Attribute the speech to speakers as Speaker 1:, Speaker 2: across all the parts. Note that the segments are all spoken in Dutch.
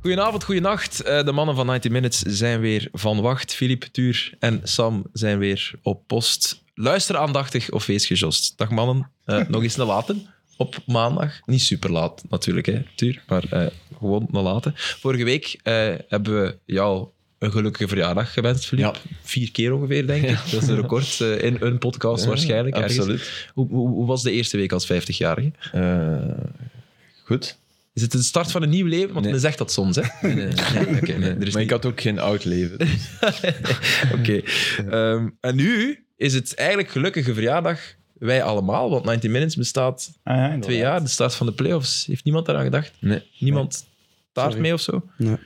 Speaker 1: Goedenavond, goedenacht. Eh, de mannen van 90 Minutes zijn weer van wacht. Filip, Tuur en Sam zijn weer op post. Luister aandachtig of wees gejost. Dag mannen, Eh, nog eens een late op maandag. Niet super laat natuurlijk, hè, Tuur, maar eh, gewoon een late. Vorige week eh, hebben we jou een gelukkige verjaardag gewenst, Filip. Vier keer ongeveer, denk ik. Dat is een record eh, in een podcast waarschijnlijk. ergens.
Speaker 2: Absoluut.
Speaker 1: Hoe, hoe, hoe was de eerste week als 50-jarige?
Speaker 2: Eh, goed.
Speaker 1: Is het de start van een nieuw leven? Want
Speaker 2: Nee.
Speaker 1: men zegt dat soms, hè? Nee, nee, nee, oké, nee, er is niet-
Speaker 2: maar ik had ook geen oud leven. dus-
Speaker 1: Oké. Ehm, en nu is het eigenlijk gelukkige verjaardag. Wij allemaal, want 90 Minutes bestaat
Speaker 3: Ah, ja, inderdaad.
Speaker 1: twee jaar, de start van de playoffs. Heeft niemand daaraan gedacht?
Speaker 2: nee.
Speaker 1: Niemand taart
Speaker 3: Sorry.
Speaker 1: mee of zo?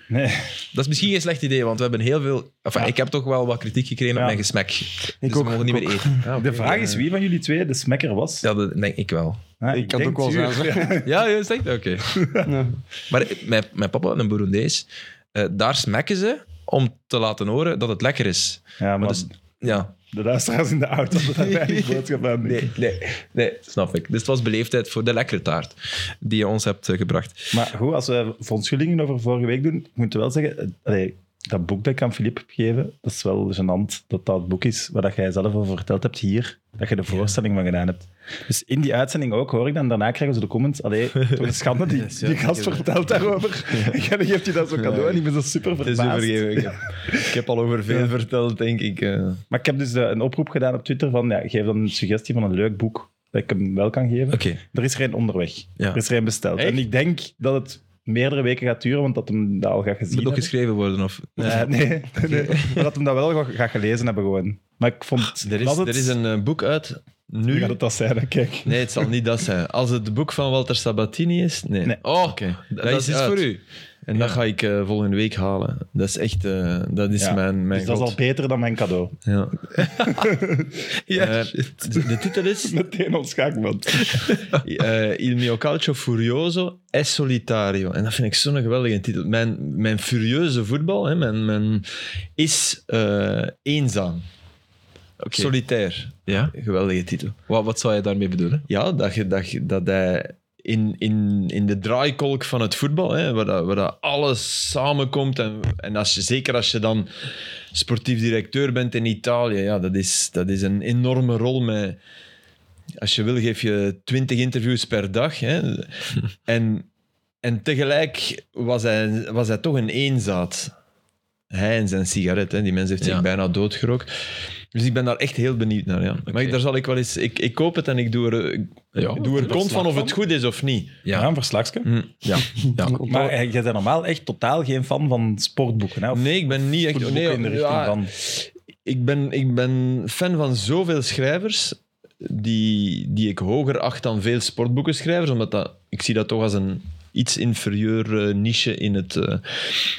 Speaker 3: Nee,
Speaker 1: Dat is misschien geen slecht idee, want we hebben heel veel. Enfin,
Speaker 3: Ja.
Speaker 1: Ik heb toch wel wat kritiek gekregen
Speaker 3: Ja.
Speaker 1: op mijn gesmek. dus
Speaker 4: ook,
Speaker 1: we mogen niet
Speaker 4: ik
Speaker 1: meer eten. Ja, oké.
Speaker 3: de vraag is wie van jullie twee de smekker was.
Speaker 1: Ja, dat denk ik wel.
Speaker 3: Hè,
Speaker 4: Ik kan het
Speaker 3: denk
Speaker 4: ook wel
Speaker 3: Tuur.
Speaker 4: zijn, zeg.
Speaker 1: Ja, juist echt? Oké. Maar eh, mijn, mijn papa, een Burundees, eh, daar smekken ze om te laten horen dat het lekker is.
Speaker 3: Ja, maar dus
Speaker 1: dat is- Ja,
Speaker 3: de luisteraars in de auto hadden daar weinig boodschap aan.
Speaker 1: Nee, nee, nee, snap ik. Dus het was beleefdheid voor de lekkere taart die je ons hebt eh, gebracht.
Speaker 3: Maar goed, als we verontschuldigingen over vorige week doen, ik moet wel zeggen, eh, allee, dat boek dat ik aan Filip heb gegeven, dat is wel gênant dat dat het boek is waar dat jij zelf over verteld hebt hier, dat je de voorstelling van gedaan hebt. Dus in die uitzending ook hoor ik dan, daarna krijgen ze de comments, allee, toch een schande, die, die gast vertelt daarover. En jij geeft je dat zo cadeau en ik ben zo super
Speaker 2: Het is
Speaker 3: verbaasd.
Speaker 2: overgeven. Ik heb, ik heb al over veel verteld, denk ik. eh.
Speaker 3: Maar ik heb dus eh, een oproep gedaan op Twitter van, ja, geef dan een suggestie van een leuk boek dat ik hem wel kan geven.
Speaker 1: Oké.
Speaker 3: Er is er een onderweg.
Speaker 1: Ja.
Speaker 3: Er is er een besteld.
Speaker 2: Echt?
Speaker 3: En ik denk dat het meerdere weken gaat duren, want dat hem dat al gaat gezien
Speaker 1: Moet nog
Speaker 3: hebben.
Speaker 1: geschreven worden? Of...
Speaker 3: Eh, nee, nee. maar dat hem dat wel gaat- gaat gelezen hebben gewoon. Maar ik vond...
Speaker 2: Ah, Er, is,
Speaker 3: las het,
Speaker 2: er is een eh, boek uit,
Speaker 3: dan
Speaker 2: nu.
Speaker 3: Gaat het dat zijn, hè? kijk.
Speaker 2: Nee, het zal niet dat zijn. Als het boek van Walter Sabatini is, nee.
Speaker 3: Nee.
Speaker 1: Oh,
Speaker 2: Oké.
Speaker 1: dat, is iets
Speaker 2: uit.
Speaker 1: voor u.
Speaker 2: En dat ga ik eh, volgende week halen. Dat is echt, eh, dat is
Speaker 3: Ja.
Speaker 2: mijn, mijn
Speaker 3: dus dat is al
Speaker 2: god.
Speaker 3: beter dan mijn cadeau.
Speaker 2: Ja.
Speaker 1: Ja.
Speaker 2: Eh, de, de titel is
Speaker 3: Meteen ons schaakband.
Speaker 2: eh Il mio calcio furioso è solitario. En dat vind ik zo'n geweldige titel. Mijn, mijn furieuze voetbal hè, mijn, mijn, is eh, eenzaam.
Speaker 1: Oké.
Speaker 2: Solitair.
Speaker 1: ja?
Speaker 2: Geweldige titel.
Speaker 1: Wat, wat zou je daarmee bedoelen?
Speaker 2: Ja, dat, je- dat, je- dat hij in, in, in de draaikolk van het voetbal, hè, waar, dat, waar dat alles samenkomt. En, en als je, zeker als je dan sportief directeur bent in Italië, ja, dat, is, dat is een enorme rol. Met, als je wil, geef je twintig interviews per dag. Hè, en, en tegelijk was hij, was hij toch een eenzaad. Hij en zijn sigaret, hè. die mens heeft
Speaker 1: Ja.
Speaker 2: zich bijna doodgerookt. Dus ik ben daar echt heel benieuwd naar. Ja. Maar
Speaker 1: Oké.
Speaker 2: daar zal ik wel eens. Ik, ik koop het en ik doe er, eh, ik
Speaker 1: Ja.
Speaker 2: doe er kont van of het
Speaker 3: van.
Speaker 2: goed is of niet.
Speaker 3: Ja,
Speaker 1: Ja.
Speaker 3: een verslagje.
Speaker 2: Mm.
Speaker 1: ja. ja.
Speaker 3: Maar eh, jij bent normaal echt totaal geen fan van sportboeken, hè? Of
Speaker 2: Nee, ik ben niet echt.
Speaker 3: boeken
Speaker 2: Nee,
Speaker 3: in de richting
Speaker 2: ja,
Speaker 3: van...
Speaker 2: ik, ben, ik ben fan van zoveel schrijvers die, die ik hoger acht dan veel sportboekenschrijvers, omdat dat, ik zie dat toch als een iets inferieur eh, niche in het, eh,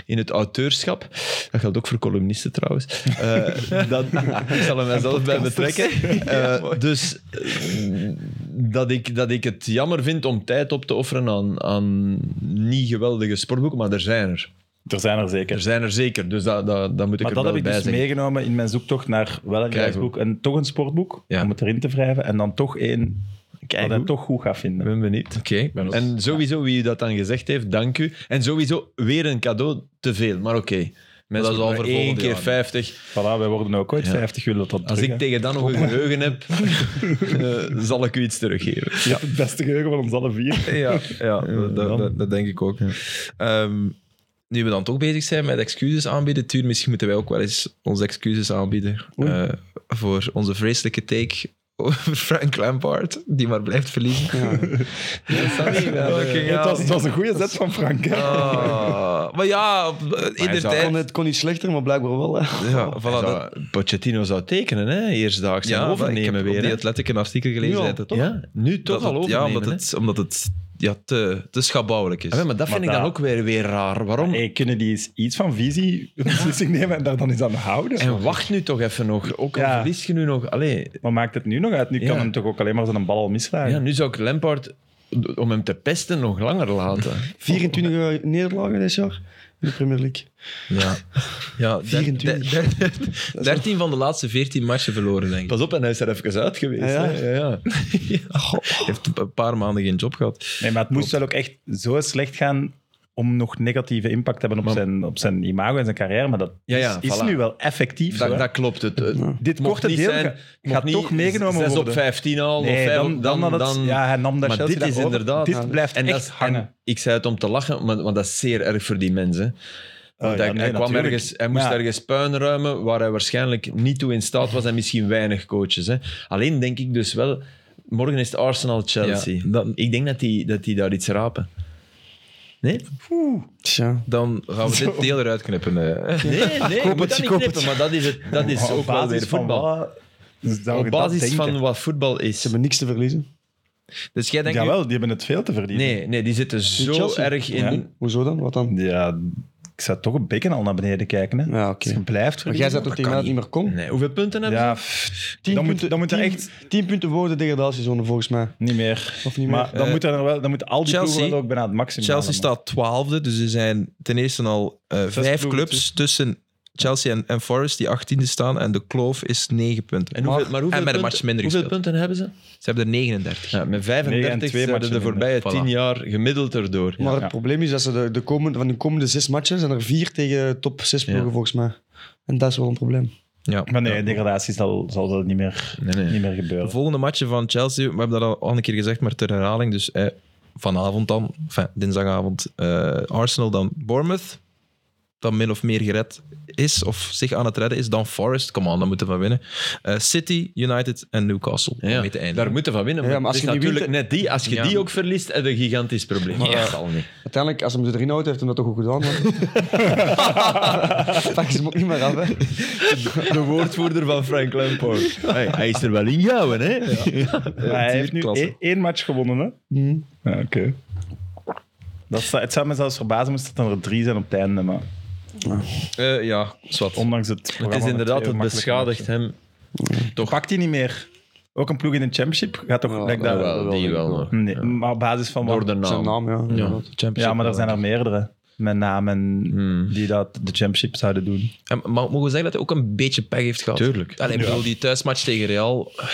Speaker 2: in het auteurschap. Dat geldt ook voor columnisten trouwens. Eh, dat, ik zal er mijzelf bij betrekken. Eh, dus eh, dat, ik, dat ik het jammer vind om tijd op te offeren aan, aan niet geweldige sportboeken, maar er zijn er.
Speaker 3: Er zijn er
Speaker 2: Er
Speaker 3: zeker.
Speaker 2: zijn er zeker, dus dat, dat, dat moet ik
Speaker 3: Maar
Speaker 2: er
Speaker 3: dat
Speaker 2: wel
Speaker 3: heb ik
Speaker 2: bij
Speaker 3: dus
Speaker 2: zeggen.
Speaker 3: meegenomen in mijn zoektocht naar wel een
Speaker 2: Keigoed.
Speaker 3: reisboek en toch een sportboek,
Speaker 1: Ja.
Speaker 3: om het erin te wrijven. En dan toch één dat hij toch goed gaat
Speaker 2: Ik
Speaker 3: vinden.
Speaker 2: ben benieuwd.
Speaker 1: Oké, ik ben ook-
Speaker 2: En sowieso, wie u dat dan gezegd heeft, dank u. En sowieso weer een cadeau te veel, maar oké. Mensen
Speaker 1: is al
Speaker 2: worden
Speaker 1: voor
Speaker 2: maar één
Speaker 1: volgend
Speaker 2: keer
Speaker 1: jaar.
Speaker 2: 50.
Speaker 3: Voilà, wij worden ook ooit 50, willen dat
Speaker 2: Als
Speaker 3: terug,
Speaker 2: ik
Speaker 3: hè.
Speaker 2: tegen dan nog een geheugen heb, eh, zal ik u iets teruggeven.
Speaker 3: Je hebt het beste geheugen van ons alle vier.
Speaker 1: Ja, ja dat, dat,
Speaker 3: dan.
Speaker 1: dat- dat denk ik ook. Ehm, nu we dan toch bezig zijn met excuses aanbieden, Tuur, misschien moeten wij ook wel eens onze excuses aanbieden eh, voor onze vreselijke take over Frank Lampard, die maar blijft verliezen.
Speaker 3: het, was, het was een goede zet van Frank. hè.
Speaker 1: Ah, maar ja, op- in de
Speaker 2: zou-
Speaker 4: Kon,
Speaker 1: tijd...
Speaker 4: het kon niet slechter, maar blijkbaar wel. Hè.
Speaker 1: Ja, voilà, dat,
Speaker 2: Zou- Pochettino zou tekenen, hè? Eerstdaags.
Speaker 1: ja,
Speaker 2: en
Speaker 1: ik
Speaker 2: overnemen
Speaker 1: heb
Speaker 2: weer.
Speaker 1: op die
Speaker 2: hè.
Speaker 1: Athletic een artikel
Speaker 2: Nu
Speaker 1: gelezen.
Speaker 2: al,
Speaker 1: dat het-
Speaker 2: toch? Ja, nu toch
Speaker 1: dat
Speaker 2: al
Speaker 1: het-
Speaker 2: overnemen.
Speaker 1: Ja, omdat
Speaker 2: hè.
Speaker 1: het, omdat het ja, te, te schabouwelijk is.
Speaker 2: Ah, wel, maar dat
Speaker 3: Maar
Speaker 2: vind ik dan
Speaker 3: dat-
Speaker 2: ook weer, weer raar. Waarom?
Speaker 3: Hey, kunnen die eens iets van visie een beslissing nemen en daar dan eens aan houden?
Speaker 2: en wacht nu toch even nog. Ook al
Speaker 3: Ja.
Speaker 2: verlies je nu nog. Allee,
Speaker 3: Wat maakt het nu nog uit? Nu kan
Speaker 2: Ja.
Speaker 3: hem toch ook alleen maar zijn bal al mislaan.
Speaker 2: ja, nu zou ik Lampard, om hem te pesten, nog langer laten.
Speaker 4: 24 nederlagen dit jaar in de Premier League.
Speaker 1: Ja, ja der-
Speaker 4: 24.
Speaker 1: der- der- 13 van de laatste 14 matchen verloren, denk ik.
Speaker 2: Pas op, en hij is er even uit geweest.
Speaker 4: Ja, ja.
Speaker 2: hè. Ja, ja.
Speaker 1: Heeft een paar maanden geen job gehad.
Speaker 3: Nee, maar het moest wel ook echt zo slecht gaan om nog negatieve impact te hebben op,
Speaker 2: Maar-
Speaker 3: zijn, op zijn imago en zijn carrière. Maar dat
Speaker 2: Ja, ja,
Speaker 3: is, is
Speaker 2: voilà.
Speaker 3: nu wel effectief. zo, hè.
Speaker 2: Dat, dat klopt. Het, het
Speaker 4: Ja.
Speaker 3: Dit
Speaker 2: mocht
Speaker 3: korte
Speaker 2: niet
Speaker 3: deel
Speaker 2: zijn,
Speaker 3: ga- gaat
Speaker 2: mocht
Speaker 3: toch
Speaker 2: niet
Speaker 3: meegenomen
Speaker 2: zes op
Speaker 3: worden.
Speaker 2: 15 al. of
Speaker 3: nee,
Speaker 2: vijf
Speaker 3: dan,
Speaker 2: op-
Speaker 3: dan, had het- ja, hij nam dat
Speaker 2: maar
Speaker 3: Chelsea
Speaker 2: dit is
Speaker 3: daarover.
Speaker 2: inderdaad-
Speaker 3: Dit
Speaker 4: Ja.
Speaker 3: blijft
Speaker 2: En dat
Speaker 3: echt
Speaker 2: is hard.
Speaker 3: hangen.
Speaker 2: Ik zei het om te lachen, maar, want dat is zeer erg voor die mensen.
Speaker 3: Ah, ja,
Speaker 2: hij,
Speaker 3: nee,
Speaker 2: hij kwam
Speaker 3: natuurlijk.
Speaker 2: ergens, hij moest
Speaker 3: Maar ja,
Speaker 2: ergens puin ruimen waar hij waarschijnlijk niet toe in staat was en misschien weinig coaches. Hè. Alleen denk ik dus wel, morgen is het Arsenal-Chelsea.
Speaker 1: Ja, dan-
Speaker 2: Ik denk dat die, dat die daar iets rapen. Nee?
Speaker 4: Tja.
Speaker 1: Dan gaan we dit deel eruit knippen. eh.
Speaker 2: Nee, nee, je
Speaker 4: koop
Speaker 2: moet
Speaker 4: het,
Speaker 2: dat
Speaker 4: je
Speaker 2: niet
Speaker 4: koopt
Speaker 2: knippen,
Speaker 4: het.
Speaker 2: maar dat is, het, dat is
Speaker 3: op
Speaker 2: ook wel
Speaker 3: basis
Speaker 2: weer
Speaker 3: van
Speaker 2: voetbal.
Speaker 3: wat- dus zou je
Speaker 2: Op
Speaker 3: dat
Speaker 2: basis
Speaker 3: denken?
Speaker 2: van wat voetbal is.
Speaker 4: Ze hebben niks te verliezen.
Speaker 1: Dus jij denkt nu-
Speaker 3: Jawel, die hebben het veel te verdienen.
Speaker 2: Nee, nee, die zitten zo
Speaker 4: Chelsea?
Speaker 2: erg in...
Speaker 3: Ja.
Speaker 4: Hoezo dan? Wat dan?
Speaker 3: Ja, ik zou toch een beetje al naar beneden kijken. Hè.
Speaker 4: Ja, oké.
Speaker 3: Als je blijft
Speaker 4: Maar jij
Speaker 3: verliezen-
Speaker 4: zegt toch tegen mij dat het niet meer komt?
Speaker 2: Nee, hoeveel punten hebben
Speaker 3: Ja, pff,
Speaker 4: Tien
Speaker 3: dan,
Speaker 4: punten-
Speaker 3: moet, dan moet er
Speaker 4: tien-
Speaker 3: echt...
Speaker 4: 10 punten voor de degradatiezone volgens mij.
Speaker 3: Niet meer.
Speaker 4: Of niet
Speaker 3: maar
Speaker 4: meer?
Speaker 3: dan,
Speaker 1: Eh,
Speaker 3: moet er wel, dan moeten al die
Speaker 1: Chelsea-
Speaker 3: ploegen wel ook bijna het maximum
Speaker 1: Chelsea
Speaker 3: halen, maar-
Speaker 1: staat twaalfde, dus er zijn ten eerste al eh, vijf
Speaker 3: ploegen
Speaker 2: dus.
Speaker 1: clubs tussen Chelsea en, en Forest die achttiende staan en de kloof is negen punten.
Speaker 2: En hoeveel, maar hoeveel
Speaker 1: en met een
Speaker 2: punten,
Speaker 1: match minder
Speaker 2: Hoeveel
Speaker 1: gespeeld.
Speaker 2: punten hebben ze?
Speaker 1: Ze hebben er 39.
Speaker 2: Ja, met
Speaker 3: Nee, en
Speaker 2: 35
Speaker 3: twee
Speaker 2: zijn ze de
Speaker 3: matchen
Speaker 2: voorbije
Speaker 1: minder.
Speaker 2: 10
Speaker 1: Voilà.
Speaker 2: jaar gemiddeld erdoor.
Speaker 4: Maar
Speaker 3: ja.
Speaker 4: het probleem is dat ze de, de komende, van de komende zes matchen zijn er vier tegen top zes ploegen
Speaker 2: Ja.
Speaker 4: volgens mij. En dat is wel een probleem.
Speaker 1: Ja.
Speaker 3: Maar nee, degradatie zal, zal dat niet meer,
Speaker 2: Nee, nee.
Speaker 3: niet meer
Speaker 1: De
Speaker 3: gebeuren.
Speaker 1: volgende matchen van Chelsea, we hebben dat al een keer gezegd, maar ter herhaling. Dus eh, vanavond dan, enfin, dinsdagavond, eh, Arsenal dan Bournemouth. Dat min of meer gered is, of zich aan het redden is. Dan Forest, come on, dan moeten we winnen. Eh, City, United en Newcastle.
Speaker 2: Ja,
Speaker 1: Om mee te eindigen.
Speaker 2: daar moeten we van winnen.
Speaker 4: Ja,
Speaker 2: maar
Speaker 4: maar als
Speaker 2: het
Speaker 4: je
Speaker 2: is
Speaker 4: niet
Speaker 2: natuurlijk net die. Als je
Speaker 1: Ja.
Speaker 2: die ook verliest, heb je een gigantisch probleem.
Speaker 1: Maar,
Speaker 2: dat zal niet.
Speaker 4: Uiteindelijk, als hij hem erin houdt, heeft hij dat toch goed gedaan. Man. Pak ze hem ook niet meer af. Hè.
Speaker 2: De woordvoerder van Frank Lampard. Hey, hij is er wel in jouw, hè?
Speaker 3: Maar hij heeft nu
Speaker 1: klasse.
Speaker 3: één, één match gewonnen, hè?
Speaker 4: Mhm.
Speaker 3: Ja, oké. Dat zou- het zou me zelfs verbazen moest dat er drie zijn op het einde, maar
Speaker 1: Eh, ja, zwart.
Speaker 3: ondanks het programma
Speaker 2: Het is
Speaker 3: met
Speaker 2: inderdaad,
Speaker 3: twee
Speaker 2: het
Speaker 3: makkelijke
Speaker 2: beschadigt hem.
Speaker 3: matchen. Pakt hij niet meer. Ook een ploeg in de championship gaat toch...
Speaker 4: Ja,
Speaker 3: lijkt
Speaker 2: Ja,
Speaker 3: dat-
Speaker 2: wel, die wel nog.
Speaker 3: Nee, Maar op basis van
Speaker 2: Door
Speaker 3: wat?
Speaker 2: de
Speaker 4: Zijn
Speaker 2: naam.
Speaker 4: naam, ja. inderdaad.
Speaker 3: Ja, maar er zijn er meerdere met namen
Speaker 2: Hmm.
Speaker 3: die dat de championship zouden doen.
Speaker 1: En, maar mogen we zeggen dat hij ook een beetje pech heeft gehad?
Speaker 2: Tuurlijk.
Speaker 1: Allee, ik bedoel, die thuismatch tegen Real eh,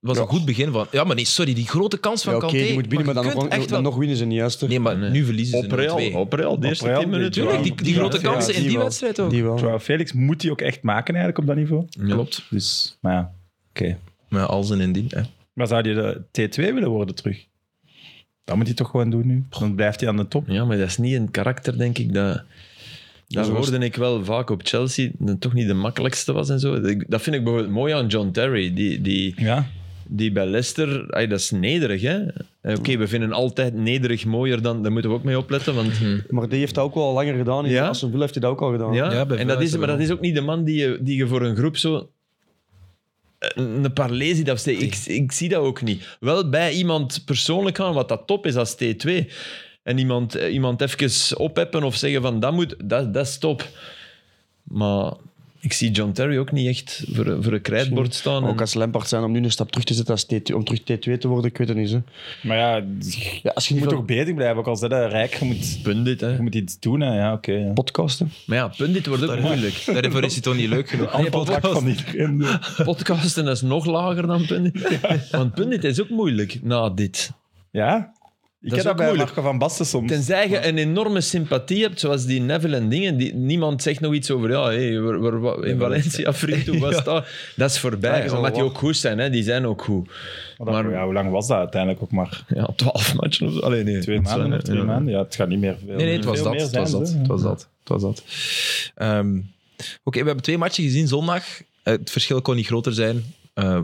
Speaker 1: was een goed begin van... Ja, maar nee, sorry, die grote kans van
Speaker 4: Ja, Oké,
Speaker 1: Kanté...
Speaker 4: die moet binnen, maar
Speaker 1: je
Speaker 4: dan, nog,
Speaker 1: kunt echt
Speaker 4: dan
Speaker 1: wel...
Speaker 4: nog winnen ze niet juist. hè.
Speaker 1: Nee, maar nu verliezen ze
Speaker 2: Op Real,
Speaker 1: 0-2.
Speaker 2: op Real, de eerste
Speaker 3: Op Real,
Speaker 2: 10 minuten.
Speaker 3: die-
Speaker 1: Tuurlijk, die, die
Speaker 3: Ja,
Speaker 1: grote
Speaker 3: ja,
Speaker 1: kansen in
Speaker 4: die
Speaker 1: die
Speaker 4: wel.
Speaker 1: wedstrijd ook.
Speaker 4: Die wel.
Speaker 3: Terwijl Felix moet die ook echt maken eigenlijk op dat niveau.
Speaker 2: Ja.
Speaker 1: Klopt.
Speaker 3: Dus, maar ja, oké.
Speaker 1: Maar als en indien. Hè.
Speaker 3: Maar zou die de T2 willen worden terug? Dat moet hij toch gewoon doen nu? Dan blijft hij aan de top.
Speaker 2: Ja, maar dat is niet een karakter, denk ik, dat... Dat
Speaker 4: Zo is-
Speaker 2: hoorde ik wel vaak op Chelsea, dat toch niet de makkelijkste was en zo. Ik- Dat vind ik bijvoorbeeld mooi aan John Terry, die, die,
Speaker 3: Ja,
Speaker 2: die bij Leicester... ay, dat is nederig, hè? Eh, Oké, we vinden altijd nederig mooier dan... Daar moeten we ook mee opletten, want...
Speaker 4: Maar die heeft dat ook wel al langer gedaan. In
Speaker 2: Ja?
Speaker 4: Aston Villa heeft hij dat ook al gedaan.
Speaker 2: Ja,
Speaker 1: Ja, bij
Speaker 2: en dat is,
Speaker 1: Feyenoord
Speaker 2: maar dat is ook niet de man die je, die je voor een groep zo... Eh, Een een paar lezen, dat steekt. ik, ik zie dat ook niet. Wel bij iemand persoonlijk gaan, wat dat top is als T2. En iemand, eh, iemand even opheppen of zeggen van dat moet, dat, dat is top. Maar ik zie John Terry ook niet echt voor, een- voor een krijtbord staan.
Speaker 4: Ook als Lampard zijn om nu een stap terug te zetten als T2, om terug T2 te worden, ik weet het niet. Hè.
Speaker 3: maar ja, je
Speaker 4: Ja, als je,
Speaker 3: moet
Speaker 4: niet
Speaker 3: toch bezig blijven. Ook al zei dat Rijk, je moet,
Speaker 2: En Pundit, hè.
Speaker 3: je moet iets doen. Hè. Ja, oké. ja.
Speaker 4: podcasten.
Speaker 2: Maar ja, Pundit wordt ook moeilijk.
Speaker 1: Daarvoor is hij toch niet leuk genoeg.
Speaker 3: Amper het lak van iedereen.
Speaker 2: Podcasten dat is nog lager dan Pundit. Want Pundit is ook moeilijk na dit.
Speaker 3: Ja? Ik
Speaker 2: is
Speaker 3: heb dat
Speaker 2: ook
Speaker 3: bij
Speaker 2: moeilijk.
Speaker 3: Marco van Basten soms.
Speaker 2: Tenzij je een enorme sympathie hebt, zoals die Neville en dingen. Die, niemand zegt nog iets over, ja, hey, waar- waar- waar- in Valencia, vriend, hoe was dat? Dat is voorbij,
Speaker 4: Ja, is al
Speaker 2: omdat die
Speaker 4: wat.
Speaker 2: ook goed zijn. Hè? Die zijn ook goed.
Speaker 3: Maar, dat-
Speaker 2: maar-
Speaker 3: ja, hoe lang was dat uiteindelijk ook maar?
Speaker 2: Ja, twaalf matchen of zo. Allee, nee.
Speaker 3: Twee
Speaker 2: het zijn,
Speaker 3: maanden of
Speaker 2: hè,
Speaker 3: twee
Speaker 2: ja.
Speaker 3: maanden? Ja, het gaat niet meer veel
Speaker 1: Nee, nee, het was
Speaker 3: veel
Speaker 1: dat.
Speaker 3: meer
Speaker 1: Het
Speaker 3: zijn,
Speaker 1: was dat.
Speaker 3: hè.
Speaker 1: Het was dat. Het was dat. Ehm, Oké, we hebben twee matchen gezien zondag. Eh, Het verschil kon niet groter zijn. Ehm,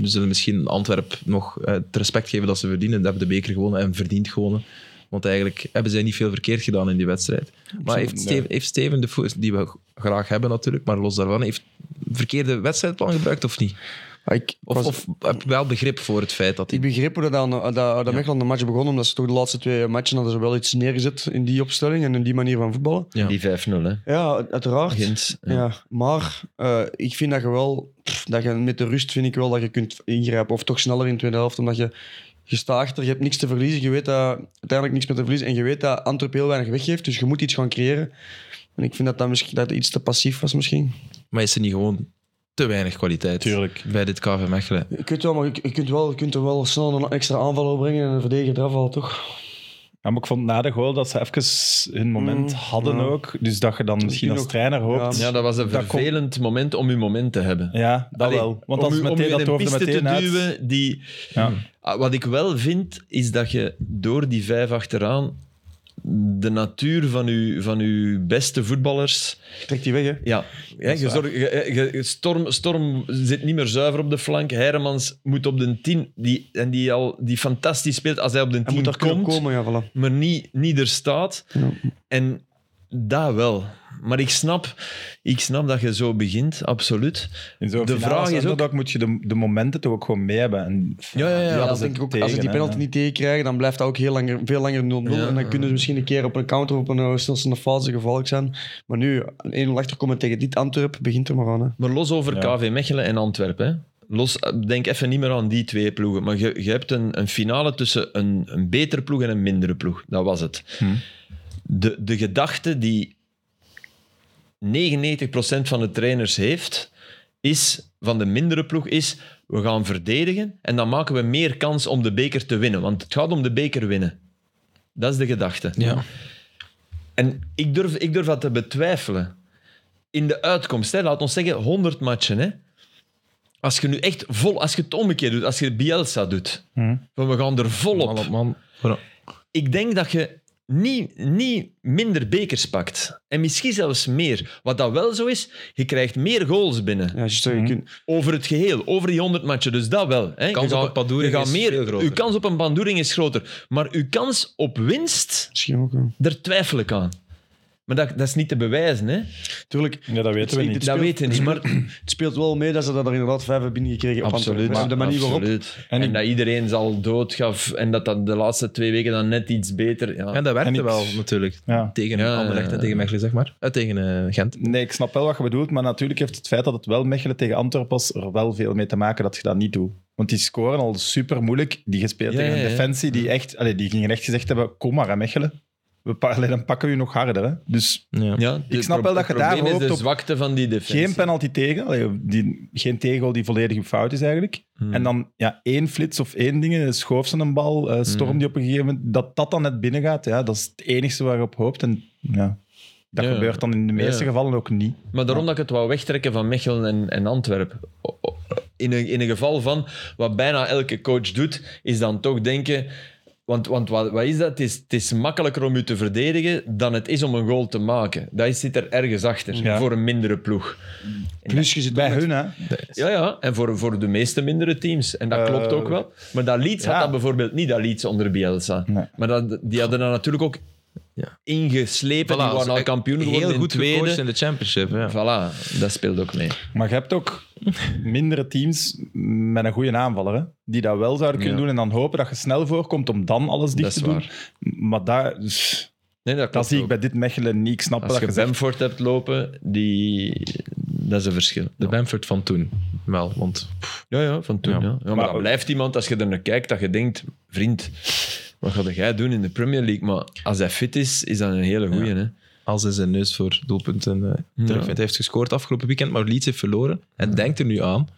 Speaker 1: we zullen misschien Antwerp nog eh, het respect geven dat ze verdienen. Ze hebben de beker gewonnen en verdiend gewonnen. Want eigenlijk hebben zij niet veel verkeerd gedaan in die wedstrijd. Maar heeft Steven, heeft Steven de voet, die we graag hebben natuurlijk, maar los daarvan, heeft verkeerde wedstrijdplan gebruikt of niet?
Speaker 4: Ja, Ah, ik, ik
Speaker 1: Of,
Speaker 4: was-
Speaker 1: of heb je wel begrip voor het feit dat
Speaker 4: ik
Speaker 1: hij...
Speaker 4: begreep hoe dat, aan, eh, dat, dat Mechelen de match begon, omdat ze toch de laatste twee matchen hadden ze wel iets neergezet in die opstelling en in die manier van voetballen.
Speaker 1: Ja.
Speaker 2: Die 5-0, hè.
Speaker 4: Ja, uiteraard.
Speaker 2: Gent.
Speaker 4: Ja. maar eh, ik vind dat je wel, pff, dat je met de rust vind ik wel dat je kunt ingrijpen. Of toch sneller in de tweede helft, omdat je gestaagder, je hebt niks te verliezen. Je weet dat uiteindelijk niks meer te verliezen. En je weet dat Antwerp heel weinig weggeeft, dus je moet iets gaan creëren. En ik vind dat dat, misschien, dat iets te passief was misschien.
Speaker 1: Maar is er niet gewoon te weinig kwaliteit
Speaker 3: Tuurlijk.
Speaker 1: bij dit KV Mechelen?
Speaker 4: Je kunt, wel, maar je, je kunt, wel, je kunt er wel snel een extra aanval opbrengen en een verdediger eraf halen, toch?
Speaker 3: Ja, maar ik vond na de goal dat ze even hun moment
Speaker 4: Mm,
Speaker 3: hadden
Speaker 4: ja.
Speaker 3: ook. Dus dat je dan misschien
Speaker 4: Misschien
Speaker 3: als
Speaker 4: ook-
Speaker 3: trainer hoopt. Ja,
Speaker 2: Ja, dat was een
Speaker 3: Dat kon-
Speaker 2: vervelend moment om uw moment te hebben.
Speaker 3: ja dat
Speaker 2: Allee,
Speaker 3: wel. Want
Speaker 2: om
Speaker 3: als
Speaker 2: u- om u
Speaker 3: meteen
Speaker 2: in
Speaker 3: dat
Speaker 2: een
Speaker 3: hoofd
Speaker 2: piste
Speaker 3: er meteen
Speaker 2: te
Speaker 3: uit.
Speaker 2: duwen die...
Speaker 3: Ja.
Speaker 2: Ah, Wat ik wel vind, is dat je door die vijf achteraan de natuur van uw, van uw beste voetballers...
Speaker 4: Trek die weg, hè.
Speaker 2: Ja, hè, je
Speaker 3: waar.
Speaker 2: zorg- je- je- je- storm, storm zit niet meer zuiver op de flank. Hermans moet op de 10, die, en die, al, die fantastisch speelt als hij op de
Speaker 4: Hij moet
Speaker 2: 10
Speaker 4: daar
Speaker 2: komt,
Speaker 4: kunnen komen, ja, voilà.
Speaker 2: maar niet, niet er staat.
Speaker 4: Ja.
Speaker 2: En dat wel. Maar ik snap, ik snap dat je zo begint, absoluut.
Speaker 3: In zo'n
Speaker 2: De
Speaker 3: finale
Speaker 2: vraag
Speaker 3: als
Speaker 2: is ook-
Speaker 3: underdog moet je de, de momenten toch ook gewoon mee hebben. En,
Speaker 2: Ja, ja, ja.
Speaker 4: Ja,
Speaker 3: dat
Speaker 4: dat
Speaker 3: is
Speaker 4: denk ik ook.
Speaker 3: tegen,
Speaker 4: als ik die
Speaker 3: hè,
Speaker 4: penalty
Speaker 3: ja.
Speaker 4: niet tegenkrijg, dan blijft dat ook heel langer, veel langer 0-0.
Speaker 2: Ja.
Speaker 4: en dan kunnen ze misschien een keer op een counter of op een eh, stilstaande fase gevaarlijk zijn. Maar nu, een 1-0 achterkomen tegen dit Antwerp, begint er maar aan. Hè.
Speaker 2: Maar los over
Speaker 3: Ja.
Speaker 2: KV Mechelen en Antwerpen. hè. Los, eh, denk even niet meer aan die twee ploegen. Maar je, je hebt een, een finale tussen een, een betere ploeg en een mindere ploeg. Dat was het.
Speaker 3: Hm.
Speaker 2: De, de gedachte die 99% van de trainers heeft, is, van de mindere ploeg, is we gaan verdedigen en dan maken we meer kans om de beker te winnen. Want het gaat om de beker winnen. Dat is de gedachte.
Speaker 1: Ja.
Speaker 2: En ik durf, ik durf dat te betwijfelen. In de uitkomst, hè, laat ons zeggen 100 matchen. Hè. Als je nu echt vol, als je het omgekeerd doet, als je Bielsa doet,
Speaker 3: Hm.
Speaker 2: van we gaan er vol
Speaker 1: Man
Speaker 2: op.
Speaker 1: op man. Voilà.
Speaker 2: Ik denk dat je niet, niet minder bekers pakt. En misschien zelfs meer. Wat dat wel zo is, je krijgt meer goals binnen.
Speaker 4: Ja, als je
Speaker 2: Mhm.
Speaker 4: mm kunt.
Speaker 2: Over het geheel, over die 100 matchen. Dus dat wel. Hè.
Speaker 1: Kans
Speaker 2: Je
Speaker 1: op
Speaker 2: gaat-
Speaker 1: een Pandoering
Speaker 2: je gaat
Speaker 1: is
Speaker 2: meer,
Speaker 1: veel groter.
Speaker 2: Uw kans op een bandoering is groter. Maar uw kans op winst,
Speaker 4: Misschien ook. eh. Hè.
Speaker 2: daar twijfel ik aan. Maar dat, dat is niet te bewijzen, hè?
Speaker 4: Tuurlijk,
Speaker 3: Ja, dat weten we
Speaker 4: Ik-
Speaker 3: niet.
Speaker 2: Dat
Speaker 4: speelt-
Speaker 2: weten we niet, maar
Speaker 4: het speelt wel mee dat ze dat er inderdaad vijf hebben binnengekregen. op Antwerpen. Maar de manier waarop.
Speaker 2: Absoluut.
Speaker 3: En
Speaker 2: En,
Speaker 3: ik-
Speaker 2: dat iedereen zal doodgaf en dat dat de laatste twee weken dan net iets beter. Ja.
Speaker 1: En dat
Speaker 3: En
Speaker 1: werkte
Speaker 3: ik-
Speaker 1: wel natuurlijk.
Speaker 3: Ja.
Speaker 1: Tegen
Speaker 2: Ja,
Speaker 1: Anderlecht
Speaker 2: ja,
Speaker 1: en
Speaker 2: ja.
Speaker 1: tegen Mechelen, zeg maar. Eh, tegen eh, Gent.
Speaker 3: Nee, ik snap wel wat je bedoelt, maar natuurlijk heeft het feit dat het wel Mechelen tegen Antwerpen was er wel veel mee te maken dat je dat niet doet. Want die scoren al super moeilijk. Die gespeeld
Speaker 2: Ja,
Speaker 3: tegen een
Speaker 2: ja, ja.
Speaker 3: defensie die echt, allee, die gingen echt gezegd hebben: kom maar, hè, Mechelen. We pa- allee, dan pakken we je nog harder. Hè. Dus
Speaker 1: Ja.
Speaker 2: Ja, de-
Speaker 3: snap wel dat je
Speaker 2: het probleem
Speaker 3: daar
Speaker 2: is
Speaker 3: hoopt
Speaker 2: de
Speaker 3: op-
Speaker 2: zwakte van die defensie.
Speaker 3: geen penalty tegen, allee, die, geen tegel die volledig op fout is eigenlijk.
Speaker 2: Hmm.
Speaker 3: En dan ja, één flits of één ding, eh, schoof ze een bal, eh, storm
Speaker 2: Hmm.
Speaker 3: die op een gegeven moment, dat dat dan net binnen gaat, ja, dat is het enige waar je op hoopt. En ja, dat
Speaker 2: Ja.
Speaker 3: gebeurt dan in de meeste
Speaker 2: Ja.
Speaker 3: gevallen ook niet.
Speaker 2: Maar daarom dat ik het wou wegtrekken van Mechelen en, en Antwerpen. O- o- In een, in een geval van wat bijna elke coach doet, is dan toch denken. Want, want wat, wat is dat? Het is, het is makkelijker om u te verdedigen dan het is om een goal te maken. Dat is- zit er ergens achter
Speaker 3: Ja.
Speaker 2: voor een mindere ploeg.
Speaker 4: Plus, je zit
Speaker 3: Bij
Speaker 4: ook met-
Speaker 3: hun, hè?
Speaker 2: Ja, ja, en voor, voor de meeste mindere teams. En dat
Speaker 3: Eh,
Speaker 2: klopt ook wel. Maar dat Leeds
Speaker 3: ja.
Speaker 2: had dat bijvoorbeeld niet, dat Leeds onder Bielsa.
Speaker 3: Nee.
Speaker 2: Maar dat, die hadden dat natuurlijk ook
Speaker 1: Ja.
Speaker 2: ingeslepen.
Speaker 1: Voilà,
Speaker 2: die
Speaker 1: dus
Speaker 2: waren al
Speaker 1: echt
Speaker 2: kampioen geworden
Speaker 1: Heel
Speaker 2: in
Speaker 1: goed
Speaker 2: tweede.
Speaker 1: gecoacht in de championship. Ja.
Speaker 2: Voilà, dat speelt ook mee.
Speaker 3: Maar je hebt ook mindere teams met een goede aanvaller, hè? die dat wel zouden kunnen
Speaker 2: Ja.
Speaker 3: doen en dan hopen dat je snel voorkomt om dan alles dicht
Speaker 2: Dat is
Speaker 3: te doen.
Speaker 2: waar.
Speaker 3: Maar daar, dus,
Speaker 2: Nee, dat,
Speaker 3: dat
Speaker 2: klopt
Speaker 3: zie ik
Speaker 2: ook.
Speaker 3: bij dit Mechelen niet. Ik snap
Speaker 2: Als
Speaker 3: dat
Speaker 2: je
Speaker 3: je zegt,
Speaker 2: Bamford hebt lopen, die... dat is een verschil.
Speaker 1: De Bamford van toen wel, want
Speaker 2: Ja, ja, van toen.
Speaker 1: Ja.
Speaker 2: Ja. Ja, maar,
Speaker 3: Maar-
Speaker 2: dat blijft iemand, als je er naar kijkt, dat je denkt... Vriend, wat ga jij doen in de Premier League? Maar als hij fit is, is dat een hele goeie.
Speaker 1: Ja.
Speaker 2: Hè?
Speaker 1: als hij zijn neus voor doelpunten eh terugvindt. Hij heeft gescoord afgelopen weekend, maar Leeds heeft verloren. En denkt er nu aan,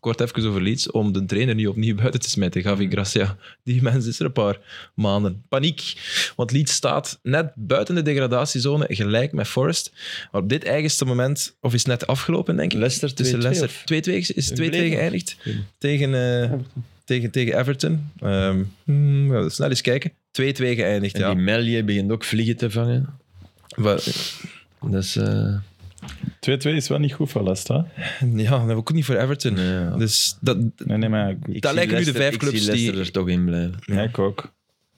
Speaker 1: kort even over Leeds, om de trainer nu opnieuw buiten te smijten. Gavi Gracia, die mens is er een paar maanden. Paniek, want Leeds staat net buiten de degradatiezone, gelijk met Forest. Maar op dit eigenste moment, of is net afgelopen, denk ik.
Speaker 2: Leicester
Speaker 1: Tussen
Speaker 2: 2-2
Speaker 1: Leicester.
Speaker 2: of?
Speaker 1: 2-2 is- is 2-2
Speaker 2: Bleven.
Speaker 1: geëindigd. Tegen, eh, tegen, tegen Everton. Ehm, hmm, ja, snel eens kijken. 2-2 geëindigd,
Speaker 2: En
Speaker 1: ja.
Speaker 2: die Melje begint ook vliegen te vangen.
Speaker 1: Maar-
Speaker 2: Dat is... eh,
Speaker 3: 2-2 is wel niet goed voor Leicester. hè?
Speaker 1: Ja, dat ook niet voor Everton. Dus dat,
Speaker 3: Nee, nee, maar ik,
Speaker 1: dat lijken nu de vijf clubs die
Speaker 2: er toch in blijven.
Speaker 3: ja, ik ook.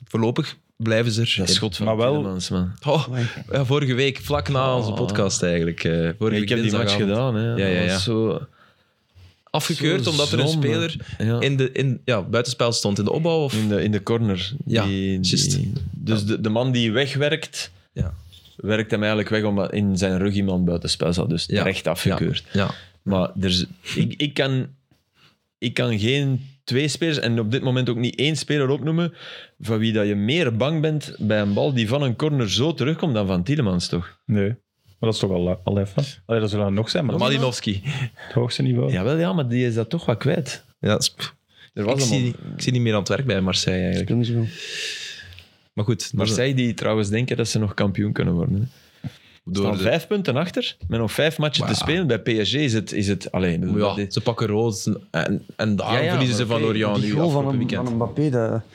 Speaker 1: voorlopig blijven ze er.
Speaker 2: Dat is
Speaker 1: in.
Speaker 2: goed van
Speaker 3: Maar wel-
Speaker 2: Tielemans, man.
Speaker 1: Oh, ja, vorige week, vlak na onze
Speaker 2: Oh.
Speaker 1: podcast eigenlijk. eh, vorige
Speaker 2: Ja,
Speaker 1: week
Speaker 2: ik heb die match
Speaker 1: dinsdagavond.
Speaker 2: gedaan. Hè.
Speaker 1: Ja, ja,
Speaker 2: Dat
Speaker 1: ja.
Speaker 2: was Zo,
Speaker 1: Afgekeurd
Speaker 2: zo
Speaker 1: omdat er een
Speaker 2: zonde.
Speaker 1: speler
Speaker 2: Ja. Mm.
Speaker 1: in de, in, ja, buitenspel stond in de opbouw. Of,
Speaker 2: In de, in de corner.
Speaker 1: Ja,
Speaker 2: Die- die-
Speaker 1: juist.
Speaker 2: dus de, de man die wegwerkt,
Speaker 1: Ja.
Speaker 2: werkt hem eigenlijk weg omdat in zijn rug iemand buitenspel zat. Dus
Speaker 1: Ja.
Speaker 2: terecht afgekeurd.
Speaker 1: ja.
Speaker 2: Maar er, is- ik, ik, kan, ik kan geen twee spelers en op dit moment ook niet één speler opnoemen van wie dat je meer bang bent bij een bal die van een corner zo terugkomt dan van Tielemans, toch?
Speaker 3: Nee, maar dat is toch al, al even. Allee, dat zullen er nog zijn, maar dat is
Speaker 1: Malinowski.
Speaker 3: het hoogste niveau.
Speaker 2: Jawel, ja, maar die is dat toch wat kwijt.
Speaker 1: Ja, dat is-
Speaker 2: Er was
Speaker 1: ik,
Speaker 2: een
Speaker 1: zie,
Speaker 2: moment-
Speaker 1: ik zie niet meer aan het werk bij Marseille
Speaker 4: Ik
Speaker 1: eigenlijk.
Speaker 4: wil niet zoveel.
Speaker 1: Maar goed, dat is-
Speaker 2: Marseille die trouwens denken dat ze nog kampioen kunnen worden. Hè.
Speaker 1: door
Speaker 2: Staan
Speaker 1: de-
Speaker 2: vijf punten achter, met nog vijf matchen
Speaker 1: Maar
Speaker 2: te
Speaker 1: ja.
Speaker 2: spelen. Bij PSG is het... Is het alleen,
Speaker 1: Maar ja, ze pakken rood en, en daarom
Speaker 2: Ja, ja,
Speaker 1: verliezen ze
Speaker 2: maar
Speaker 1: van
Speaker 2: oké,
Speaker 1: Lorient
Speaker 4: die
Speaker 1: nu
Speaker 4: goal van,
Speaker 1: Oh, afgelopen
Speaker 4: een,
Speaker 1: weekend.
Speaker 4: van Mbappé,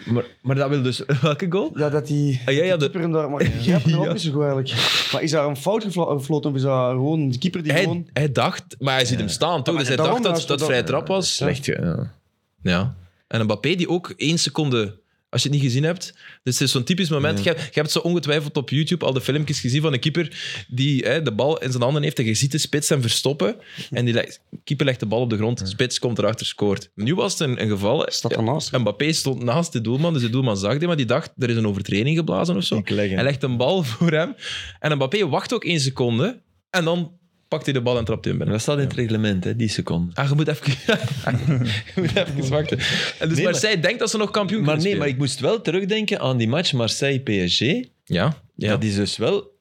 Speaker 4: dat,
Speaker 2: maar, maar dat wil dus... Welke goal?
Speaker 4: ja, dat die
Speaker 1: Ah, ja, ja,
Speaker 4: de
Speaker 1: de-
Speaker 4: keeper hem daar maar grijpt hem ook niet zo goed eigenlijk. Maar is daar een fout gefla- gefloten of is dat gewoon de keeper die
Speaker 1: Hij,
Speaker 4: gewoon...
Speaker 1: hij dacht, maar hij ziet hem staan toch?
Speaker 4: maar
Speaker 1: Dus hij
Speaker 4: daarom
Speaker 1: dacht dat
Speaker 4: was het
Speaker 1: dat
Speaker 4: ook-
Speaker 1: vrij trap was.
Speaker 2: Slecht, ja. ja.
Speaker 1: Ja. En Mbappé die ook één seconde, als je het niet gezien hebt. Dus het is zo'n typisch moment. Je, hebt- je hebt zo ongetwijfeld op YouTube al de filmpjes gezien van een keeper die hè, de bal in zijn handen heeft en je ziet de spits hem verstoppen. En die legt- keeper legt de bal op de grond, spits komt erachter, scoort. Nu was het een, een geval.
Speaker 4: Staat ernaast.
Speaker 1: Mbappé stond naast de doelman, dus de doelman zag die, maar die dacht, er is een overtreding geblazen of zo.
Speaker 2: Ik leg hem.
Speaker 1: Hij legt een bal voor hem. En Mbappé wacht ook één seconde en dan pakt hij de bal en trapt hij hem
Speaker 2: Maar
Speaker 1: binnen.
Speaker 2: dat staat in het reglement, hè, die seconde.
Speaker 1: Ah, je moet even, je moet even wachten. En dus
Speaker 2: Nee, maar-
Speaker 1: Marseille denkt dat ze nog kampioen
Speaker 2: Maar
Speaker 1: kunnen
Speaker 2: nee, maar
Speaker 1: spelen.
Speaker 2: ik moest wel terugdenken aan die match Marseille-PSG.
Speaker 1: Ja, ja.
Speaker 2: Dat is dus wel...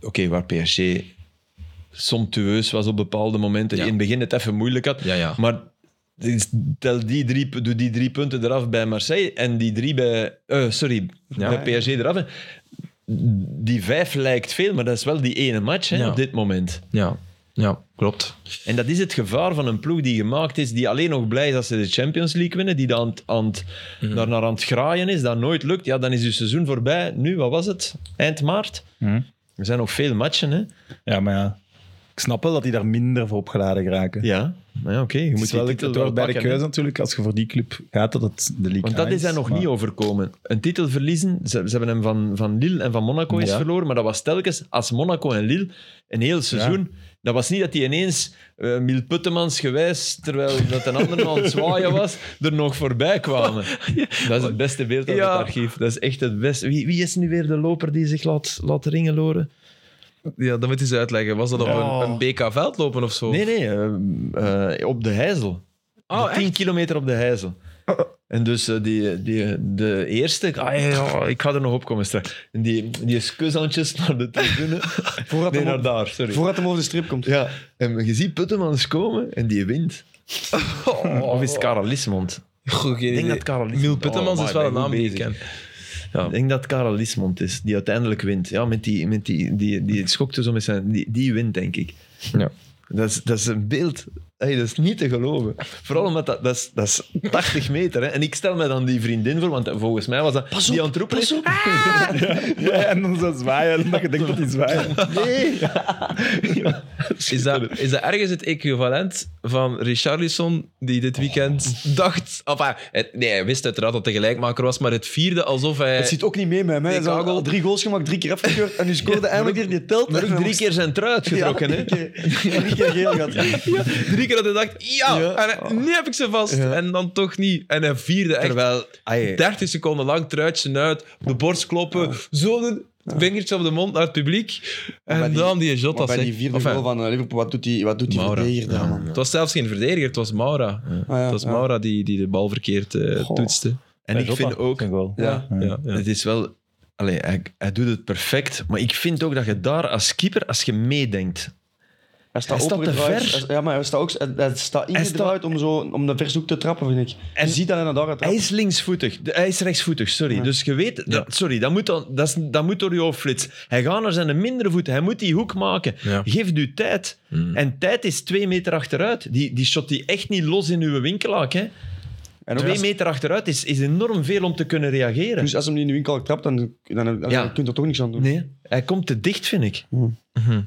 Speaker 2: Oké, waar PSG somptueus was op bepaalde momenten.
Speaker 1: Ja.
Speaker 2: In het begin het even moeilijk had.
Speaker 1: Ja, ja.
Speaker 2: Maar dus tel die drie, doe die drie punten eraf bij Marseille en die drie bij... eh, sorry,
Speaker 1: Ja.
Speaker 2: bij PSG eraf. hè. Die vijf lijkt veel, maar dat is wel die ene match hè,
Speaker 1: Ja.
Speaker 2: op dit moment.
Speaker 1: ja. ja, klopt.
Speaker 2: En dat is het gevaar van een ploeg die gemaakt is, die alleen nog blij is als ze de Champions League winnen, die dan aan het, aan het,
Speaker 3: Mhm.
Speaker 2: daarnaar aan het graaien is, dat nooit lukt. Ja, dan is je seizoen voorbij. Nu, wat was het? Eind maart?
Speaker 3: Mhm.
Speaker 2: Er zijn nog veel matchen, hè?
Speaker 3: Ja, maar ja. Ik snap wel dat die daar minder voor opgeladen raken.
Speaker 2: Ja, ja oké. Je
Speaker 3: Het
Speaker 2: moet
Speaker 3: is
Speaker 2: die
Speaker 3: wel,
Speaker 2: titel
Speaker 3: het
Speaker 2: wel
Speaker 3: hoort bij de
Speaker 2: pakken, hè.
Speaker 3: keuze natuurlijk, als je voor die club gaat, dat het de league
Speaker 2: Want dat is hij nog niet overkomen. Een titel verliezen, ze, ze hebben hem van, van Lille en van Monaco eens
Speaker 3: Ja.
Speaker 2: verloren, maar dat was telkens als Monaco en Lille een heel seizoen. Dat was niet dat hij ineens eh Miel Puttemans gewijs, terwijl dat een ander aan het zwaaien was, er nog voorbij kwamen. Dat is het beste beeld uit
Speaker 1: Ja.
Speaker 2: het archief. Dat is echt het beste. Wie, wie is nu weer de loper die zich laat, laat ringeloren?
Speaker 1: Ja, dan moet je eens uitleggen. Was dat op
Speaker 4: Ja.
Speaker 1: een, een BK-veld lopen of zo?
Speaker 2: Nee, nee, eh, eh, op de Heizel.
Speaker 1: Oh,
Speaker 2: De 10 kilometer op de Heizel. En dus eh, die, die, de eerste, ah, ja, ja, ik ga er nog op komen straks. En die, die is kushandjes naar de tribune.
Speaker 4: Voordat,
Speaker 2: nee,
Speaker 4: hem
Speaker 2: naar
Speaker 4: op-
Speaker 2: daar, sorry.
Speaker 4: voordat hem over de strip komt.
Speaker 2: Ja, en je ziet Puttemans komen en die wint.
Speaker 1: Oh,
Speaker 4: Oh.
Speaker 2: Of is het Karel Lismond?
Speaker 1: Goh, geen
Speaker 2: Oh. Ik denk
Speaker 1: idee.
Speaker 2: dat Karel Lismond...
Speaker 1: Miel Puttemans
Speaker 2: Oh,
Speaker 1: is
Speaker 2: maar
Speaker 1: wel
Speaker 2: ik
Speaker 1: een
Speaker 2: ben
Speaker 1: naam
Speaker 2: goed
Speaker 1: die ik
Speaker 2: bezig.
Speaker 1: ken.
Speaker 2: Ik denk dat het Karel Lismond is, die uiteindelijk wint. Ja, met die, met die, die, die schokte zo met zijn... Die, die wint, denk ik.
Speaker 1: Ja.
Speaker 2: Dat is, dat is een beeld... Hey, dat is niet te geloven. Vooral omdat dat, dat, is, dat is 80 meter. Hè. En ik stel me dan die vriendin voor, want volgens mij was dat... die aan het roepen is. Ah!
Speaker 3: Ja, en dan zo zwaaien, en dat je denkt dat hij zwaait.
Speaker 2: Nee!
Speaker 1: Is dat, is dat ergens het equivalent van Richarlison, die dit weekend dacht... Of, hij- het- nee, hij wist uiteraard dat hij gelijkmaker was, maar het vierde alsof hij...
Speaker 4: Het zit ook niet mee met hem. hè. Hij is al
Speaker 1: Kagel.
Speaker 4: al drie goals gemaakt, drie keer afgekeurd en nu scoorde eindelijk weer die telt.
Speaker 2: Maar
Speaker 4: En
Speaker 2: ook
Speaker 4: dan
Speaker 2: drie keer zijn trui uitgetrokken.
Speaker 4: ja,
Speaker 2: hè.
Speaker 4: drie keer- Drie keer geel gaat.
Speaker 1: Drie keer dat hij dacht, ja,
Speaker 2: Ja.
Speaker 1: en hij- nu heb ik ze vast.
Speaker 2: Ja.
Speaker 1: En dan toch niet. En hij vierde echt
Speaker 2: Terwijl... ai,
Speaker 1: 30 seconden lang truitje uit, op de borst kloppen, zo doen, vingertje op de mond naar het publiek. En
Speaker 4: bij die-
Speaker 1: dan die shot. dat
Speaker 4: Maar bij die
Speaker 1: zegt-
Speaker 4: vierde
Speaker 1: enfin,
Speaker 4: goal van eh, Liverpool, wat doet die, wat doet die
Speaker 1: Maura.
Speaker 4: verdediger daar,
Speaker 1: Ja.
Speaker 4: man?
Speaker 1: Het was zelfs geen verdediger, het was Maura.
Speaker 4: Ah, ja,
Speaker 1: het was
Speaker 4: ja.
Speaker 1: Maura die, die de bal verkeerd eh,
Speaker 4: Goh.
Speaker 1: toetste.
Speaker 2: En ik vind ook...
Speaker 4: Ja.
Speaker 1: Ja, ja.
Speaker 2: Het is wel... Allee, hij, hij doet het perfect, maar ik vind ook dat je daar als keeper, als je meedenkt,
Speaker 4: Hij staat
Speaker 2: Hij staat te
Speaker 4: opengedraaid.
Speaker 2: ver.
Speaker 4: Hij- Ja, maar hij staat, ook, hij, hij staat ingedraaid om, zo, om de vershoek te trappen, vind ik.
Speaker 2: En-
Speaker 4: je ziet dat hij naar daar gaat
Speaker 2: Hij
Speaker 4: trappen.
Speaker 2: is linksvoetig. De- Hij is rechtsvoetig, sorry. Dus je weet... Dat, sorry, dat moet, dan, dat, is, dat moet door je hoofd flitsen. Hij gaat naar zijn mindere voet. Hij moet die hoek maken.
Speaker 1: Ja. Hmm.
Speaker 2: Geef u tijd. En tijd is twee meter achteruit. Die, die shot die echt niet los in uw winkelhaak. Hè.
Speaker 4: En ook
Speaker 2: Twee
Speaker 4: als-
Speaker 2: meter achteruit is, is enorm veel om te kunnen reageren.
Speaker 4: Dus als hem niet in de winkel trapt, dan, dan, dan,
Speaker 2: Ja.
Speaker 4: kun je er toch niks aan doen.
Speaker 2: Nee, hij komt te dicht, vind ik.
Speaker 1: Mhm.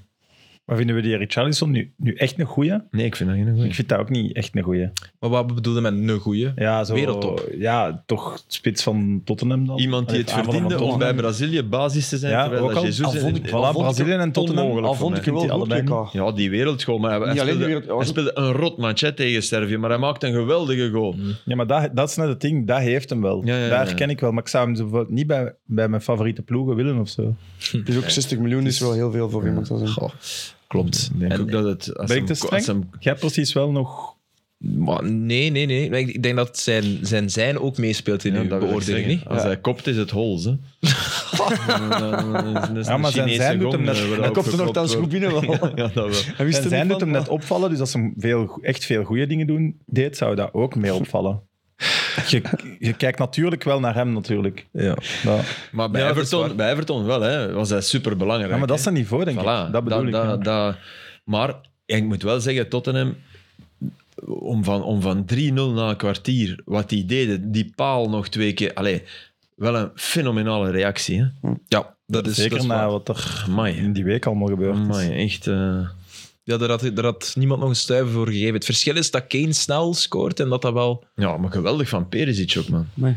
Speaker 3: Maar vinden we die Richarlison nu, nu echt een goeie?
Speaker 2: Nee, ik vind dat geen goeie.
Speaker 3: Ik vind dat ook niet echt een goeie.
Speaker 1: Maar wat bedoelde met een goeie?
Speaker 3: Ja, zo,
Speaker 1: Wereldtop.
Speaker 3: Ja, toch spits van Tottenham dan.
Speaker 2: Iemand die
Speaker 3: Allee, ah,
Speaker 2: het
Speaker 3: aanvaller van
Speaker 2: verdiende om bij
Speaker 3: Tottenham.
Speaker 2: Brazilië basis te zijn,
Speaker 3: Ja,
Speaker 2: terwijl
Speaker 3: ook
Speaker 2: dat
Speaker 3: al-
Speaker 2: Jezus...
Speaker 3: al vond ik-
Speaker 2: en-
Speaker 3: Voilà,
Speaker 4: Al vond ik-
Speaker 3: Brazilië en Tottenham.
Speaker 2: onmogelijk
Speaker 4: Al vond ik
Speaker 3: voor
Speaker 4: hem
Speaker 3: mij.
Speaker 4: wel goed,
Speaker 3: Vindt hij
Speaker 4: WK.
Speaker 2: Ja, die wereld gewoon. Maar hij,
Speaker 4: Niet alleen
Speaker 2: speelde,
Speaker 4: die wereld-
Speaker 2: hij speelde een rot match hè, tegen Servië, maar hij maakte een geweldige goal.
Speaker 3: Ja, maar dat, dat is net het ding. Dat heeft hem wel.
Speaker 2: Ja, ja, ja,
Speaker 3: Daar
Speaker 2: ja.
Speaker 3: ken ik wel. Maar ik zou hem zo bijvoorbeeld niet bij, bij mijn favoriete ploegen willen of zo.
Speaker 4: Het is ook 60 miljoen, is wel heel veel voor iemand. zou zeggen.
Speaker 1: Goh, klopt.
Speaker 2: Ik denk
Speaker 1: En-
Speaker 2: ook dat het... Als
Speaker 3: Ben
Speaker 2: hem-
Speaker 3: ik te
Speaker 2: als
Speaker 3: streng?
Speaker 2: hem-
Speaker 3: Jij hebt precies wel nog...
Speaker 1: maar nee, nee, nee. Maar Ik ik denk dat zijn zijn, zijn ook meespeelt in
Speaker 2: Ja,
Speaker 1: uw
Speaker 2: dat wil ik
Speaker 1: beoordeling,
Speaker 2: zeggen.
Speaker 1: niet?
Speaker 2: Als hij kopt, is het hols. Hè.
Speaker 3: Ja, maar zijn zijn doet hem net- hij
Speaker 4: Hij komt er nogthans goed binnen wel.
Speaker 2: Ja, dat wel.
Speaker 4: Hij wist
Speaker 3: En
Speaker 4: er
Speaker 3: zijn doet
Speaker 4: niet
Speaker 3: hem
Speaker 4: van,
Speaker 3: net opvallen, dus als ze hem veel, echt veel goede dingen doen, deed, zou dat ook mee opvallen. Je, je kijkt natuurlijk wel naar hem, natuurlijk.
Speaker 1: Ja.
Speaker 3: Ja,
Speaker 2: Maar bij,
Speaker 1: Ja, dat is
Speaker 2: Everton,
Speaker 1: waar.
Speaker 2: bij Everton wel, hè, was hij superbelangrijk.
Speaker 3: Ja, maar dat
Speaker 2: hè.
Speaker 3: is zijn niveau, denk
Speaker 2: Voilà,
Speaker 3: ik. Dat bedoel ik. ja.
Speaker 2: dat- dat- maar ja, ik moet wel zeggen, Tottenham, om van, om van 3-0 na een kwartier, wat die deden, die paal nog twee keer. Allee, wel een fenomenale reactie. Hè?
Speaker 1: Ja, dat is, Dus dat
Speaker 3: Zeker
Speaker 1: is
Speaker 3: na
Speaker 1: waar.
Speaker 3: wat er
Speaker 2: Amai,
Speaker 3: in die week allemaal gebeurd is.
Speaker 2: amai, echt. eh,
Speaker 1: Ja, daar had, daar had niemand nog een stuiver voor gegeven. Het verschil is dat Kane snel scoort en dat dat wel...
Speaker 2: ja, maar geweldig van Perisic ook, man.
Speaker 4: Nee.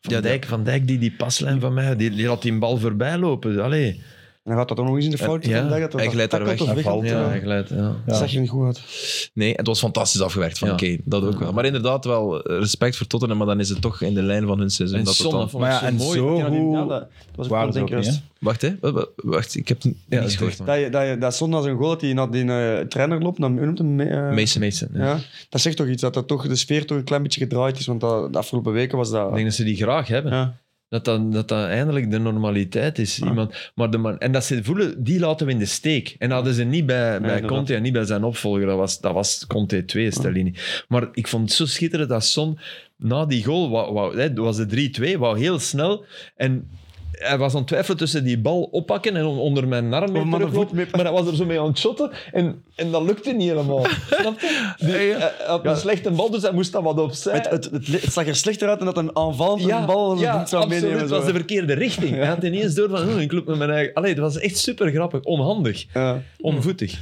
Speaker 2: Van, Dijk, van Dijk, die, die paslijn van mij, die, die laat die bal voorbij lopen. Allee.
Speaker 4: En dan gaat dat ook nog eens in de fout.
Speaker 2: Ja,
Speaker 4: van de dag, dat
Speaker 1: hij glijdt daar weg.
Speaker 4: Dat
Speaker 3: Hij
Speaker 4: tackelt of
Speaker 3: valt,
Speaker 4: weghoudt,
Speaker 2: Ja,
Speaker 4: eh,
Speaker 2: hij glijdt, ja.
Speaker 3: Ja.
Speaker 4: zag er niet goed uit.
Speaker 1: Nee, het was fantastisch afgewerkt van
Speaker 2: Ja.
Speaker 1: Kane. Dat ook wel. Maar inderdaad wel eh, respect voor Tottenham, maar dan is het toch in de lijn van hun seizoen.
Speaker 2: En
Speaker 1: dat het
Speaker 2: Son,
Speaker 1: dan-
Speaker 2: dat vond ik
Speaker 3: Maar ja, en
Speaker 2: mooi.
Speaker 3: zo
Speaker 4: Ja,
Speaker 3: hoe...
Speaker 4: ja, dat dat was
Speaker 3: waren
Speaker 4: ook
Speaker 3: ze ook
Speaker 4: denk
Speaker 3: niet, hè?
Speaker 1: Wacht, hè. Wa- wa- Wacht, ik heb het
Speaker 2: Ja,
Speaker 1: niet
Speaker 2: dat is
Speaker 1: gehoord.
Speaker 2: echt, man.
Speaker 4: Dat, je- dat, je- dat zondag zijn goal dat hij naar die eh, trainer loopt, dan noemt hem... mee, eh,
Speaker 1: Mason.
Speaker 2: Mason, ja.
Speaker 4: ja. Dat zegt toch iets, dat, dat toch de sfeer toch een klein beetje gedraaid is, want dat, de afgelopen weken was dat...
Speaker 2: Ik denk dat ze die graag hebben.
Speaker 4: ja.
Speaker 2: Dat dat, dat dat eindelijk de normaliteit is. Iemand, maar de man, en dat ze voelen, die laten we in de steek. En hadden ze niet bij, bij
Speaker 4: inderdaad.
Speaker 2: Conte en niet bij zijn opvolger. Dat was, dat was Conte 2, Stellini. Maar ik vond het zo schitterend dat Son na die goal, wou, wou, hè, was de 3-2, wou heel snel. En hij was aan het twijfelen tussen die bal oppakken en on- onder mijn arm mee
Speaker 4: maar de
Speaker 2: teruglopen. Maar hij was er zo mee aan het shotten en, en dat lukte niet helemaal. Snap je? Die- hij had een slechte bal, dus hij moest dat wat opzij.
Speaker 4: Het, het, het, het zag er slechter uit dan dat een aanvallend een bal
Speaker 2: ja,
Speaker 4: niet zou
Speaker 2: absoluut.
Speaker 4: meenemen.
Speaker 2: Het
Speaker 4: zo.
Speaker 2: was de verkeerde richting. Hij had ineens door van, oh, ik loop met mijn eigen... Allee, het was echt super grappig. Onhandig.
Speaker 4: Ja.
Speaker 2: Onvoetig.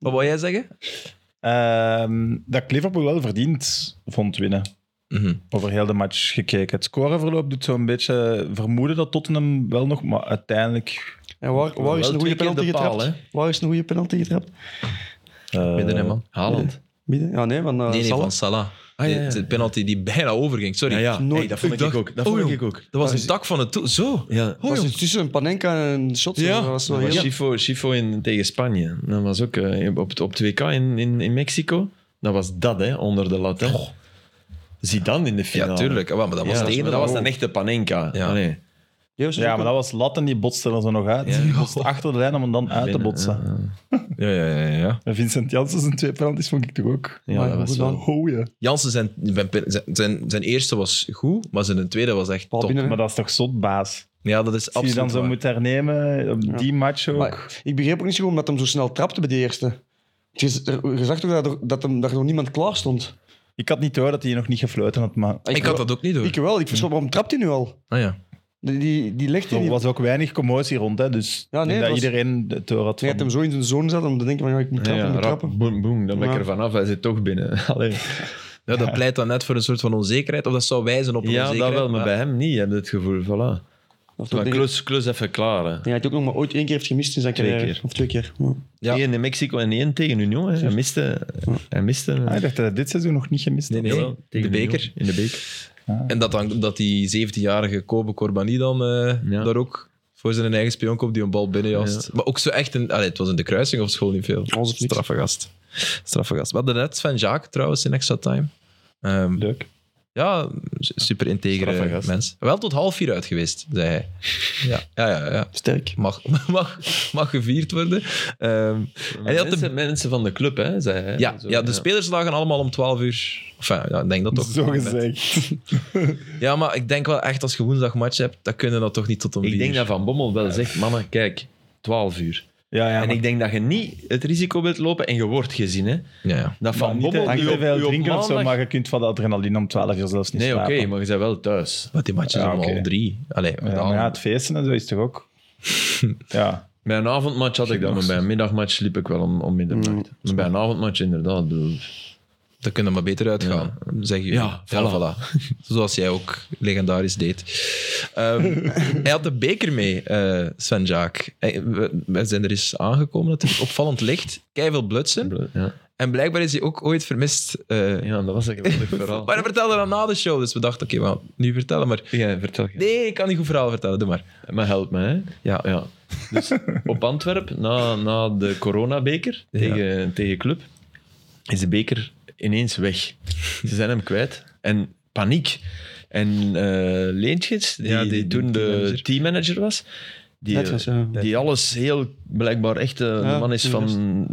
Speaker 1: Wat wou jij zeggen?
Speaker 3: Ehm, dat Liverpool wel verdiend vond winnen.
Speaker 1: Mhm.
Speaker 3: Over heel de match gekeken. Het scoreverloop doet zo'n beetje vermoeden dat Tottenham wel nog... Maar uiteindelijk...
Speaker 4: En waar, waar is
Speaker 2: Wel twee
Speaker 4: een goede
Speaker 2: keer
Speaker 4: penalty
Speaker 2: de paal,
Speaker 4: getrapt? Waar is een goede penalty getrapt?
Speaker 3: eh,
Speaker 1: Midden, hè, man.
Speaker 2: Haaland.
Speaker 4: Midden? Ja, nee, van eh,
Speaker 1: Nee, nee,
Speaker 4: Salah.
Speaker 1: van Salah.
Speaker 2: Ah, ja, ja.
Speaker 1: De- De penalty die bijna overging, sorry.
Speaker 4: nooit-
Speaker 2: Hey, dat vond ik,
Speaker 1: dacht-
Speaker 2: ook. Dat
Speaker 1: oh,
Speaker 2: vond ik
Speaker 1: jong.
Speaker 2: ook.
Speaker 1: Dat was een dak van het toe. Zo.
Speaker 2: Ja.
Speaker 4: Dat was tussen een Panenka en een shot.
Speaker 1: Ja.
Speaker 4: Dat was wel
Speaker 2: Dat was
Speaker 4: heel...
Speaker 2: Chifo, Chifo in, tegen Spanje. Dat was ook eh, op, het- op het WK in, in, in Mexico. Dat was dat, hè, onder de lat. Hè. Zie dan in de finale.
Speaker 1: Ja, tuurlijk. Ah, wel, maar dat
Speaker 2: Ja,
Speaker 1: was
Speaker 2: dat,
Speaker 1: het
Speaker 2: was,
Speaker 1: ene.
Speaker 2: maar dat was een echte panenka.
Speaker 1: Ja.
Speaker 2: Allee.
Speaker 4: Joost,
Speaker 3: Ja, maar dat was lat en die botsten er zo nog uit. Die botste achter de lijn om hem dan uit te
Speaker 2: Binnen,
Speaker 3: botsen.
Speaker 1: Ja, ja, ja, ja, ja.
Speaker 3: En Vincent Janssen zijn twee penalties vond ik toch ook...
Speaker 2: Ja,
Speaker 4: Maar
Speaker 2: dat
Speaker 4: goed
Speaker 2: was
Speaker 4: dan.
Speaker 2: wel...
Speaker 3: Hooie.
Speaker 1: Jansen, zijn, zijn, zijn, zijn eerste was goed, maar zijn tweede was echt
Speaker 4: Bal
Speaker 1: top.
Speaker 4: binnen.
Speaker 3: Maar dat is toch zot, baas?
Speaker 1: Ja, dat is
Speaker 3: Als je
Speaker 1: absoluut
Speaker 3: dan zo
Speaker 1: waar.
Speaker 3: moet hernemen, op die match ook.
Speaker 4: Maar ik begreep ook niet zo goed omdat hem zo snel trapte bij de eerste. Je, je zag toch dat, er, dat, hem, dat er nog niemand klaar stond? Ah,
Speaker 3: Ik had niet door dat hij nog niet gefloten had, maar
Speaker 1: Ah, Ik had dat ook niet door.
Speaker 4: Ik wel. Ik verschoot, waarom trapt hij nu al?
Speaker 1: Ah, ja.
Speaker 4: Die, die, die legt hij
Speaker 3: er
Speaker 4: niet.
Speaker 3: was ook weinig commotie rond. Hè, dus
Speaker 4: Ja, nee,
Speaker 3: ik denk
Speaker 4: het
Speaker 3: dat
Speaker 4: was-
Speaker 3: iedereen het door had
Speaker 4: Hij had
Speaker 3: van-
Speaker 4: hem zo in zijn zone zat om te denken van ja, ik moet trappen,
Speaker 2: Ja,
Speaker 4: ik moet
Speaker 2: rap,
Speaker 4: trappen.
Speaker 2: boem, boem. Dan ben ik
Speaker 4: Ja.
Speaker 2: er vanaf. Hij zit toch binnen. Allee.
Speaker 1: ja, dat pleit dan net voor een soort van onzekerheid. Of dat zou wijzen op een
Speaker 2: Ja, dat
Speaker 1: onzekerheid.
Speaker 2: wel, maar
Speaker 1: maar-
Speaker 2: bij hem niet. Je hebt het gevoel, voilà.
Speaker 4: Of
Speaker 2: Maar
Speaker 4: dat ding-
Speaker 2: klus, klus even klaar. hè.
Speaker 4: Ja, hij had ook nog maar ooit één keer heeft gemist in zijn
Speaker 2: Twee
Speaker 4: carrière.
Speaker 2: keer.
Speaker 4: Of twee keer. Ja.
Speaker 1: Ja.
Speaker 2: Eén in Mexico en één tegen Union. Hè. Hij miste. Hij miste
Speaker 3: Ah, ik dacht dat hij dit seizoen nog niet gemist
Speaker 1: Nee,
Speaker 3: had.
Speaker 1: nee,
Speaker 2: Jawel,
Speaker 1: de
Speaker 2: tegen
Speaker 1: beker.
Speaker 2: Union, In de beker.
Speaker 1: En dat, dan, dat die 17-jarige Kobe Corbani dan eh,
Speaker 2: Ja.
Speaker 1: daar ook voor zijn eigen spion komt die een bal binnenjast. Maar ook zo echt een... Allee, het was in de kruising of school niet veel.
Speaker 4: Alles of niks.
Speaker 1: Straffe gast. Straffe gast. We hadden net Sven Jaak trouwens in extra time. Ehm,
Speaker 3: Leuk.
Speaker 1: ja, super
Speaker 2: Straffe
Speaker 1: integere
Speaker 2: gast.
Speaker 1: mens. Wel tot half vier uit geweest, zei hij. Ja, ja, ja. ja.
Speaker 4: Sterk.
Speaker 1: Mag, mag, mag gevierd worden. Ehm,
Speaker 2: En
Speaker 1: hij had
Speaker 2: mensen, mensen van de club, hè, zei hij.
Speaker 1: ja,
Speaker 2: Zo,
Speaker 1: ja, de spelers lagen allemaal om 12 uur. Enfin, ja, ik denk dat toch.
Speaker 3: Zo gezegd.
Speaker 1: Ja, maar ik denk wel echt als je woensdag match hebt, dan kunnen dat toch niet tot om
Speaker 2: Ik
Speaker 1: vier
Speaker 2: denk
Speaker 1: uur.
Speaker 2: dat Van Bommel wel zegt, mannen, kijk, 12 uur.
Speaker 3: Ja, ja.
Speaker 2: en ik denk dat je niet het risico wilt lopen en je wordt gezien. Hè.
Speaker 1: Ja, ja.
Speaker 2: Dat Van
Speaker 3: van niet
Speaker 2: Bommel
Speaker 3: te,
Speaker 2: u
Speaker 3: te
Speaker 2: op- u
Speaker 3: veel
Speaker 2: op
Speaker 3: drinken of zo,
Speaker 2: maandag-
Speaker 3: maar je kunt van de adrenaline om 12 uur zelfs niet
Speaker 2: Nee, oké,
Speaker 3: slapen.
Speaker 2: maar je bent wel thuis.
Speaker 1: Maar die match is
Speaker 3: Ja,
Speaker 1: om
Speaker 3: oké.
Speaker 1: half drie. Allee,
Speaker 3: Ja,
Speaker 1: dan-
Speaker 3: maar ja, het feesten en zo is toch ook... ja.
Speaker 2: Bij een avondmatch had ik dat, maar bij een middagmatch sliep ik wel om, om middernacht.
Speaker 3: Mm.
Speaker 2: Maar bij een avondmatch inderdaad. ik bedoel,
Speaker 1: dan kunnen we maar beter uitgaan, zeg je.
Speaker 2: Ja,
Speaker 1: voilà. Zoals jij ook legendarisch deed. Ehm, hij had de beker mee, eh, Sven Jaak. Hij- We, we zijn er eens aangekomen natuurlijk. Opvallend licht, keiveel blutsen.
Speaker 2: Ja.
Speaker 1: En blijkbaar is hij ook ooit vermist. eh.
Speaker 2: ja, dat was een geweldig verhaal.
Speaker 1: maar hij vertelde dat na de show, dus we dachten, oké, we gaan het nu vertellen. Maar
Speaker 2: Ja, vertel je.
Speaker 1: nee, ik kan niet goed verhaal vertellen, doe maar.
Speaker 2: Maar help me, hè.
Speaker 1: Ja.
Speaker 2: ja. Dus op Antwerpen, na, na de coronabeker
Speaker 1: Ja.
Speaker 2: tegen, tegen Club, is de beker ineens weg. Ze zijn hem kwijt. En paniek. En eh Leentjes, die,
Speaker 1: Ja, die-
Speaker 2: die,
Speaker 1: die
Speaker 2: toen de
Speaker 1: teammanager. eh,
Speaker 2: teammanager was, Die,
Speaker 4: Netjes, ja.
Speaker 2: die alles heel blijkbaar echt eh,
Speaker 4: Ja,
Speaker 2: de man is van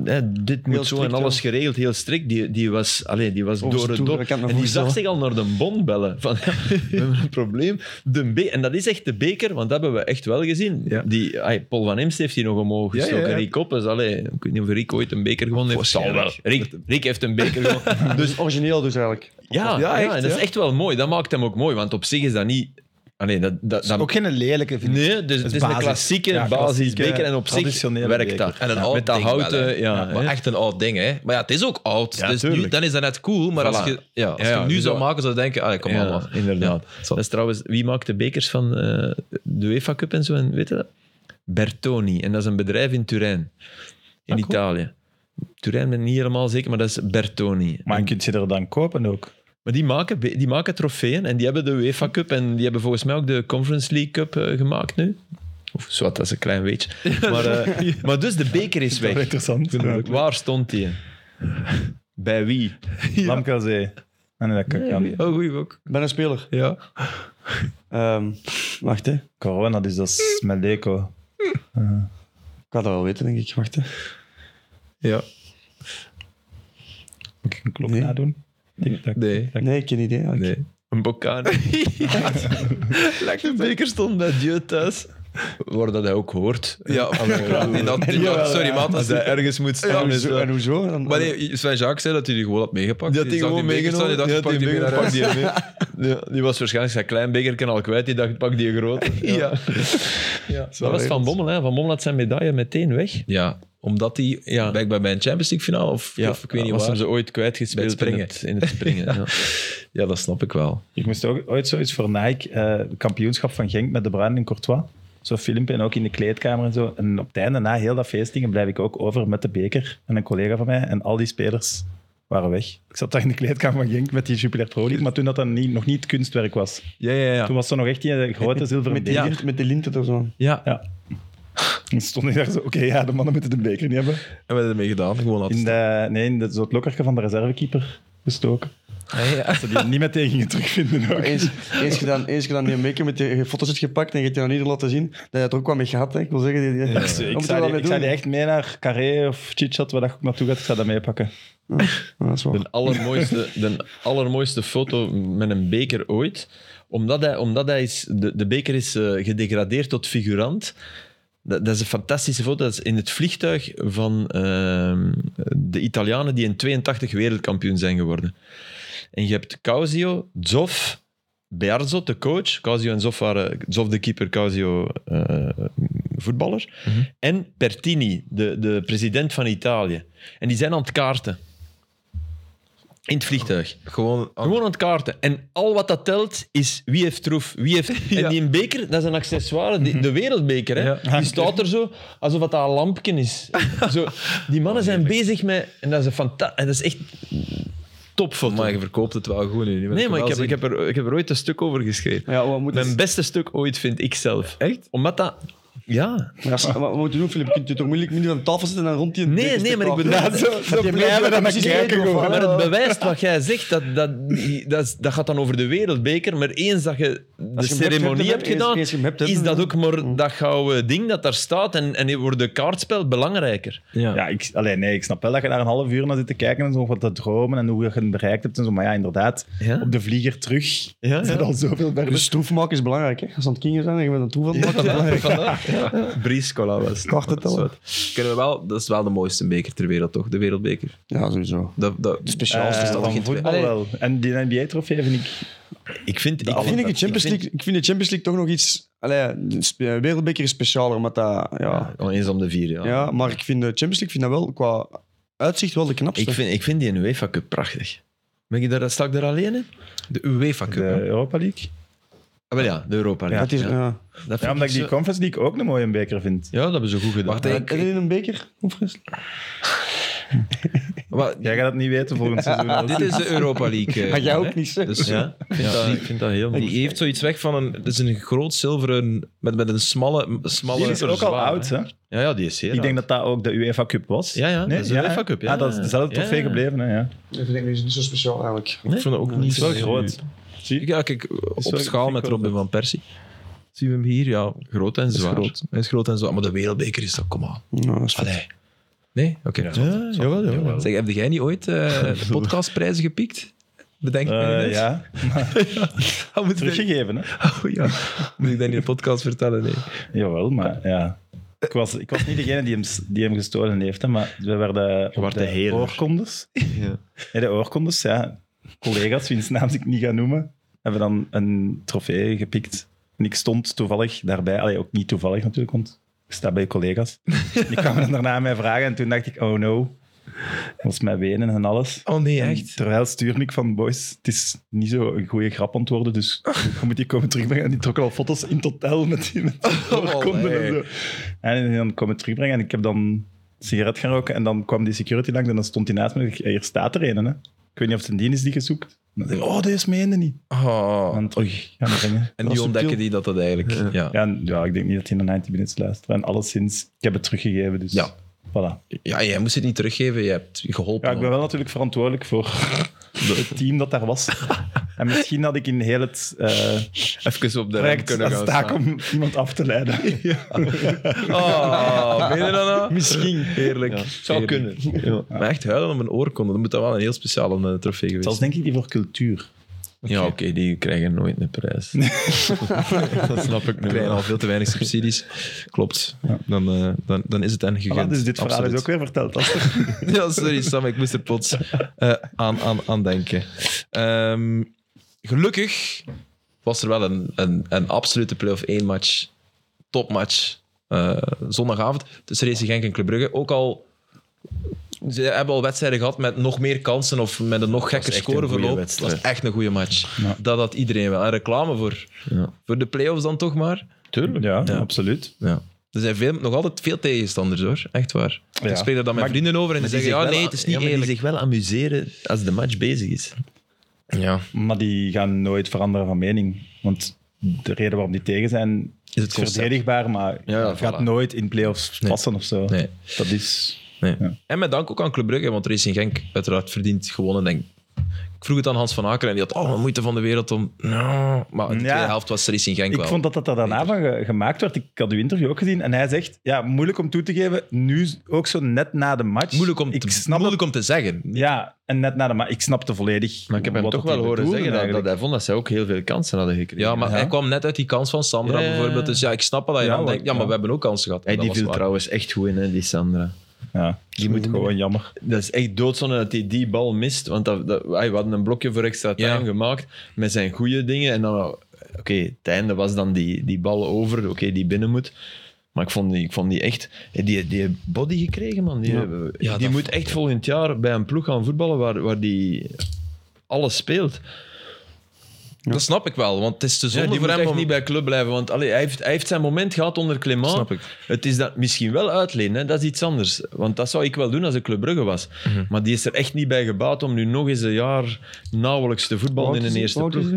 Speaker 2: hè, dit moet
Speaker 4: Heel
Speaker 2: zo en
Speaker 4: strikt,
Speaker 2: alles
Speaker 4: ja.
Speaker 2: geregeld, heel strikt. Die, die was, allee, die was
Speaker 4: Of
Speaker 2: door
Speaker 4: stoer,
Speaker 2: het dop.
Speaker 4: ik kan het
Speaker 2: En
Speaker 4: me
Speaker 2: die
Speaker 4: voorstellen.
Speaker 2: zag zich al naar de bon bellen. Van, ja, we hebben een probleem. De be en dat is echt de beker, want dat hebben we echt wel gezien.
Speaker 1: Ja.
Speaker 2: Die, ai, Paul van Imst heeft die nog omhoog
Speaker 1: Ja, ja,
Speaker 2: gestoken.
Speaker 1: ja.
Speaker 2: Rick Oppes, allee, ik weet niet of Rick ooit een beker gewonnen heeft. Zal wel. Rick, Rick heeft een beker gewonnen. Dus
Speaker 4: Origineel dus eigenlijk.
Speaker 1: Ja,
Speaker 2: ja, ja,
Speaker 1: echt,
Speaker 2: en dat is
Speaker 1: ja.
Speaker 2: echt wel mooi. Dat maakt hem ook mooi, want op zich is dat niet... Allee, dat, dat, dat,
Speaker 5: Ook geen lelijke, vind ik.
Speaker 2: Nee, dus het is een
Speaker 5: basis.
Speaker 2: klassieke
Speaker 5: Ja,
Speaker 2: basis
Speaker 5: klassieke,
Speaker 2: beker en op zich
Speaker 3: traditionele
Speaker 2: werkt
Speaker 3: beker.
Speaker 2: dat.
Speaker 1: En een
Speaker 2: Ja.
Speaker 1: oud
Speaker 2: Met dat
Speaker 1: ding
Speaker 2: houten,
Speaker 1: wel, hè.
Speaker 2: ja.
Speaker 1: maar
Speaker 2: hè.
Speaker 1: echt een oud ding, hè. Maar ja, het is ook oud.
Speaker 2: Ja,
Speaker 1: dus nu,
Speaker 2: tuurlijk.
Speaker 1: dan is dat net cool. Maar als
Speaker 2: Voilà.
Speaker 1: je, ja, als
Speaker 2: Ja,
Speaker 1: je
Speaker 2: ja,
Speaker 1: hem nu
Speaker 2: dus
Speaker 1: zou
Speaker 2: dat-
Speaker 1: maken, zou je denken... Allee, kom
Speaker 2: ja,
Speaker 1: maar, man.
Speaker 2: inderdaad.
Speaker 1: Ja, zo.
Speaker 2: dat is trouwens, wie maakt de bekers van eh, de UEFA Cup en zo? En weet je dat? Bertoni. En dat is een bedrijf in Turijn,
Speaker 3: Ah,
Speaker 2: in Italië. Turijn ben ik niet helemaal zeker, maar dat is Bertoni.
Speaker 3: Maar kun je er dan kopen ook?
Speaker 2: Maar die maken, be- die maken trofeeën en die hebben de UEFA Cup en die hebben volgens mij ook de Conference League Cup eh, gemaakt nu. Of zwart, dat is een klein beetje. Maar, eh, maar dus de beker is
Speaker 3: Dat is
Speaker 2: weg.
Speaker 3: interessant.
Speaker 2: Waar stond die? Bij wie?
Speaker 3: Lamkazee. Ah, nee, dat kan. kan.
Speaker 1: Oh, goeie ook.
Speaker 4: Ik ben een speler.
Speaker 1: Ja.
Speaker 4: Ehm, wacht, hè. Ik
Speaker 3: Corona, dus dat is met Leco.
Speaker 4: had dat wel weten, denk ik. Wacht, hè.
Speaker 1: Ja.
Speaker 3: Moet ik een klok
Speaker 4: Nee.
Speaker 3: nadoen? Ik dacht-
Speaker 1: Nee.
Speaker 4: Nee, ik heb geen idee. eigenlijk.
Speaker 2: Nee. Een Boccane. De beker stond bij Dieu thuis. Waar dat hij ook hoort.
Speaker 1: Ja, in dat, in dat- sorry, maat. dat
Speaker 2: Als
Speaker 1: is-
Speaker 2: hij ergens moet
Speaker 4: En
Speaker 2: staan. is
Speaker 4: hoezo?
Speaker 2: dat-
Speaker 4: En hoezo? Dan-
Speaker 1: Maar nee, Sven Jacques zei dat hij die gewoon had meegepakt.
Speaker 2: Die had die
Speaker 1: zag
Speaker 2: gewoon
Speaker 1: beker staan,
Speaker 2: meegenomen.
Speaker 1: Die dacht,
Speaker 2: Die
Speaker 1: ik
Speaker 2: had
Speaker 1: pak
Speaker 2: die
Speaker 1: die
Speaker 2: beker,
Speaker 1: mee naar
Speaker 2: pak
Speaker 1: huis.
Speaker 2: die mee. Ja, Die was waarschijnlijk zijn klein bekerken al kwijt. Die dacht, pak die grote. Ja. Dat was Van Bommel. Hè. Van Bommel had zijn medaille meteen weg.
Speaker 1: Ja, omdat hij
Speaker 2: Ja.
Speaker 1: blijkbaar bij een Champions League finale of,
Speaker 2: Ja,
Speaker 1: of ik weet niet
Speaker 2: was
Speaker 1: waar.
Speaker 2: hem ze ooit kwijtgespeeld
Speaker 1: Bij het
Speaker 2: in het, in het springen. ja.
Speaker 1: Ja, dat snap ik wel.
Speaker 3: Ik moest ook ooit zoiets voor Nike, eh, kampioenschap van Genk met de Bruin in Courtois. Zo'n filmpje en ook in de kleedkamer en zo. En op het einde, na heel dat feestdingen, blijf ik ook over met de beker en een collega van mij. En al die spelers waren weg. Ik zat daar in de kleedkamer van Genk met die Jupiler Pro League, maar toen dat dan niet, nog niet het kunstwerk was.
Speaker 1: Ja, ja, ja.
Speaker 3: Toen was er nog echt die eh, grote zilveren
Speaker 4: Met die,
Speaker 3: beker.
Speaker 4: lint, met die linten of zo.
Speaker 1: Ja,
Speaker 3: Dan stond ik daar zo, oké, ja, de mannen moeten de beker niet hebben.
Speaker 1: en we hebben ermee gedaan. Gewoon laten
Speaker 3: In de, nee, in de, zo het lokkerke van de reservekeeper gestoken.
Speaker 4: Ah,
Speaker 1: staan. Ja, ja.
Speaker 3: Dat die niet meteen gingen terugvinden ook.
Speaker 4: Eens, eens gedaan, eens gedaan die maker met die foto's hebt gepakt en je hebt die aan iedereen laten zien, dat je het er ook wel mee gehad. Hè. Ik wil zeggen, die, die,
Speaker 3: Dus
Speaker 4: Wat
Speaker 3: ik,
Speaker 4: moet je
Speaker 3: zou
Speaker 4: wel
Speaker 3: die,
Speaker 4: mee
Speaker 3: ik zou die
Speaker 4: doen?
Speaker 3: echt mee naar Carré of Chitchat, waar dat ook naartoe gaat, ik zou dat meepakken.
Speaker 4: Ja, dat is waar.
Speaker 2: De, allermooiste, de allermooiste foto met een beker ooit. Omdat hij, omdat hij is, de, de beker is eh, gedegradeerd tot figurant. Dat, dat is een fantastische foto. Dat is in het vliegtuig van ehm, de Italianen die in 82 wereldkampioen zijn geworden. En je hebt Causio, Zoff, Bearzot, de coach. Causio en Zoff waren... Zoff de keeper, Causio eh, voetballer. En Pertini, de, de president van Italië. En die zijn aan het kaarten. In het vliegtuig.
Speaker 1: Gewoon...
Speaker 2: Gewoon aan het kaarten. En al wat dat telt is wie heeft troef, wie heeft... En die beker, dat is een accessoire, die- de wereldbeker. Hè?
Speaker 1: Mhm. Ja.
Speaker 2: Die staat er zo, alsof dat een lampje is. Zo, die mannen zijn bezig met... En dat is, een fanta- en dat is echt topfoto.
Speaker 1: Maar je verkoopt het wel goed nu. nu wil
Speaker 2: Nee, maar
Speaker 1: wel
Speaker 2: ik heb,
Speaker 1: zien.
Speaker 2: ik, heb er, ik heb er ooit een stuk over geschreven.
Speaker 4: Maar ja, wat moet
Speaker 2: Mijn beste stuk ooit, vind ik zelf. Echt? Omdat dat... Ja,
Speaker 4: Maar als- maar wat moet je doen, Filip? Kun je toch moeilijk midden aan tafel zitten en dan rond die
Speaker 2: Nee, nee, maar ik bedoel...
Speaker 4: zo blijven dan
Speaker 2: precies
Speaker 4: kijken
Speaker 2: weten,
Speaker 4: gewoon.
Speaker 2: Maar het bewijst wat jij zegt, dat, dat, dat, is- dat gaat dan over de wereldbeker, maar eens dat je de
Speaker 4: Als je hem hebt,
Speaker 2: ceremonie
Speaker 4: hebt
Speaker 2: hebt,
Speaker 4: hem,
Speaker 2: gedaan,
Speaker 4: eens- eens je hem hebt, hebt
Speaker 2: is
Speaker 4: hem,
Speaker 2: dat
Speaker 4: ja.
Speaker 2: ook maar dat gouden ding dat daar staat en, en wordt de kaartspel belangrijker.
Speaker 1: Ja.
Speaker 3: Ja, ik, allee, nee, ik snap wel dat je daar een half uur naar zit te kijken en zo wat te dromen en hoe je het bereikt hebt en zo. Maar ja, inderdaad,
Speaker 2: Ja.
Speaker 3: op de vlieger terug
Speaker 2: Ja,
Speaker 3: is dat
Speaker 2: ja.
Speaker 3: al zoveel verder.
Speaker 4: Dus troef maken is belangrijk. Hè? Als aan het kingen zijn en je bent een troef aan het maken, is belangrijk.
Speaker 2: Vandaag? Ja. Briscola was het.
Speaker 4: Kwart het al.
Speaker 1: Kunnen we wel... Dat is wel de mooiste beker ter wereld, toch? De wereldbeker.
Speaker 4: Ja, sowieso.
Speaker 1: Dat, dat,
Speaker 3: Eh,
Speaker 2: dus
Speaker 1: speciaalste
Speaker 3: van voetbal wel. En die NBA-trofee vind ik...
Speaker 2: Ik vind...
Speaker 4: Ik vind, ik, de
Speaker 2: vind-
Speaker 4: Champions League, ik vind de Champions League toch nog iets... Allee, de spe- wereldbeker is specialer, maar dat... Ja,
Speaker 2: Oh, eens om de vier, ja.
Speaker 4: ja, maar ik vind de Champions League vind dat wel qua uitzicht wel de knapste.
Speaker 2: Ik, vind, ik vind die in UEFA Cup prachtig. Ben ik daar, sta ik daar alleen in?
Speaker 1: De UEFA Cup.
Speaker 3: De Europa League.
Speaker 2: Ah, wel ja, de Europa
Speaker 4: Ja,
Speaker 2: League.
Speaker 4: het is,
Speaker 2: ja.
Speaker 4: ja.
Speaker 2: Dat vind
Speaker 3: Ja, omdat ik
Speaker 2: zo-
Speaker 3: die Conference League ook een mooie beker vind.
Speaker 2: Ja, dat hebben ze goed gedaan.
Speaker 1: Wacht,
Speaker 4: Heb
Speaker 1: ik-
Speaker 4: je die een beker? Conference League?
Speaker 1: Maar
Speaker 3: Jij gaat dat niet weten volgend seizoen. als-
Speaker 1: dit is de Europa League. eh,
Speaker 4: Maar jij
Speaker 1: hè?
Speaker 4: ook niet, zeg.
Speaker 1: Dus,
Speaker 2: Ja, ik vind, dat, ik vind dat heel mooi.
Speaker 1: Die heeft zoiets weg van een... Het is een groot zilveren... Met, met een smalle...
Speaker 3: Die
Speaker 1: smalle
Speaker 3: is ook al
Speaker 2: zwaar,
Speaker 3: oud, hè?
Speaker 2: Ja, ja, die is zeer
Speaker 3: Ik denk
Speaker 2: oud.
Speaker 3: dat dat ook de UEFA Cup was.
Speaker 2: Ja, ja,
Speaker 3: nee,
Speaker 2: dat is de UEFA Cup, ja.
Speaker 3: Ah, dat is dezelfde
Speaker 2: Ja,
Speaker 3: trofee
Speaker 2: ja.
Speaker 3: gebleven, hè? Ja.
Speaker 4: Dat vind ik niet zo speciaal eigenlijk.
Speaker 1: Ik vond het ook
Speaker 3: Het
Speaker 1: niet
Speaker 3: is wel
Speaker 1: zo-
Speaker 3: groot.
Speaker 1: Ja, kijk, op
Speaker 3: wel-
Speaker 1: schaal met
Speaker 3: vind ik wel
Speaker 1: Robin van Persie. Zien we hem hier? Ja, groot en
Speaker 2: is
Speaker 1: zwaar.
Speaker 2: groot.
Speaker 1: Hij is groot en zwaar. Maar de wereldbeker is toch, kom aan.
Speaker 4: Ja, dat is vet.
Speaker 1: Allee. Nee? Oké.
Speaker 2: Ja, jawel, jawel.
Speaker 1: Zeg, heb jij niet ooit eh, podcastprijzen gepikt? Bedenk me nu
Speaker 3: Eh,
Speaker 1: net.
Speaker 3: ja,
Speaker 1: Ah, moet, ik,
Speaker 3: teruggegeven. Hè?
Speaker 1: oh, ja. moet ik dat in de podcast vertellen? Nee.
Speaker 3: Jawel, maar ja. Ik was, ik was niet degene die hem, s- die hem gestolen heeft, hè, maar we werden op
Speaker 2: werd de
Speaker 3: de
Speaker 2: heerder.
Speaker 3: oorkondes.
Speaker 2: Ja.
Speaker 3: Nee, de oorkondes, ja. Collega's, wiens naam ik niet ga noemen, hebben dan een trofee gepikt. En ik stond toevallig daarbij. Allee, ook niet toevallig natuurlijk, want ik sta bij collega's. Die kwamen dan daarna aan mij vragen en toen dacht ik, oh no. Dat was mij wenen en alles.
Speaker 1: Oh nee,
Speaker 3: En
Speaker 1: echt?
Speaker 3: Terwijl stuurde ik van, boys, het is niet zo een goede grap antwoorden, dus je moet die komen terugbrengen. En die trok al foto's in totaal met die met die
Speaker 1: Oh,
Speaker 3: oorkonden
Speaker 1: nee.
Speaker 3: en zo. En dan kwam het terugbrengen en ik heb dan sigaret gaan roken. En dan kwam die security langs en dan stond hij naast me. en ik, Hier staat er een, hè. Ik weet niet of het een dien is die je zoekt. En dan zei ik, oh, deze meende niet.
Speaker 1: Oh.
Speaker 3: Want, oei, gaan we brengen.
Speaker 1: En die ontdekken die dat dat eigenlijk... Ja.
Speaker 3: Ja, en- ja, ik denk niet dat hij naar 90 Minutes luistert. En alleszins, ik heb het teruggegeven, dus
Speaker 1: Ja.
Speaker 3: voilà.
Speaker 1: ja, jij moest het niet teruggeven. Je hebt geholpen.
Speaker 3: Ja, ik ben wel natuurlijk verantwoordelijk voor het team dat daar was. En misschien had ik in heel het eh
Speaker 2: Even op de rem
Speaker 3: project
Speaker 2: kunnen
Speaker 3: een
Speaker 2: gaan
Speaker 3: staak
Speaker 2: staan.
Speaker 3: om iemand af te leiden.
Speaker 1: Oh, ben je dat nou?
Speaker 2: Misschien.
Speaker 1: Heerlijk.
Speaker 2: Ja, zou
Speaker 1: Heerlijk.
Speaker 2: kunnen. Ja.
Speaker 1: Maar echt huilen om een oorkonde, dan moet dat wel een heel speciale eh, trofee geweest
Speaker 3: Dat is denk ik die voor cultuur.
Speaker 2: Ja, oké, die krijgen nooit een prijs. dat snap ik nu
Speaker 1: We krijgen
Speaker 2: wel.
Speaker 1: al veel te weinig subsidies. Klopt. Dan, eh, dan, dan is het hen
Speaker 3: Voilà,
Speaker 1: gegund.
Speaker 3: dus dit verhaal is
Speaker 1: Absoluut.
Speaker 3: ook weer verteld. Als
Speaker 1: Ja, sorry Sam, ik moest er plots eh, aan, aan, aan denken. Ehm, gelukkig was er wel een, een, een absolute play-off 1 match, topmatch, eh, zondagavond tussen Racing Genk en Club Brugge. Ook al, ze hebben al wedstrijden gehad met nog meer kansen of met een nog gekker
Speaker 2: echt een goeie
Speaker 1: scoreverloop. Het
Speaker 2: wedstrijd.
Speaker 1: was echt een goede match.
Speaker 3: Ja.
Speaker 1: Dat had iedereen wel. En reclame voor,
Speaker 2: Ja.
Speaker 1: voor de play-offs dan toch maar.
Speaker 2: Tuurlijk.
Speaker 3: ja, absoluut.
Speaker 1: Ja. Er zijn veel, nog altijd veel tegenstanders hoor, echt waar.
Speaker 3: Ja.
Speaker 1: Ik spreek daar dan met
Speaker 3: Maar-
Speaker 1: vrienden over en die zeggen, ja nee, het is niet eerlijk.
Speaker 2: die zich wel amuseren als de match bezig is.
Speaker 1: Ja.
Speaker 3: Maar die gaan nooit veranderen van mening. Want de reden waarom die tegen zijn,
Speaker 1: Is
Speaker 3: is verdedigbaar, maar
Speaker 2: Ja,
Speaker 3: het gaat
Speaker 2: voilà.
Speaker 3: nooit in play-offs
Speaker 1: Nee.
Speaker 3: passen of zo.
Speaker 1: Nee,
Speaker 3: Dat is...
Speaker 1: nee.
Speaker 3: Ja.
Speaker 1: En met dank ook aan Club Brugge, want Racing Genk uiteraard verdient gewonnen. Denk. Ik vroeg het aan Hans van Aker en die had alle moeite van de wereld om... Nou, maar in de
Speaker 3: Ja.
Speaker 1: tweede helft was Racing Genk
Speaker 3: Ik
Speaker 1: wel.
Speaker 3: vond dat dat er daarna van ge- gemaakt werd. Ik had uw interview ook gezien en hij zegt, ja, moeilijk om toe te geven, nu ook zo net na de match.
Speaker 1: moeilijk om,
Speaker 3: ik
Speaker 1: te,
Speaker 3: snap
Speaker 1: moeilijk om te zeggen.
Speaker 3: dat- Ja, en net na de match. Ik snapte volledig
Speaker 2: Maar ik heb hem
Speaker 3: wat
Speaker 2: toch
Speaker 3: dat
Speaker 2: wel
Speaker 3: die
Speaker 2: horen
Speaker 3: bedoelden
Speaker 2: zeggen dat, dat
Speaker 3: eigenlijk.
Speaker 2: hij vond dat zij ook heel veel kansen hadden gekregen.
Speaker 1: Ja, maar
Speaker 3: Ja.
Speaker 1: hij kwam net uit die kans van Sandra
Speaker 2: Ja.
Speaker 1: bijvoorbeeld. Dus ja, ik snap wel dat je
Speaker 3: Ja,
Speaker 1: dan
Speaker 3: maar-
Speaker 1: denkt, ja, maar
Speaker 3: ja.
Speaker 1: we hebben ook kansen gehad.
Speaker 2: Hey,
Speaker 1: Dat
Speaker 2: die
Speaker 1: was
Speaker 2: viel
Speaker 1: waar.
Speaker 2: trouwens echt goed in, hè, die Sandra.
Speaker 3: Ja,
Speaker 2: Die moet-
Speaker 3: gewoon jammer.
Speaker 2: Dat is echt doodzonde dat hij die bal mist. Want dat, dat, ai, we hadden een blokje voor extra time
Speaker 1: Ja.
Speaker 2: gemaakt met zijn goede dingen. En dan, oké, het einde was dan die, die bal over, oké, die binnen moet. Maar ik vond die, ik vond die echt, die, die body gekregen, man. Die,
Speaker 1: Ja,
Speaker 2: die
Speaker 1: dat
Speaker 2: moet echt volgend jaar bij een ploeg gaan voetballen waar, waar die alles speelt.
Speaker 1: Dat snap ik wel, want het is te
Speaker 2: Ja,
Speaker 1: zonde
Speaker 2: die
Speaker 1: voor
Speaker 2: moet
Speaker 1: hem
Speaker 2: echt
Speaker 1: om...
Speaker 2: niet bij club blijven, want allee, hij, heeft, hij heeft zijn moment gehad onder Clément.
Speaker 1: Snap ik.
Speaker 2: Het is dat misschien wel uitlenen, hè? dat is iets anders. Want dat zou ik wel doen als ik Club Brugge was.
Speaker 1: Mhm.
Speaker 2: Maar die is er echt niet bij gebaat om nu nog eens een jaar nauwelijks te voetballen in een eerste ploeg.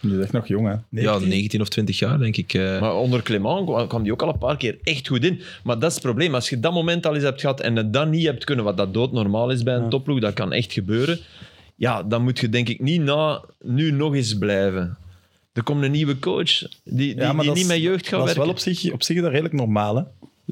Speaker 3: Die is echt nog jong, hè.
Speaker 1: Ja, 19 of 20 jaar, denk ik. eh.
Speaker 2: Maar onder Clément kwam- kwam die ook al een paar keer echt goed in. Maar dat is het probleem. Als je dat moment al eens hebt gehad en het dan niet hebt kunnen, wat dat doodnormaal is bij een topploeg, dat kan echt gebeuren. Ja, dan moet je denk ik niet na nu nog eens blijven. Er komt een nieuwe coach die, die,
Speaker 3: Ja, maar
Speaker 2: die
Speaker 3: dat
Speaker 2: niet
Speaker 3: is-
Speaker 2: met jeugd gaat
Speaker 3: Dat is
Speaker 2: werken.
Speaker 3: wel op zich, op zich is dat redelijk normaal, hè.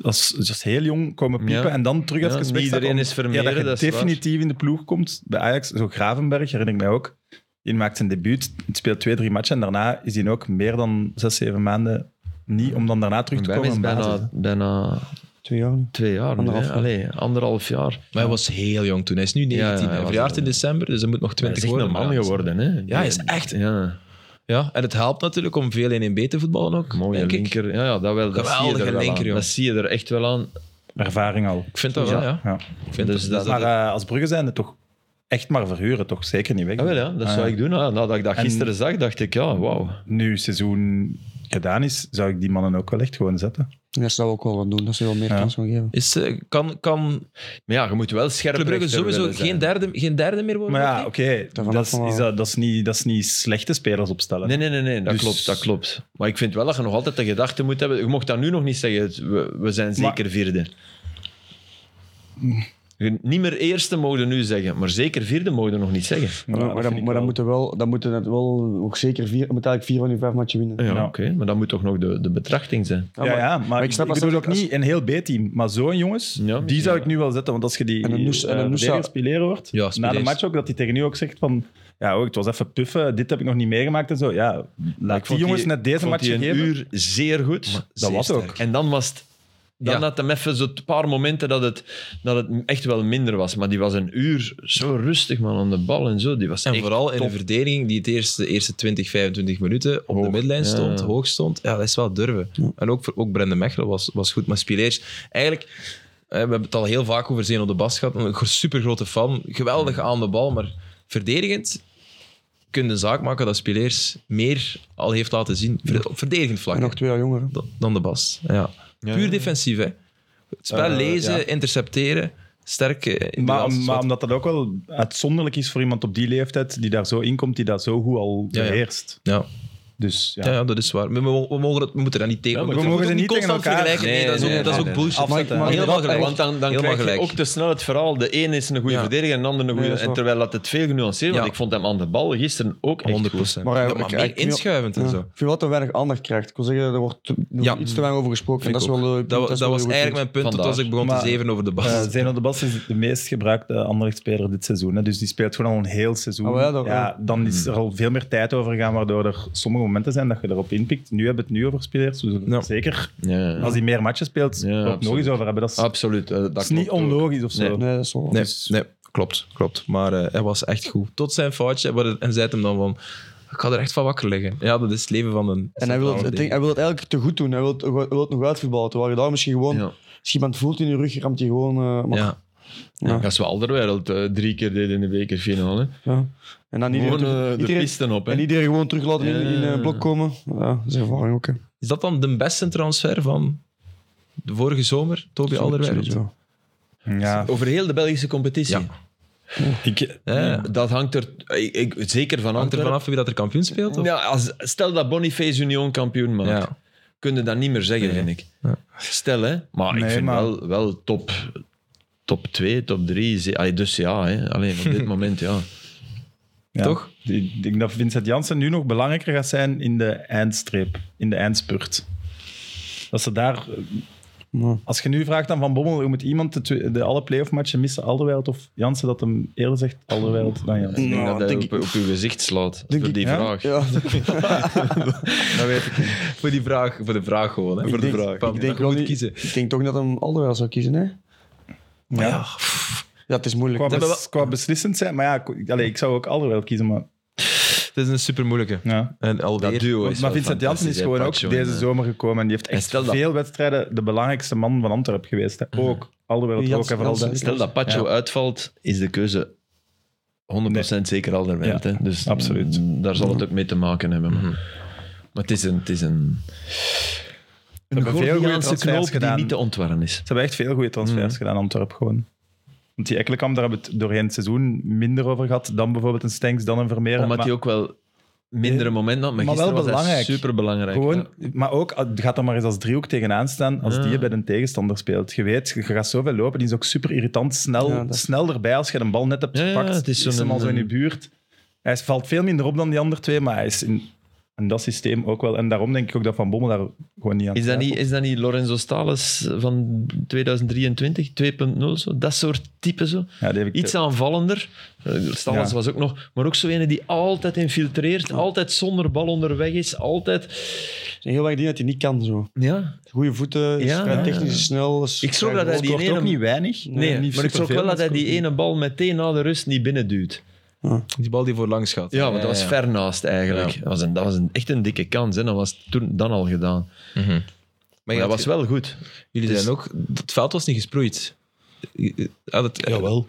Speaker 3: Als, dus als heel jong komen piepen
Speaker 2: Ja.
Speaker 3: en dan terug
Speaker 2: Ja,
Speaker 3: even
Speaker 2: niet
Speaker 3: wegstappen
Speaker 2: iedereen
Speaker 3: om-
Speaker 2: is Vermeer,
Speaker 3: Ja, dat je
Speaker 2: dat is waar.
Speaker 3: definitief in de ploeg komt. Bij Ajax, zo Gravenberg, herinner ik mij ook. Die maakt zijn debuut, speelt twee, drie matchen. En daarna is hij ook meer dan zes, zeven maanden niet om dan daarna terug te
Speaker 2: Bij hem
Speaker 3: komen.
Speaker 2: is
Speaker 3: in basis,
Speaker 2: bijna, bijna
Speaker 4: Twee jaar nu.
Speaker 2: twee jaar. Anderhalf,
Speaker 4: Anderhalf
Speaker 2: jaar.
Speaker 4: jaar.
Speaker 2: Allee, anderhalf jaar.
Speaker 1: Maar hij was heel jong toen. Hij is nu 19.
Speaker 2: Ja, ja, hij
Speaker 1: hij
Speaker 2: was
Speaker 1: verjaart
Speaker 2: al,
Speaker 1: in
Speaker 2: ja.
Speaker 1: december, dus hij moet nog
Speaker 2: Hij is
Speaker 1: 20
Speaker 2: echt
Speaker 1: worden.
Speaker 2: een man
Speaker 1: Ja,
Speaker 2: geworden. Hè.
Speaker 1: Ja, hij is echt-
Speaker 2: Ja,
Speaker 1: Ja, en het helpt natuurlijk om veel 1-1-B te voetballen ook.
Speaker 2: mooie
Speaker 1: denk ik.
Speaker 2: linker. Ja, ja, dat wel. Dat zie je
Speaker 1: Geweldige
Speaker 2: er wel
Speaker 1: linker,
Speaker 2: aan.
Speaker 1: joh.
Speaker 2: Dat zie je er echt wel aan.
Speaker 3: Ervaring al.
Speaker 1: Ik vind dat wel, ja.
Speaker 3: Ja.
Speaker 1: Ik vind
Speaker 2: Dus
Speaker 1: dat,
Speaker 2: dat-
Speaker 1: dat-
Speaker 3: Maar eh, als Brugge zijn het toch echt maar verhuren, toch zeker niet weg.
Speaker 2: Ja, Ah, wel, ja, dat zou ik doen. Ja, nadat ik dat
Speaker 3: En-
Speaker 2: gisteren zag, dacht ik, ja, wauw.
Speaker 3: Nu het seizoen gedaan is, zou ik die mannen ook wel echt gewoon zetten.
Speaker 4: En daar zou we ook wel wat doen, dat ze wel meer
Speaker 3: Ja.
Speaker 4: kans gaan geven.
Speaker 1: is, eh, kan, kan
Speaker 2: Maar ja, je moet wel scherp
Speaker 1: Club Brugge
Speaker 2: rechter
Speaker 1: sowieso
Speaker 2: willen zijn.
Speaker 1: geen derde, geen derde meer worden?
Speaker 3: Maar ja,
Speaker 1: denk
Speaker 3: oké,
Speaker 1: ik?
Speaker 3: dat,
Speaker 4: vanaf
Speaker 3: is-
Speaker 4: van wel.
Speaker 3: is dat, dat, is niet- dat is niet slechte spelers opstellen.
Speaker 2: Nee, nee, nee, nee dat,
Speaker 3: Dus-
Speaker 2: klopt, dat klopt. Maar ik vind wel dat je nog altijd de gedachte moet hebben. Je mocht dat nu nog niet zeggen, we, we zijn
Speaker 3: Maar-
Speaker 2: zeker vierde. Je- Niet meer eerste mogen nu zeggen, maar zeker vierde mogen nog niet zeggen.
Speaker 4: Maar, maar, dan, maar dan moeten wel, dan moeten het wel ook zeker vier, moet eigenlijk vier van die vijf matchen winnen.
Speaker 2: Ja,
Speaker 3: Ja.
Speaker 2: oké, maar dat moet toch nog de, de betrachting zijn.
Speaker 4: Ja,
Speaker 3: ja,
Speaker 4: Ah, maar-
Speaker 3: ja, maar, ik snap
Speaker 4: snap
Speaker 3: ik
Speaker 4: als-
Speaker 3: bedoel ook
Speaker 4: als-
Speaker 3: niet een heel B-team. Maar zo'n jongens,
Speaker 2: Ja,
Speaker 3: die
Speaker 2: misschien
Speaker 3: zou
Speaker 2: wel.
Speaker 3: ik nu wel zetten. Want als je die
Speaker 4: En een Noes- en
Speaker 3: eh,
Speaker 4: een Noes zou-
Speaker 3: verdediger, Spilero wordt,
Speaker 1: Ja,
Speaker 3: na
Speaker 1: Spilero.
Speaker 3: de match ook, dat hij tegen u ook zegt van... Ja, oh, het was even puffen, dit heb ik nog niet meegemaakt en zo. Ja, laat die
Speaker 2: vond
Speaker 3: jongens
Speaker 2: die-
Speaker 3: net deze
Speaker 2: vond
Speaker 3: match
Speaker 2: die een
Speaker 3: geven.
Speaker 2: uur zeer goed.
Speaker 3: Dat was
Speaker 1: Zeer
Speaker 3: ook.
Speaker 1: sterk.
Speaker 2: En dan was het... Dan
Speaker 1: Ja.
Speaker 2: had hem even zo'n paar momenten dat het, dat het echt wel minder was. Maar die was een uur zo rustig, man, aan de bal en zo. Die was
Speaker 1: En
Speaker 2: echt
Speaker 1: vooral in
Speaker 2: top.
Speaker 1: een verdediging die het eerste, de eerste 20, 25 minuten op
Speaker 2: Hoog,
Speaker 1: de midlijn
Speaker 2: ja.
Speaker 1: stond, hoog stond. Ja, dat is wel durven. En ook, voor- ook Brendan Mechelen was, was goed. Maar Spileers, eigenlijk, eh, we hebben het al heel vaak over Zeno de Bas gehad. Een super grote fan. Geweldig aan de bal, maar verdedigend kun je een zaak maken dat Spileers meer al heeft laten zien ver- op verdedigend vlak
Speaker 4: En nog twee jaar jonger. hè.
Speaker 1: dan- dan de Bas. Ja. Puur defensief, hè. Het spel
Speaker 3: Eh,
Speaker 1: lezen,
Speaker 3: ja.
Speaker 1: intercepteren, sterk eh, in de
Speaker 3: Maar,
Speaker 1: laatste
Speaker 3: om- maar
Speaker 1: spel.
Speaker 3: omdat dat ook wel uitzonderlijk is voor iemand op die leeftijd, die daar zo inkomt, die dat zo goed al
Speaker 1: Ja, ja.
Speaker 3: beheerst.
Speaker 1: Ja.
Speaker 3: Dus ja.
Speaker 1: Ja, ja, dat is waar. Maar We, mo- we, mogen het- we moeten dat niet tegen
Speaker 2: Ja, maar
Speaker 1: we
Speaker 3: we mogen
Speaker 1: moeten
Speaker 3: ze
Speaker 1: het
Speaker 3: niet tegen
Speaker 1: constant
Speaker 3: elkaar-
Speaker 1: vergelijken. Nee,
Speaker 2: Nee,
Speaker 1: dat is ook,
Speaker 2: nee,
Speaker 1: dat is
Speaker 2: nee,
Speaker 1: ook
Speaker 2: nee.
Speaker 1: bullshit.
Speaker 4: Afzetten, hè.
Speaker 1: Helemaal
Speaker 4: Inderdaad,
Speaker 1: gelijk.
Speaker 2: Want dan, dan
Speaker 1: Helemaal
Speaker 2: krijg je
Speaker 1: gelijk.
Speaker 2: ook te snel het verhaal. De een is een goede
Speaker 1: Ja.
Speaker 2: verdediger en de ander een
Speaker 4: Nee,
Speaker 2: goede.
Speaker 4: dat is
Speaker 2: en
Speaker 4: waar.
Speaker 2: terwijl dat het veel genuanceerd want
Speaker 1: Ja.
Speaker 2: ik vond hem aan de bal gisteren ook echt
Speaker 1: 100
Speaker 2: goed.
Speaker 1: procent.
Speaker 4: Maar
Speaker 1: Maar,
Speaker 4: hij-
Speaker 1: ja, maar
Speaker 4: hij-
Speaker 1: meer
Speaker 4: hij-
Speaker 1: inschuivend
Speaker 4: Ja.
Speaker 1: en
Speaker 4: Ik
Speaker 1: zo.
Speaker 4: vind wel dat er weinig aandacht krijgt. Ik wil zeggen, er wordt te- er
Speaker 1: Ja.
Speaker 4: wordt iets te weinig over gesproken. En
Speaker 1: Vind
Speaker 4: dat is
Speaker 1: ik
Speaker 4: wel,
Speaker 1: ook.
Speaker 4: eh,
Speaker 1: Dat, wa-
Speaker 4: is
Speaker 1: dat was
Speaker 4: wel een
Speaker 1: eigenlijk
Speaker 4: goed
Speaker 1: mijn punt tot
Speaker 2: Vandaar.
Speaker 1: als ik begon
Speaker 3: Maar-
Speaker 1: te zeven over de bas.
Speaker 3: Eh, Zeno de Bas is de meest gebruikte Anderlecht-speler dit seizoen. Hè. Dus die speelt gewoon al een heel seizoen.
Speaker 4: Ah, wel, dat-
Speaker 3: ja, dan is
Speaker 2: Hmm.
Speaker 3: er al veel meer tijd over gegaan, waardoor er sommige momenten zijn dat je erop inpikt. Nu hebben we het nu over spelers. Dus
Speaker 1: Ja.
Speaker 3: Zeker,
Speaker 2: Ja,
Speaker 3: als hij meer matchen speelt,
Speaker 2: Ja,
Speaker 3: er ook nog
Speaker 2: absoluut.
Speaker 3: eens over hebben. Dat is,
Speaker 2: absoluut. eh, dat
Speaker 3: dat is niet
Speaker 2: klopt ook.
Speaker 3: onlogisch of zo.
Speaker 2: Nee.
Speaker 4: punt. Nee, dat is wel...
Speaker 1: Nee, nee, klopt, klopt. Maar eh, hij was echt goed. Tot zijn foutje. maar- En zei het hem dan van... Ik ga er echt van wakker liggen. Ja, dat is het leven van een...
Speaker 4: En hij wil, het, ik denk, hij wil het eigenlijk te goed doen. Hij wil het, hij wil het nog uitvoetballen. Terwijl je daar misschien gewoon...
Speaker 2: Ja.
Speaker 4: Als je iemand voelt in je rug, ramt hij gewoon... eh, maar, ja.
Speaker 1: Ja.
Speaker 4: Ja.
Speaker 2: Dat is wel Alderweireld eh, drie keer deed in de bekerfinale.
Speaker 4: En dan iedereen,
Speaker 2: Gewoon
Speaker 4: terug-
Speaker 2: eh, de
Speaker 4: iedereen-
Speaker 2: pisten op. Hè.
Speaker 4: en iedereen gewoon terug laten in, in eh,
Speaker 2: Ja.
Speaker 4: blok komen. Ja, dat is ervaring ook. Hè.
Speaker 1: Is dat dan de beste transfer van de vorige zomer? Toby Alderweireld?
Speaker 4: Sowieso.
Speaker 3: Ja,
Speaker 2: Over heel de Belgische competitie.
Speaker 1: Ja.
Speaker 3: ik,
Speaker 1: Ja.
Speaker 2: Dat hangt er ik, ik- zeker van
Speaker 1: Hangt er
Speaker 2: Antwerpen.
Speaker 1: vanaf wie dat er kampioen speelt? Of?
Speaker 2: Ja, als, stel dat Boniface Union kampioen maakt.
Speaker 1: Ja.
Speaker 2: Kun je dat niet meer zeggen,
Speaker 1: Nee.
Speaker 2: vind ik.
Speaker 1: Ja.
Speaker 2: Stel, hè. Maar
Speaker 3: Nee,
Speaker 2: ik vind
Speaker 3: maar-
Speaker 2: wel, wel top, top 2, top 3. Allee, dus ja, hè. Alleen op dit moment, ja.
Speaker 3: Ja.
Speaker 1: Toch?
Speaker 3: Ik denk dat Vincent Janssen nu nog belangrijker gaat zijn in de eindstreep, in de eindspurt. Dat ze daar, eh,
Speaker 4: Ja.
Speaker 3: als je nu vraagt aan Van Bommel, je moet iemand de, twee- de alle playoff matchen missen, Alderweireld of Janssen, dat hem eerder zegt Alderweireld dan Janssen.
Speaker 2: Ik denk
Speaker 4: Nou,
Speaker 2: dat hij
Speaker 4: denk
Speaker 2: op, op uw gezicht slaat
Speaker 4: Denk
Speaker 2: voor
Speaker 4: ik,
Speaker 2: die
Speaker 3: ja.
Speaker 2: vraag.
Speaker 4: Ja,
Speaker 1: Dat weet ik niet. Voor die vraag, voor de vraag gewoon. Hè.
Speaker 4: ik
Speaker 1: voor
Speaker 4: denk,
Speaker 1: de vraag.
Speaker 4: Ik denk, wel
Speaker 1: gewoon
Speaker 4: niet,
Speaker 1: kiezen.
Speaker 4: ik denk toch dat hem Alderweireld zou kiezen. Hè?
Speaker 3: Ja.
Speaker 4: Ja, het is moeilijk.
Speaker 3: Qua,
Speaker 1: hebben
Speaker 3: bes- qua beslissend zijn, maar ja, ik- allee, ik zou ook Alderweireld kiezen, maar
Speaker 1: Het is een super moeilijke.
Speaker 3: ja.
Speaker 1: En alweer.
Speaker 2: Dat duo is
Speaker 3: Maar
Speaker 2: wel
Speaker 3: Vincent Janssen is
Speaker 2: fantastisch, hè,
Speaker 3: gewoon ook
Speaker 2: Pacho en,
Speaker 3: deze
Speaker 2: eh,
Speaker 3: zomer gekomen en die heeft
Speaker 2: En
Speaker 3: echt
Speaker 2: stel dat-
Speaker 3: veel wedstrijden de belangrijkste man van Antwerpen geweest. Hè. Ook Alderweireld ook
Speaker 4: Janssen-
Speaker 3: en vooral
Speaker 4: Janssen-
Speaker 3: de-
Speaker 2: Stel dat Pacho
Speaker 3: Ja.
Speaker 2: uitvalt, is de keuze 100% zeker Alderweireld.
Speaker 3: Ja,
Speaker 2: hè. dus
Speaker 3: absoluut.
Speaker 2: mm, daar zal het ook mee te maken hebben.
Speaker 1: Mhm.
Speaker 2: Maar, maar het is een... Het is een een
Speaker 3: hebben veel goede
Speaker 2: Gordiaanse
Speaker 3: transfers
Speaker 2: knoop die
Speaker 3: gedaan.
Speaker 2: niet te ontwarren is.
Speaker 3: Ze hebben echt veel goede
Speaker 2: Mhm.
Speaker 3: transfers gedaan, Antwerp gewoon. Want die Ekkelenkamp, daar hebben we het doorheen het seizoen minder over gehad dan bijvoorbeeld een Stenks, dan een Vermeer.
Speaker 2: Omdat
Speaker 3: maar,
Speaker 2: hij ook wel mindere momenten had, Eh, maar,
Speaker 3: Maar wel
Speaker 2: gisteren was hij
Speaker 3: belangrijk.
Speaker 2: superbelangrijk.
Speaker 3: gewoon,
Speaker 2: ja.
Speaker 3: maar ook, ah, gaat er maar eens als driehoek tegenaan staan als die bij een tegenstander speelt. Je weet, je gaat zoveel lopen, die is ook super irritant. Snel,
Speaker 4: Ja, dat-
Speaker 3: snel erbij als je een bal net hebt
Speaker 2: Ja, ja,
Speaker 3: gepakt.
Speaker 2: het is
Speaker 3: is,
Speaker 2: zo'n-
Speaker 3: hem al zo in je buurt. Hij is- valt veel minder op dan die andere twee, maar hij is in, in dat systeem ook wel. En daarom denk ik ook dat Van Bommel daar gewoon niet aan
Speaker 2: Is dat, niet,
Speaker 3: twijfelt.
Speaker 2: is dat niet Lorenzo Stales van 2023, 2.0? Zo? Dat soort type zo.
Speaker 3: Ja, die heb ik
Speaker 2: Iets aanvallender. Eh, Stallens
Speaker 3: Ja.
Speaker 2: was ook nog. Maar ook zo ene die altijd infiltreert, altijd zonder bal onderweg is, altijd...
Speaker 4: Er zijn heel weinig dingen dat hij niet kan. Zo.
Speaker 2: Ja,
Speaker 4: Goede voeten, is
Speaker 2: Ja,
Speaker 4: vrij
Speaker 2: ja,
Speaker 4: technisch
Speaker 2: ja.
Speaker 4: is snel. is
Speaker 2: Ik schrok
Speaker 4: vrij
Speaker 2: dat hij
Speaker 4: groot.
Speaker 2: die
Speaker 3: Scoort
Speaker 2: ene...
Speaker 3: ook niet weinig.
Speaker 2: Nee,
Speaker 3: niet
Speaker 2: maar ik schrok wel
Speaker 3: superveel,
Speaker 2: dat hij die
Speaker 3: scoort
Speaker 2: ene bal meteen na de rust niet binnenduwt.
Speaker 1: Die bal die voor langs gaat.
Speaker 2: Ja, want dat was
Speaker 1: ja.
Speaker 2: ver naast eigenlijk. Dat was, een, dat was een, echt een dikke kans. Hè. Dat was toen dan al gedaan.
Speaker 1: Maar
Speaker 2: Maar
Speaker 1: je
Speaker 2: dat
Speaker 1: had
Speaker 2: was
Speaker 1: ge-
Speaker 2: wel goed.
Speaker 1: Jullie
Speaker 2: Dus-
Speaker 1: zijn ook... Het veld was niet gesproeid. Je- Had het,
Speaker 3: Jawel.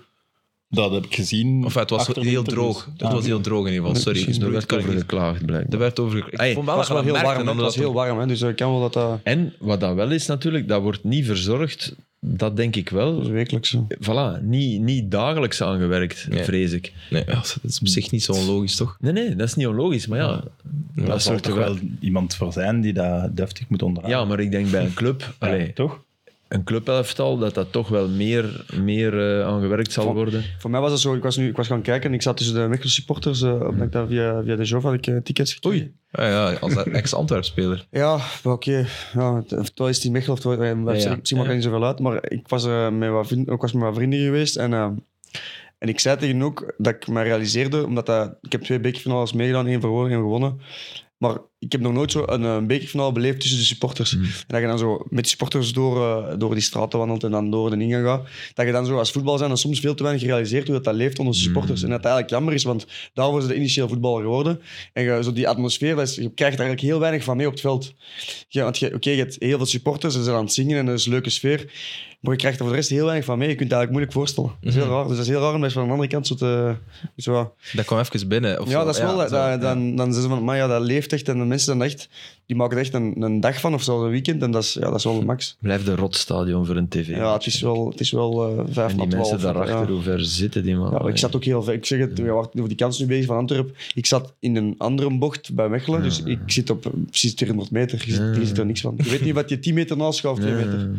Speaker 3: Dat heb ik gezien.
Speaker 1: Of het was
Speaker 3: Achter
Speaker 1: heel
Speaker 3: de
Speaker 1: droog.
Speaker 3: interviews.
Speaker 1: Het was heel droog in ieder geval. Sorry.
Speaker 4: Misschien
Speaker 1: Dat
Speaker 2: Er
Speaker 1: werd
Speaker 2: werd
Speaker 1: correct.
Speaker 2: over geklaagd, blijkbaar.
Speaker 1: Er werd over... Ik
Speaker 2: Hey,
Speaker 1: vond
Speaker 4: Het
Speaker 1: wel
Speaker 4: was wel
Speaker 1: dat je
Speaker 4: heel
Speaker 1: dat merkte,
Speaker 4: warm. hè. Het
Speaker 1: omdat
Speaker 4: was
Speaker 1: dat-
Speaker 4: heel warm, hè, dus ik kan wel dat dat...
Speaker 2: En wat dat wel is natuurlijk, dat wordt niet verzorgd. Dat denk ik
Speaker 4: Dat is
Speaker 2: wel.
Speaker 4: wekelijks. hè.
Speaker 2: Voilà, niet, niet dagelijks aangewerkt,
Speaker 1: Nee.
Speaker 2: vrees ik.
Speaker 1: Nee, ja, dat is op zich niet zo onlogisch, toch?
Speaker 2: Nee, nee, dat is niet onlogisch. Maar ja, dat
Speaker 3: Dat, zal
Speaker 2: soort
Speaker 3: toch
Speaker 2: wel.
Speaker 3: wel iemand voor zijn die dat deftig moet onderhouden.
Speaker 2: Ja, maar ik denk bij een club.
Speaker 3: Ja,
Speaker 2: allee,
Speaker 3: toch?
Speaker 2: een clubelftal, dat dat toch wel meer, meer eh, aan gewerkt zal
Speaker 4: Van-
Speaker 2: worden.
Speaker 4: Voor mij was dat zo, ik was, nu, ik was gaan kijken en ik zat tussen de Mechelen supporters, eh, omdat ik daar via, via de Jove had ik eh, tickets gekregen.
Speaker 1: Oei. Ah ja, als ex-Antwerp-speler.
Speaker 4: Ja, maar oké. Ja, het- of het is die Mechelen, of het- eh,
Speaker 1: Ja, ja.
Speaker 4: misschien maakt
Speaker 1: Ja.
Speaker 4: het niet zoveel uit. Maar ik was, eh, met wat vriend- ik was met wat vrienden geweest en, eh, en ik zei tegen hen ook dat ik me realiseerde, omdat dat, ik heb twee bekerfinales meegedaan, één verloren, één gewonnen. Maar ik heb nog nooit zo een, eh, bekerfinale beleefd tussen de supporters.
Speaker 1: Mhm.
Speaker 4: En dat je dan zo met die supporters door, eh, door die straten wandelt en dan door de ingang gaat. Dat je dan zo als voetbal zijn dan soms veel te weinig realiseert hoe dat, dat leeft
Speaker 1: Mm.
Speaker 4: onder de supporters. En dat dat eigenlijk jammer is, want daarvoor is de initieel voetballer geworden. En je, zo die atmosfeer, dat is, je krijgt er eigenlijk heel weinig van mee op het veld. Je, want je, oké, je hebt heel veel supporters, ze zijn aan het zingen en dat is een leuke sfeer. Maar je krijgt er voor de rest heel weinig van mee. Je kunt het eigenlijk moeilijk voorstellen. Dat is heel raar. Dus dat is heel raar om dat van de andere kant zo te... Zo,
Speaker 1: Dat kwam even binnen. Of
Speaker 4: ja,
Speaker 1: zo.
Speaker 4: dat is wel. dat-
Speaker 1: zo,
Speaker 4: dat-
Speaker 1: ja.
Speaker 4: dan, dan zeggen ze van, maar ja, dat leeft echt. En de mensen dan echt, die maken er echt een, een dag van of zelfs een weekend. En dat is, ja, dat is wel de max.
Speaker 2: Blijf de rotstadion voor een tv.
Speaker 4: Ja, het is wel, het is wel eh, vijf
Speaker 2: en
Speaker 4: na
Speaker 2: die mensen
Speaker 4: twaalf.
Speaker 2: daarachter,
Speaker 4: Ja.
Speaker 2: hoe ver zitten die man?
Speaker 1: Oh,
Speaker 4: Ja, ik zat ook heel ver. Ik zeg het, we waren over die kans nu bezig van Antwerpen. Ik zat in een andere bocht bij Mechelen, dus ik zit op eh, precies 200 meter. Je ziet, je ziet er niks van. Je weet niet wat je 10 meter naast gaat of 2 meter.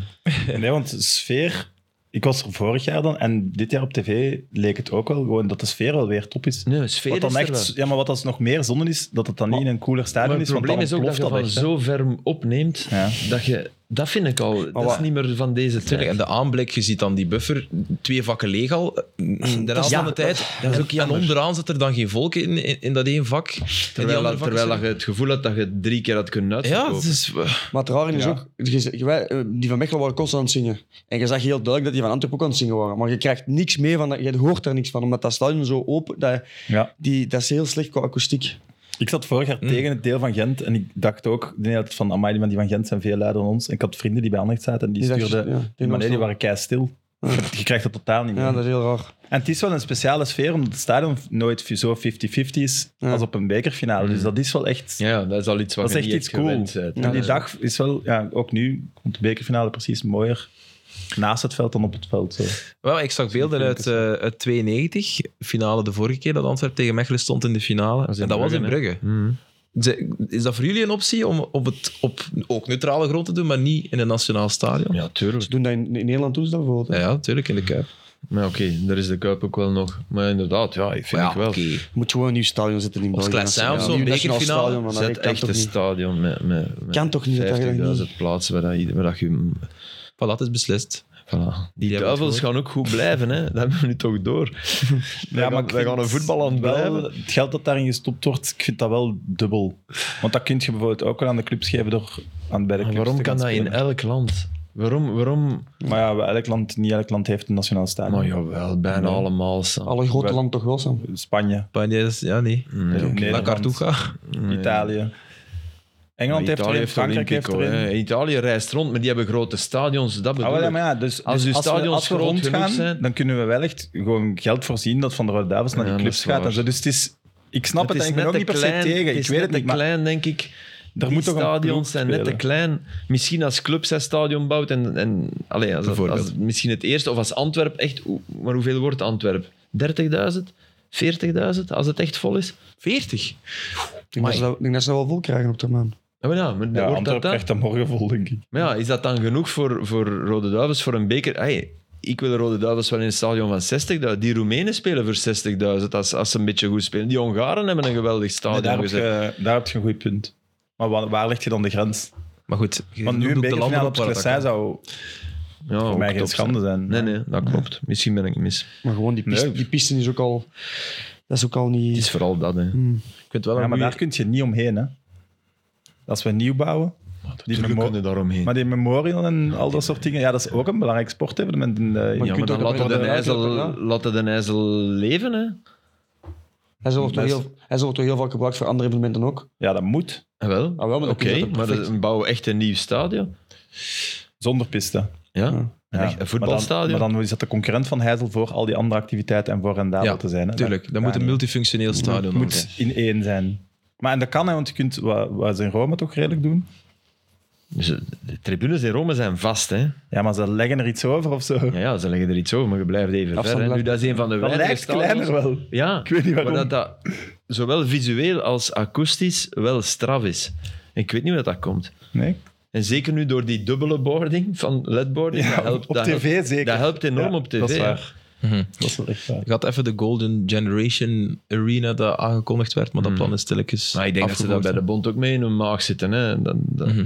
Speaker 3: Nee, want de sfeer... Ik was er vorig jaar dan en dit jaar op tv leek het ook wel gewoon dat de sfeer wel weer top is.
Speaker 2: Nee, sfeer
Speaker 3: Wat dan
Speaker 2: is er
Speaker 3: echt,
Speaker 2: wel.
Speaker 3: ja, maar wat als nog meer zonde is, dat het dan niet in een cooler
Speaker 2: Maar
Speaker 3: stadion
Speaker 2: het
Speaker 3: is, want dan
Speaker 2: probleem is ook dat
Speaker 3: ontploft
Speaker 2: je
Speaker 3: dat
Speaker 2: van
Speaker 3: echt, hè.
Speaker 2: zo ver opneemt,
Speaker 3: Ja.
Speaker 2: dat je... Dat vind ik al... dat is
Speaker 4: wat-
Speaker 2: niet meer van deze
Speaker 1: Tuurlijk, en
Speaker 2: tijd.
Speaker 1: de aanblik, je ziet dan die buffer, twee vakken leeg al, de helft
Speaker 2: ja,
Speaker 1: van de tijd.
Speaker 2: dat is ook
Speaker 1: En- en
Speaker 2: jammer.
Speaker 1: onderaan zit er dan geen volk in, in, in dat één vak. en die
Speaker 2: Terwijl,
Speaker 1: andere
Speaker 2: dat-
Speaker 1: vakken
Speaker 2: terwijl dat je
Speaker 1: zitten-
Speaker 2: het gevoel had dat je het drie keer had kunnen
Speaker 1: Ja, dus, eh,
Speaker 2: uitverkopen.
Speaker 1: het is...
Speaker 4: Maar het rare is
Speaker 3: Ja.
Speaker 4: ook, je- je- wij, eh, die van Mechelen waren constant aan het zingen. En je zag heel duidelijk dat die van Antwerpen ook aan het zingen waren. Maar je krijgt niks mee van dat, je hoort daar niks van, omdat dat stadion zo open, dat,
Speaker 3: Ja.
Speaker 4: die, dat is heel slecht qua akoestiek.
Speaker 3: Ik zat vorig
Speaker 2: Mm.
Speaker 3: jaar tegen het deel van Gent en ik dacht ook, de hele tijd van, amai, die van die van Gent zijn veel luider dan ons. En ik had vrienden die bij Anderlecht zaten en die,
Speaker 4: Die dacht-
Speaker 3: stuurden,
Speaker 4: ja, die
Speaker 3: maar nee, die
Speaker 4: dacht-
Speaker 3: waren kei stil. Je krijgt dat totaal niet meer.
Speaker 4: Ja, dat is heel raar.
Speaker 3: En het is wel een speciale sfeer, omdat het stadion nooit zo 50-50 is
Speaker 4: Ja.
Speaker 3: als op een bekerfinale. Dus dat is wel echt...
Speaker 2: Mm. Ja, dat is al iets wat
Speaker 3: Dat is
Speaker 2: je
Speaker 3: echt
Speaker 2: niet
Speaker 3: iets
Speaker 2: echt gewend eh,
Speaker 3: cool.
Speaker 2: bent.
Speaker 3: en die dag is wel, ja, ook nu, komt de bekerfinale precies mooier naast het veld dan op het veld. Zo.
Speaker 1: Wel, ik zag beelden uit, eh, uit 92, finale de vorige keer dat Antwerp tegen Mechelen stond in de finale. en dat was in
Speaker 2: Brugge,
Speaker 1: Brugge. Ze- Is dat voor jullie een optie om op, het, op ook neutrale grond te doen, maar niet in een nationaal stadion?
Speaker 2: Ja, tuurlijk.
Speaker 4: Ze doen dat in, in Nederland doen ze dat bijvoorbeeld. hè.
Speaker 1: Ja, natuurlijk in de Kuip.
Speaker 2: Maar oké, daar is de Kuip ook wel nog. Maar inderdaad, ja, ik vind
Speaker 1: Maar ja,
Speaker 2: ik wel.
Speaker 1: oké.
Speaker 4: Je moet gewoon een nieuw stadion zetten in België.
Speaker 1: Classe A of
Speaker 4: Ja,
Speaker 1: zo,
Speaker 4: een nieuw
Speaker 1: een
Speaker 4: nationaal
Speaker 1: bekerfinale.
Speaker 4: stadion, maar dat
Speaker 2: Zet
Speaker 4: kan
Speaker 2: echt
Speaker 4: toch
Speaker 2: een
Speaker 4: niet?
Speaker 2: stadion met, met, met
Speaker 4: Kan toch niet, dat kan toch
Speaker 2: 50.000 plaatsen waar, dat ieder- waar dat je...
Speaker 1: Voilà, het is beslist.
Speaker 2: Voilà. Die,
Speaker 1: hebben
Speaker 2: duivels
Speaker 1: het
Speaker 2: gaan ook goed blijven, hè. Dat hebben we nu toch door. Wij gaan-
Speaker 3: ik
Speaker 2: wij
Speaker 3: vind
Speaker 2: gaan een voetballand
Speaker 3: wel-
Speaker 2: blijven.
Speaker 3: Het geld dat daarin gestopt wordt, ik vind dat wel dubbel. Want dat kun je bijvoorbeeld ook wel aan de clubs geven door aan beide
Speaker 2: Maar
Speaker 3: clubs
Speaker 2: waarom
Speaker 3: te gaan
Speaker 2: kan dat in
Speaker 3: spelen.
Speaker 2: elk land? Waarom... waarom...
Speaker 3: Maar ja, wel elk land, niet elk land heeft een nationaal stadion.
Speaker 2: Maar jawel, bijna
Speaker 3: Nee.
Speaker 2: allemaal. Sam.
Speaker 4: Alle grote
Speaker 3: Wel-
Speaker 4: landen toch wel, Sam?
Speaker 3: Spanje,
Speaker 1: Maar nee, dat is- ja, nee.
Speaker 2: Nee.
Speaker 3: Oké.
Speaker 1: Naar
Speaker 3: Nederland.
Speaker 1: Cartuga.
Speaker 2: Nee.
Speaker 3: Italië. Engeland heeft
Speaker 2: Italië
Speaker 3: erin,
Speaker 2: heeft
Speaker 3: Frankrijk heeft
Speaker 2: Olympico,
Speaker 3: erin.
Speaker 2: hè. Italië reist rond, maar die hebben grote stadions. Dat bedoel
Speaker 3: Ah, wel, ja,
Speaker 2: ik.
Speaker 3: maar ja, dus,
Speaker 2: Als
Speaker 3: dus
Speaker 2: de stadions
Speaker 3: als we
Speaker 2: groot
Speaker 3: rondgaan,
Speaker 2: genoeg zijn-
Speaker 3: dan kunnen we wel echt gewoon geld voorzien dat Van de Rode Duivels naar
Speaker 2: Ja, dat
Speaker 3: die clubs
Speaker 2: is waar.
Speaker 3: gaat. En zo. Dus het is, ik snap het,
Speaker 2: is
Speaker 3: en ik ben
Speaker 2: net te
Speaker 3: ook niet per se
Speaker 2: klein,
Speaker 3: tegen. Ik
Speaker 2: is
Speaker 3: weet
Speaker 2: net
Speaker 3: het
Speaker 2: te
Speaker 3: niet, maar
Speaker 2: klein, denk ik.
Speaker 3: er
Speaker 2: die
Speaker 3: moet toch een ploeg
Speaker 2: stadions zijn net te
Speaker 3: spelen.
Speaker 2: klein. Misschien als club zijn stadion bouwt en, en allee, als,
Speaker 1: Bijvoorbeeld.
Speaker 2: als misschien het eerste, of als Antwerp echt, hoe- maar hoeveel wordt Antwerp? 30.000? 40.000 als het echt vol is?
Speaker 1: 40.
Speaker 4: Ik denk, dat ze, dat- ik denk dat ze dat wel vol krijgen op termijn.
Speaker 2: Ja, maar Ah, ja, maar
Speaker 3: Ja,
Speaker 2: wordt dat dan? Oh,
Speaker 3: Antwerp krijgt dat morgen vol, denk ik.
Speaker 2: Maar ja, is dat dan genoeg voor, voor Rode Duivels voor een beker? Hey, ik wil de Rode Duivels wel in een stadion van 60.000. Die Roemenen spelen voor 60.000 als, als ze een beetje goed spelen. Die Hongaren hebben een geweldig
Speaker 3: Nee,
Speaker 2: stadion
Speaker 3: daar, heb
Speaker 2: gezet.
Speaker 3: je, daar heb je een goed punt. Maar waar, waar leg je dan de grens?
Speaker 1: Maar goed, je
Speaker 3: Want nu
Speaker 1: noemt
Speaker 3: een
Speaker 1: ook de
Speaker 3: bekerfinale
Speaker 1: landen
Speaker 3: op
Speaker 1: waar dat
Speaker 3: Klessij
Speaker 1: kan.
Speaker 3: zou
Speaker 2: Ja,
Speaker 3: eh, voor
Speaker 2: ook
Speaker 3: mij geen
Speaker 2: top
Speaker 3: schande zijn.
Speaker 2: Nee, nee, dat klopt. Misschien ben ik mis.
Speaker 4: Maar gewoon die piste,
Speaker 3: Nee.
Speaker 4: die piste is ook al... Dat is ook al niet...
Speaker 2: Het is vooral dat, hè.
Speaker 1: Ik vind wel
Speaker 3: Ja,
Speaker 1: een
Speaker 3: maar
Speaker 1: goeie-
Speaker 3: daar kun je niet omheen. Hè. Als we nieuw bouwen, die
Speaker 2: Tuurlijk
Speaker 3: memo-
Speaker 2: kunnen daaromheen.
Speaker 3: maar die memorial en al dat soort dingen, ja, dat is ook een belangrijk sportevenement. In de,
Speaker 2: ja, maar
Speaker 4: kunt
Speaker 2: dan
Speaker 4: ook
Speaker 2: laten
Speaker 4: op-
Speaker 2: de,
Speaker 4: ja,
Speaker 2: ijzel,
Speaker 4: ja.
Speaker 2: laten de ijzel leven, hè.
Speaker 4: Hij zorgt toch
Speaker 3: Best.
Speaker 4: heel, hij zorgt toch heel vaak gebruikt voor andere evenementen ook.
Speaker 3: ja, dat moet.
Speaker 2: Ah, wel,
Speaker 4: Ah, wel, maar dat
Speaker 2: oké,
Speaker 4: kun je dat
Speaker 2: maar
Speaker 4: perfect.
Speaker 2: dan bouwen we echt een nieuw stadion.
Speaker 3: Zonder piste.
Speaker 2: Ja,
Speaker 3: Ja,
Speaker 2: Een echt- een
Speaker 3: Maar
Speaker 2: voetbalstadion.
Speaker 3: dan, maar dan is dat de concurrent van Heizel voor al die andere activiteiten en voor rendabel
Speaker 1: Ja,
Speaker 3: te zijn. Hè?
Speaker 1: Tuurlijk, dat moet een multifunctioneel
Speaker 3: Het
Speaker 1: stadion
Speaker 3: moet in één zijn. Maar en dat kan, hè, want je kunt wat, wat ze in Rome toch redelijk doen.
Speaker 2: Dus, eh, de tribunes in Rome zijn vast, hè.
Speaker 3: Ja, maar ze leggen er iets over of zo.
Speaker 2: Ja, ja, ze leggen er iets over, maar je blijft even
Speaker 4: Afstand
Speaker 2: ver. hè. Nu,
Speaker 4: blijft-
Speaker 2: dat is een van de
Speaker 3: Dat
Speaker 2: weinige
Speaker 3: lijkt
Speaker 2: stadions-
Speaker 3: kleiner wel.
Speaker 2: Ja,
Speaker 3: Ik weet niet waarom.
Speaker 2: maar dat dat zowel visueel als akoestisch wel straf is. Ik weet niet hoe dat komt.
Speaker 3: Nee?
Speaker 2: En zeker nu door die dubbele boarding van ledboarding, dat helpt,
Speaker 3: op
Speaker 2: dat helpt-
Speaker 3: tv zeker.
Speaker 2: dat helpt enorm
Speaker 3: Ja,
Speaker 2: op tv.
Speaker 3: Dat is
Speaker 2: ja.
Speaker 3: waar.
Speaker 1: Mhm.
Speaker 3: Dat is wel echt waar.
Speaker 1: Ik had even de Golden Generation Arena dat aangekondigd werd, maar dat
Speaker 3: Hmm.
Speaker 2: Mhm.
Speaker 1: plan is stilletjes
Speaker 2: Maar ik denk dat ze dat bij de
Speaker 1: afgevolgd.
Speaker 2: bond ook mee in hun maag zitten. Hè. Dat, dat-
Speaker 1: Mhm.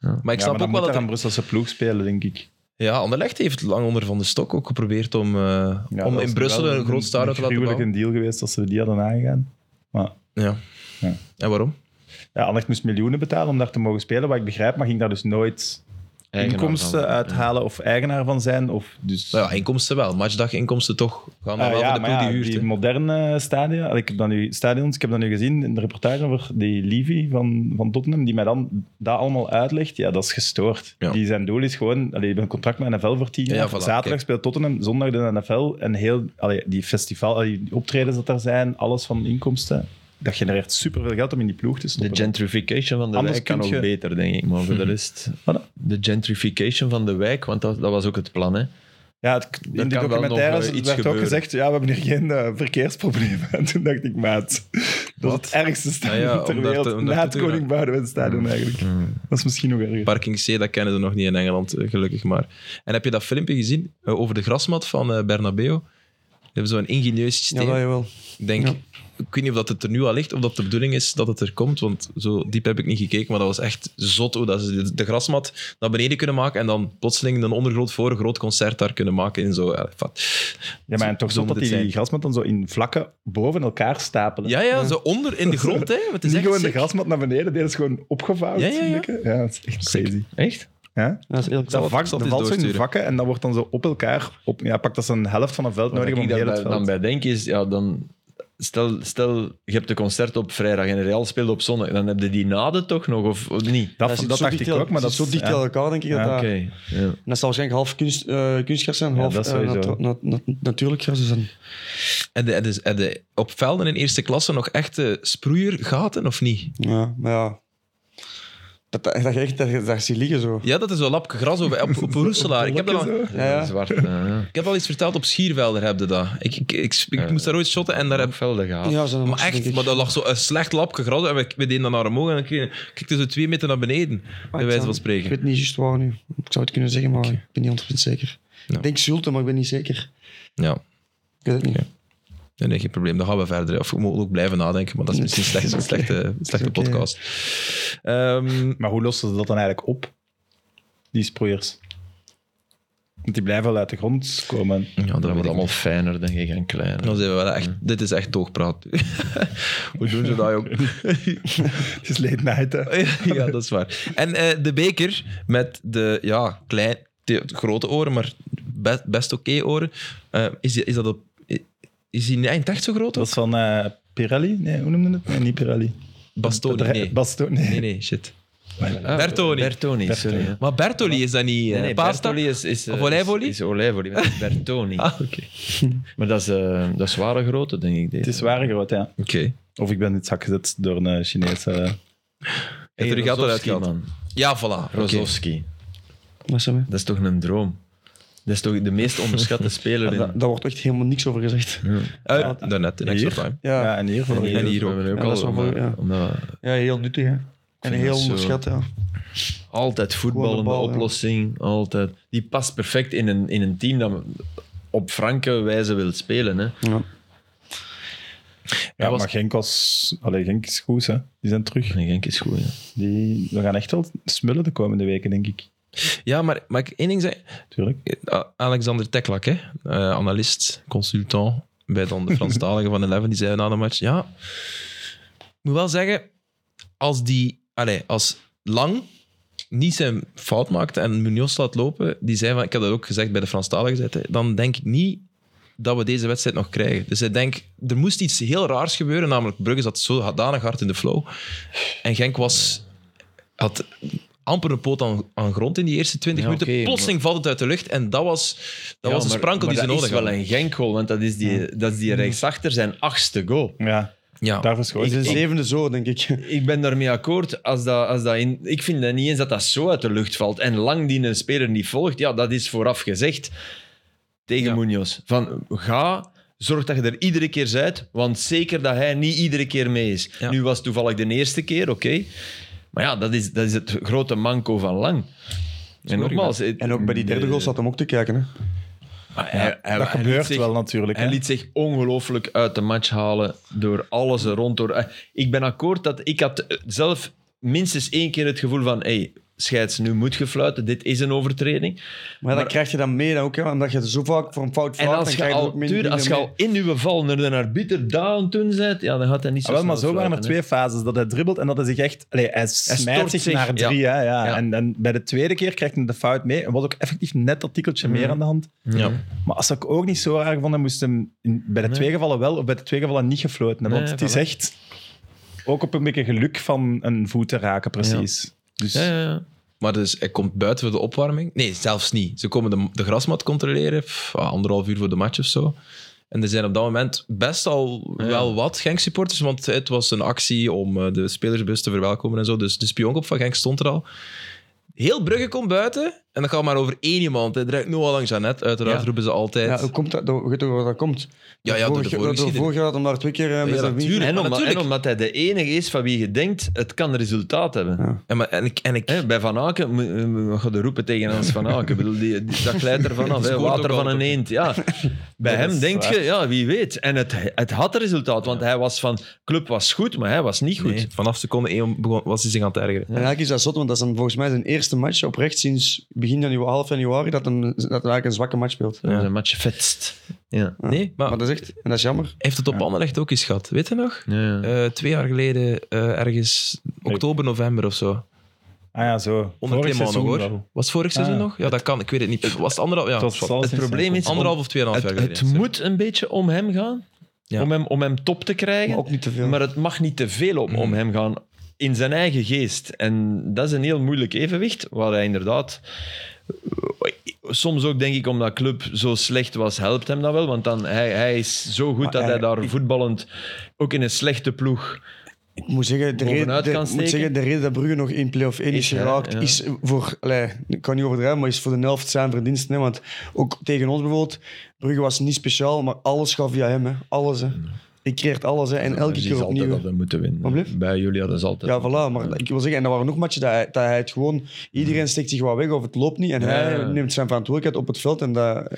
Speaker 2: Ja.
Speaker 1: Maar ik snap ook wel dat...
Speaker 3: aan
Speaker 1: er-
Speaker 3: Brusselse ploeg spelen, denk ik.
Speaker 1: Ja, Anderlecht heeft lang onder Van de Stok ook geprobeerd om, eh,
Speaker 3: Ja,
Speaker 1: om
Speaker 3: dat
Speaker 1: in
Speaker 3: is
Speaker 1: Brussel
Speaker 3: wel
Speaker 1: een groot stadion te laten
Speaker 3: gruwelijk
Speaker 1: bouwen.
Speaker 3: een deal geweest als ze die hadden aangegaan. Maar
Speaker 1: Ja.
Speaker 3: Ja.
Speaker 1: En waarom?
Speaker 3: ja, Anderlecht moest miljoenen betalen om daar te mogen spelen. Wat ik begrijp, maar ging daar dus nooit
Speaker 2: Eigenaar
Speaker 3: inkomsten
Speaker 2: van-
Speaker 3: uithalen of eigenaar van zijn. Of dus...
Speaker 1: Nou ja, inkomsten wel. Matchdag inkomsten toch. Gaan dan
Speaker 3: Ah,
Speaker 1: wel
Speaker 3: ja,
Speaker 1: voor de
Speaker 3: maar
Speaker 1: ploeg
Speaker 3: ja,
Speaker 1: die huurt.
Speaker 3: die
Speaker 1: hè.
Speaker 3: moderne stadia, ik heb, dat nu, stadions, ik heb dat nu gezien in de reportage over die Levy van, van Tottenham, die mij dan dat allemaal uitlegt. Ja, dat is gestoord.
Speaker 1: Ja.
Speaker 3: Die zijn doel is gewoon, allee, je hebt een contract met NFL voor tien
Speaker 1: Ja,
Speaker 3: jaar.
Speaker 1: voilà,
Speaker 3: Zaterdag
Speaker 1: kijk.
Speaker 3: speelt Tottenham, zondag de NFL. En heel, allee, die festival, allee, die optredens dat er zijn, alles van inkomsten. Dat genereert superveel geld om in die ploeg te
Speaker 2: De
Speaker 3: stoppen.
Speaker 2: gentrification van de
Speaker 3: eh, Anders
Speaker 2: wijk kan
Speaker 3: kun
Speaker 2: nog
Speaker 3: je- Mhm.
Speaker 2: beter, denk ik. Maar voor de rest...
Speaker 3: Voilà.
Speaker 2: De gentrification van de wijk, want dat, dat was ook het plan. Hè.
Speaker 3: Ja, het,
Speaker 2: kan
Speaker 3: in de
Speaker 2: wel nog,
Speaker 3: documentaires
Speaker 2: eh, iets
Speaker 3: werd ook
Speaker 2: gebeuren.
Speaker 3: gezegd, ja, we hebben hier geen eh, verkeersproblemen. En toen dacht ik, maat, dat is het ergste stadion
Speaker 1: Ah Ja, ja,
Speaker 3: ter
Speaker 1: om daar te-
Speaker 3: wereld.
Speaker 1: om daar
Speaker 3: Na
Speaker 1: te
Speaker 3: het
Speaker 1: doen,
Speaker 3: Koning
Speaker 1: ja. Mm.
Speaker 3: Boudewijn stadion eigenlijk. Dat is misschien nog erger.
Speaker 1: Parking C, dat kennen ze nog niet in Engeland, eh, gelukkig maar. En heb je dat filmpje gezien eh, over de grasmat van eh, Bernabeu? Die hebben zo'n ingenieus
Speaker 4: Ja,
Speaker 1: systeem.
Speaker 4: dat jawel.
Speaker 1: Ik denk,
Speaker 4: Ja.
Speaker 1: ik weet niet of dat het er nu al ligt of dat de bedoeling is dat het er komt, want zo diep heb ik niet gekeken, maar dat was echt zot hoe dat ze de- de grasmat naar beneden kunnen maken en dan plotseling een ondergrond voor een groot concert daar kunnen maken in zo. Ja, vat.
Speaker 3: Ja, maar en toch
Speaker 1: Zo
Speaker 3: zo
Speaker 1: moet
Speaker 3: dat
Speaker 1: het
Speaker 3: die
Speaker 1: zijn.
Speaker 3: grasmat dan zo in vlakken boven elkaar stapelen.
Speaker 1: ja, ja, zo onder in de grond, hè? Het is
Speaker 3: Niet
Speaker 1: echt
Speaker 3: gewoon de
Speaker 1: sick.
Speaker 3: grasmat naar beneden, dit is gewoon opgevouwen.
Speaker 1: Ja, ja, ja.
Speaker 3: ja, dat is echt
Speaker 1: Sick.
Speaker 3: crazy.
Speaker 2: Echt?
Speaker 3: Ja?
Speaker 4: Dat is heel cool.
Speaker 3: Dat vak,
Speaker 1: zal
Speaker 3: dan
Speaker 1: het
Speaker 3: valt zo in
Speaker 1: doorsturen.
Speaker 3: vakken en dat wordt dan zo op elkaar... Op, ja, pak dat ze een helft van een veld
Speaker 2: Waar
Speaker 3: nodig
Speaker 2: ik
Speaker 3: om
Speaker 2: dan
Speaker 3: heel het
Speaker 2: bij,
Speaker 3: veld.
Speaker 2: dan bij denk is, ja, dan, stel, stel je hebt een concert op vrijdag en Real speelt op zondag, dan heb je die naden toch nog, of, of niet?
Speaker 3: Dat,
Speaker 4: Dat
Speaker 3: dat,
Speaker 4: zit zo
Speaker 3: dacht
Speaker 4: dicht
Speaker 3: ik
Speaker 4: tegen-
Speaker 3: ook, maar dat
Speaker 4: zit zo dicht
Speaker 3: ja.
Speaker 4: tegen elkaar, denk ik. Dat,
Speaker 3: Ja,
Speaker 4: dat-
Speaker 2: Oké, ja.
Speaker 4: en dat zal waarschijnlijk half kunst, eh, kunstgras zijn,
Speaker 3: Ja,
Speaker 4: half
Speaker 3: dat
Speaker 4: eh,
Speaker 3: sowieso.
Speaker 4: natu- nat- nat- natuurlijk gras. Dus dan-
Speaker 1: En de, en de, en de- op velden in eerste klasse nog echte sproeiergaten of niet?
Speaker 4: ja, maar ja. Dat, dat, dat je echt daar, daar ziet liggen zo.
Speaker 1: Ja, dat is wel lapje gras over, op, op Roeselaar. Ik heb dat
Speaker 3: Blokken
Speaker 1: al-
Speaker 3: zo.
Speaker 4: Ja, ja.
Speaker 2: Zwart, ja, ja.
Speaker 1: Ik heb al eens verteld, op Schiervelder heb je dat. Ik, ik, ik, ik
Speaker 4: Eh.
Speaker 2: Ja.
Speaker 1: moest daar ooit shotten en daar heb
Speaker 2: Velden gehad.
Speaker 4: Ja, zijn
Speaker 1: Maar echt, maar dat lag zo een slecht lapje gras en we, we deden dat naar omhoog en dan kregen- kikten ze twee meter naar beneden, bij wijze van
Speaker 4: Ik
Speaker 1: spreken.
Speaker 4: weet niet juist waar nu. Ik zou het kunnen zeggen, maar ik ben niet 100% zeker.
Speaker 1: Ja.
Speaker 4: Ik denk Zulte, maar ik ben niet zeker.
Speaker 1: Ja,
Speaker 4: Ik weet het niet.
Speaker 1: Oké. nee, nee, geen probleem. Dan gaan we verder. Of we moeten ook blijven nadenken, maar dat is
Speaker 4: Nee,
Speaker 1: misschien
Speaker 4: dat
Speaker 1: slecht,
Speaker 4: is
Speaker 1: een
Speaker 4: oké.
Speaker 1: slechte, slechte
Speaker 4: oké.
Speaker 1: podcast. Ehm,
Speaker 3: Maar hoe lossen ze dat dan eigenlijk op? Die sproeiers. Want die blijven wel uit de grond komen.
Speaker 1: ja, dat
Speaker 2: Dat
Speaker 1: weet
Speaker 2: wordt
Speaker 1: ik
Speaker 2: allemaal
Speaker 1: niet.
Speaker 2: fijner, denk ik, en kleiner.
Speaker 1: Dan zijn we wel echt, dit is echt toogpraat. Hoe doen ze dat, jong?
Speaker 3: Het is late night, hè.
Speaker 1: ja, dat is waar. En eh, de beker met de ja, klein, de grote oren, maar best, best oké oren. Eh, is, die- is dat op... Is die eind echt zo groot?
Speaker 3: Dat
Speaker 1: Of?
Speaker 3: was van eh, Pirelli? Nee, hoe noemde het? Nee, niet Pirelli.
Speaker 1: Bastoni,
Speaker 3: Bedrij-
Speaker 1: nee.
Speaker 3: Bastoni. Nee,
Speaker 1: Nee, nee, shit.
Speaker 2: Ah,
Speaker 1: Bertoni.
Speaker 2: Bertoni, sorry. ja.
Speaker 1: Maar Bertoli is dat niet
Speaker 2: Nee,
Speaker 1: eh,
Speaker 2: nee,
Speaker 1: pasta?
Speaker 2: Bertoli is, is, eh,
Speaker 1: Of olijfolie?
Speaker 2: Is, is olijfolie, maar het is Bertoni.
Speaker 1: Ah, oké. Oké.
Speaker 2: Maar dat is, eh, dat is zware grootte, denk ik. Deze.
Speaker 3: Het is waar groot, ja. Of ik ben in het zak gezet door een Chinese...
Speaker 1: Heb je er gat eruit
Speaker 2: Rozovski,
Speaker 1: gehad?
Speaker 2: man.
Speaker 1: Ja, voilà. oké.
Speaker 2: Rozovski.
Speaker 4: Maar Sam, hè.
Speaker 2: Dat is toch een droom? Dat is toch de meest onderschatte speler in...
Speaker 4: Daar, daar wordt echt helemaal niks over gezegd.
Speaker 1: Eh, daarnet, in extra time.
Speaker 3: Ja,
Speaker 4: Ja, ja.
Speaker 3: en hier. Voor
Speaker 1: En hier ook.
Speaker 2: We hebben
Speaker 4: Ja,
Speaker 2: al, eh,
Speaker 4: dat is wel
Speaker 2: omdat-
Speaker 4: mooi, ja.
Speaker 2: omdat
Speaker 4: heel nuttig, hè. En
Speaker 2: vind
Speaker 4: heel
Speaker 2: dat zo-
Speaker 4: onderschat, ja.
Speaker 2: altijd voetbal
Speaker 4: Gewoon
Speaker 2: een
Speaker 4: de bal, ja.
Speaker 2: oplossing, altijd. Die past perfect in een, in een team dat op franke wijze wil spelen. Hè.
Speaker 4: ja.
Speaker 3: Ja,
Speaker 1: was-
Speaker 3: maar Genk, was... Allee, Genk is goed, hè. Die zijn terug.
Speaker 2: En Genk is goed, ja.
Speaker 3: Die... We gaan echt wel smullen de komende weken, denk ik.
Speaker 1: Ja, maar mag ik één ding zeggen?
Speaker 3: Tuurlijk.
Speaker 1: Eh, Alexander Teklak, hè? eh, analist, consultant bij dan de Franstaligen van Eleven, die zei na de match: Ja, ik moet wel zeggen, als die, allee, als Lang niet zijn fout maakt en Munoz laat lopen, die zei van, ik heb dat ook gezegd bij de Franstaligen, zei hij, dan denk ik niet dat we deze wedstrijd nog krijgen. Dus ik denk, er moest iets heel raars gebeuren, namelijk Brugge zat zo danig hard in de flow en Genk was, had amper een poot aan, aan grond in die eerste 20
Speaker 2: Ja,
Speaker 1: minuten.
Speaker 2: oké,
Speaker 1: Plotseling valt het uit de lucht en dat was, dat was een sprankel die ze nodig
Speaker 2: Dat is
Speaker 1: hadden.
Speaker 2: wel een Genk-goal, want dat is, die, dat is die rechtsachter zijn achtste goal.
Speaker 3: Ja,
Speaker 1: Ja.
Speaker 3: daarvoor schoot
Speaker 4: Het is
Speaker 3: ze.
Speaker 4: de zevende zo, denk ik.
Speaker 2: Ik ben daarmee akkoord. Als dat, als dat in, ik vind dat niet eens dat dat zo uit de lucht valt. En lang die een speler niet volgt, ja, dat is vooraf gezegd tegen
Speaker 1: Ja.
Speaker 2: Munoz. Van ga, zorg dat je er iedere keer bent, want zeker dat hij niet iedere keer mee is.
Speaker 1: Ja.
Speaker 2: Nu was het toevallig de eerste keer, oké. Maar ja, dat is, dat is het grote manco van Lang. En nogmaals... het-
Speaker 4: En ook bij die derde
Speaker 2: de-
Speaker 4: goal zat hem ook te kijken. Hè.
Speaker 2: maar hij- hij-
Speaker 3: dat
Speaker 2: hij liet
Speaker 3: gebeurt
Speaker 2: zich-
Speaker 3: wel natuurlijk.
Speaker 2: Hij
Speaker 3: hè.
Speaker 2: liet zich ongelooflijk uit de match halen door alles er rond. Door, eh, ik ben akkoord dat ik had eh, zelf minstens één keer het gevoel van hey, scheids, nu moet gefluiten, dit is een overtreding.
Speaker 4: Maar, dat krijg je dan mee dan ook, hè, omdat je zo vaak voor een fout
Speaker 2: En
Speaker 4: vlaat,
Speaker 2: als je,
Speaker 4: krijg je
Speaker 2: al,
Speaker 4: ook min-
Speaker 2: tuur,
Speaker 4: minder
Speaker 2: als je
Speaker 4: mee.
Speaker 2: al in uw val naar de arbiter down toen zit, ja, dan gaat hij niet zo
Speaker 3: Ah, wel, maar
Speaker 2: snel
Speaker 3: zo waren er
Speaker 2: fluiten,
Speaker 3: twee fases. Dat hij dribbelt en dat hij zich echt... Allee, hij smijt
Speaker 2: stort
Speaker 3: zich
Speaker 2: zich,
Speaker 3: naar drie. hè, ja.
Speaker 2: Ja.
Speaker 3: En, en bij de tweede keer krijgt hij de fout mee. En was ook effectief net dat tikkeltje meer aan de hand.
Speaker 2: hè. Mhm. Ja.
Speaker 3: Maar als ik ook niet zo raar vond, dan moest hem in- bij de
Speaker 2: Nee.
Speaker 3: twee gevallen wel of bij de twee gevallen niet gefloten. hebben.
Speaker 2: Nee,
Speaker 3: want het is
Speaker 2: voilà.
Speaker 3: echt ook op een beetje geluk van een voet te raken, precies. Dus
Speaker 2: Ja, ja, ja.
Speaker 1: Maar dus hij komt buiten voor de opwarming. Nee, zelfs niet. Ze komen de, de grasmat controleren, pff, ah, anderhalf uur voor de match of zo. En er zijn op dat moment best al wel wat Genk-supporters, want het was een actie om eh, de spelersbus te verwelkomen en zo. Dus de spionkop van Genk stond er al. Heel Brugge komt buiten en dan gaat maar over één iemand. Hij draait nu al langs Jeannette, uiteraard
Speaker 2: Ja.
Speaker 1: roepen ze altijd.
Speaker 4: Ja, hoe komt dat? Door- Weet je waar dat komt?
Speaker 1: Ja, ja, door de
Speaker 4: Vorig-
Speaker 1: voorgeschiedenis.
Speaker 4: vorig jaar had hem daar twee keer eh, met
Speaker 1: Ja,
Speaker 4: zijn wien-
Speaker 1: natuurlijk.
Speaker 2: En,
Speaker 1: maar
Speaker 2: omdat, en omdat hij de enige is van wie je denkt, het kan resultaat hebben.
Speaker 4: Ja.
Speaker 1: En, maar- en ik, en ik,
Speaker 2: Hè, bij Van Aken, moet- eh, wat gaat er roepen tegen Hans Van Aken? Ik bedoel, die, die, dat glijdt er vanaf. hè.
Speaker 1: scoort
Speaker 2: Water
Speaker 1: ook
Speaker 2: van een
Speaker 1: altijd.
Speaker 2: eend. Ja. Bij
Speaker 3: Dat
Speaker 2: hem
Speaker 3: is
Speaker 2: denk
Speaker 3: waar.
Speaker 2: je, ja, wie weet. En het, het had een resultaat, want hij was van... Club was goed, maar hij was niet goed.
Speaker 1: Nee, vanaf seconde één begon, was hij zich aan het ergeren.
Speaker 4: En eigenlijk is dat zot, want dat is dan volgens mij zijn eerste match oprecht sinds begin januari, half januari, dat hij dat hij eigenlijk een zwakke match speelt.
Speaker 2: Dat was een match fetst. Ja.
Speaker 1: Nee, maar,
Speaker 4: Maar dat is echt, en dat is jammer.
Speaker 1: hij heeft het op Anderlecht ook eens gehad. Weet je nog?
Speaker 2: Ja, ja.
Speaker 1: Eh, twee jaar geleden, eh, ergens oktober, november of zo.
Speaker 3: ah ja, zo.
Speaker 1: Onder
Speaker 3: Vorig
Speaker 1: Clement nog
Speaker 3: seizoen
Speaker 1: hoor.
Speaker 3: wel.
Speaker 1: Was het vorig seizoen
Speaker 3: ja.
Speaker 1: nog? Ja, dat kan. Ik weet het niet. Was het anderhalf, ja,
Speaker 3: Het was
Speaker 1: anderhalf
Speaker 3: zelfs
Speaker 2: Het
Speaker 3: in
Speaker 2: probleem is-
Speaker 3: zijn-
Speaker 1: of tweeënhalf jaar
Speaker 2: Het,
Speaker 1: geleden.
Speaker 2: het moet een beetje om hem gaan.
Speaker 1: Ja.
Speaker 2: Om, hem, om hem top te
Speaker 4: Maar
Speaker 2: krijgen.
Speaker 4: ook niet te veel.
Speaker 2: Maar het mag niet te veel om,
Speaker 1: Mm.
Speaker 2: om hem gaan in zijn eigen geest. En dat is een heel moeilijk evenwicht, waar hij inderdaad... Soms ook denk ik, omdat club zo slecht was, helpt hem dat wel. Want dan, hij, hij is zo goed
Speaker 3: Maar
Speaker 2: dat hij
Speaker 3: hij-
Speaker 2: daar voetballend, ook in een slechte ploeg...
Speaker 4: Ik moet zeggen, de, reden,
Speaker 2: Bovenuit
Speaker 4: de,
Speaker 2: kan
Speaker 4: ik moet
Speaker 2: steken.
Speaker 4: zeggen, de reden dat Brugge nog in play-off 1 is,
Speaker 2: Is, hè,
Speaker 4: geraakt,
Speaker 2: ja.
Speaker 4: is voor, allee, ik kan niet overdrijven, maar is voor de helft zijn verdiensten. Hè, want ook tegen ons bijvoorbeeld, Brugge was niet speciaal, maar alles gaat via hem. Hè, alles. Hè. Ik creëert alles hè, en elke
Speaker 2: Dus
Speaker 4: keer
Speaker 2: is altijd
Speaker 4: opnieuw.
Speaker 2: dat we moeten
Speaker 4: Wat
Speaker 2: winnen.
Speaker 4: blieft?
Speaker 2: Bij jullie hadden ze altijd...
Speaker 4: Ja, voilà. Maar ik wil zeggen, en er waren nog matchen dat hij, dat hij het gewoon... Iedereen steekt zich wat weg of het loopt niet. En hij
Speaker 2: Ja.
Speaker 4: neemt zijn verantwoordelijkheid op het veld. En dat,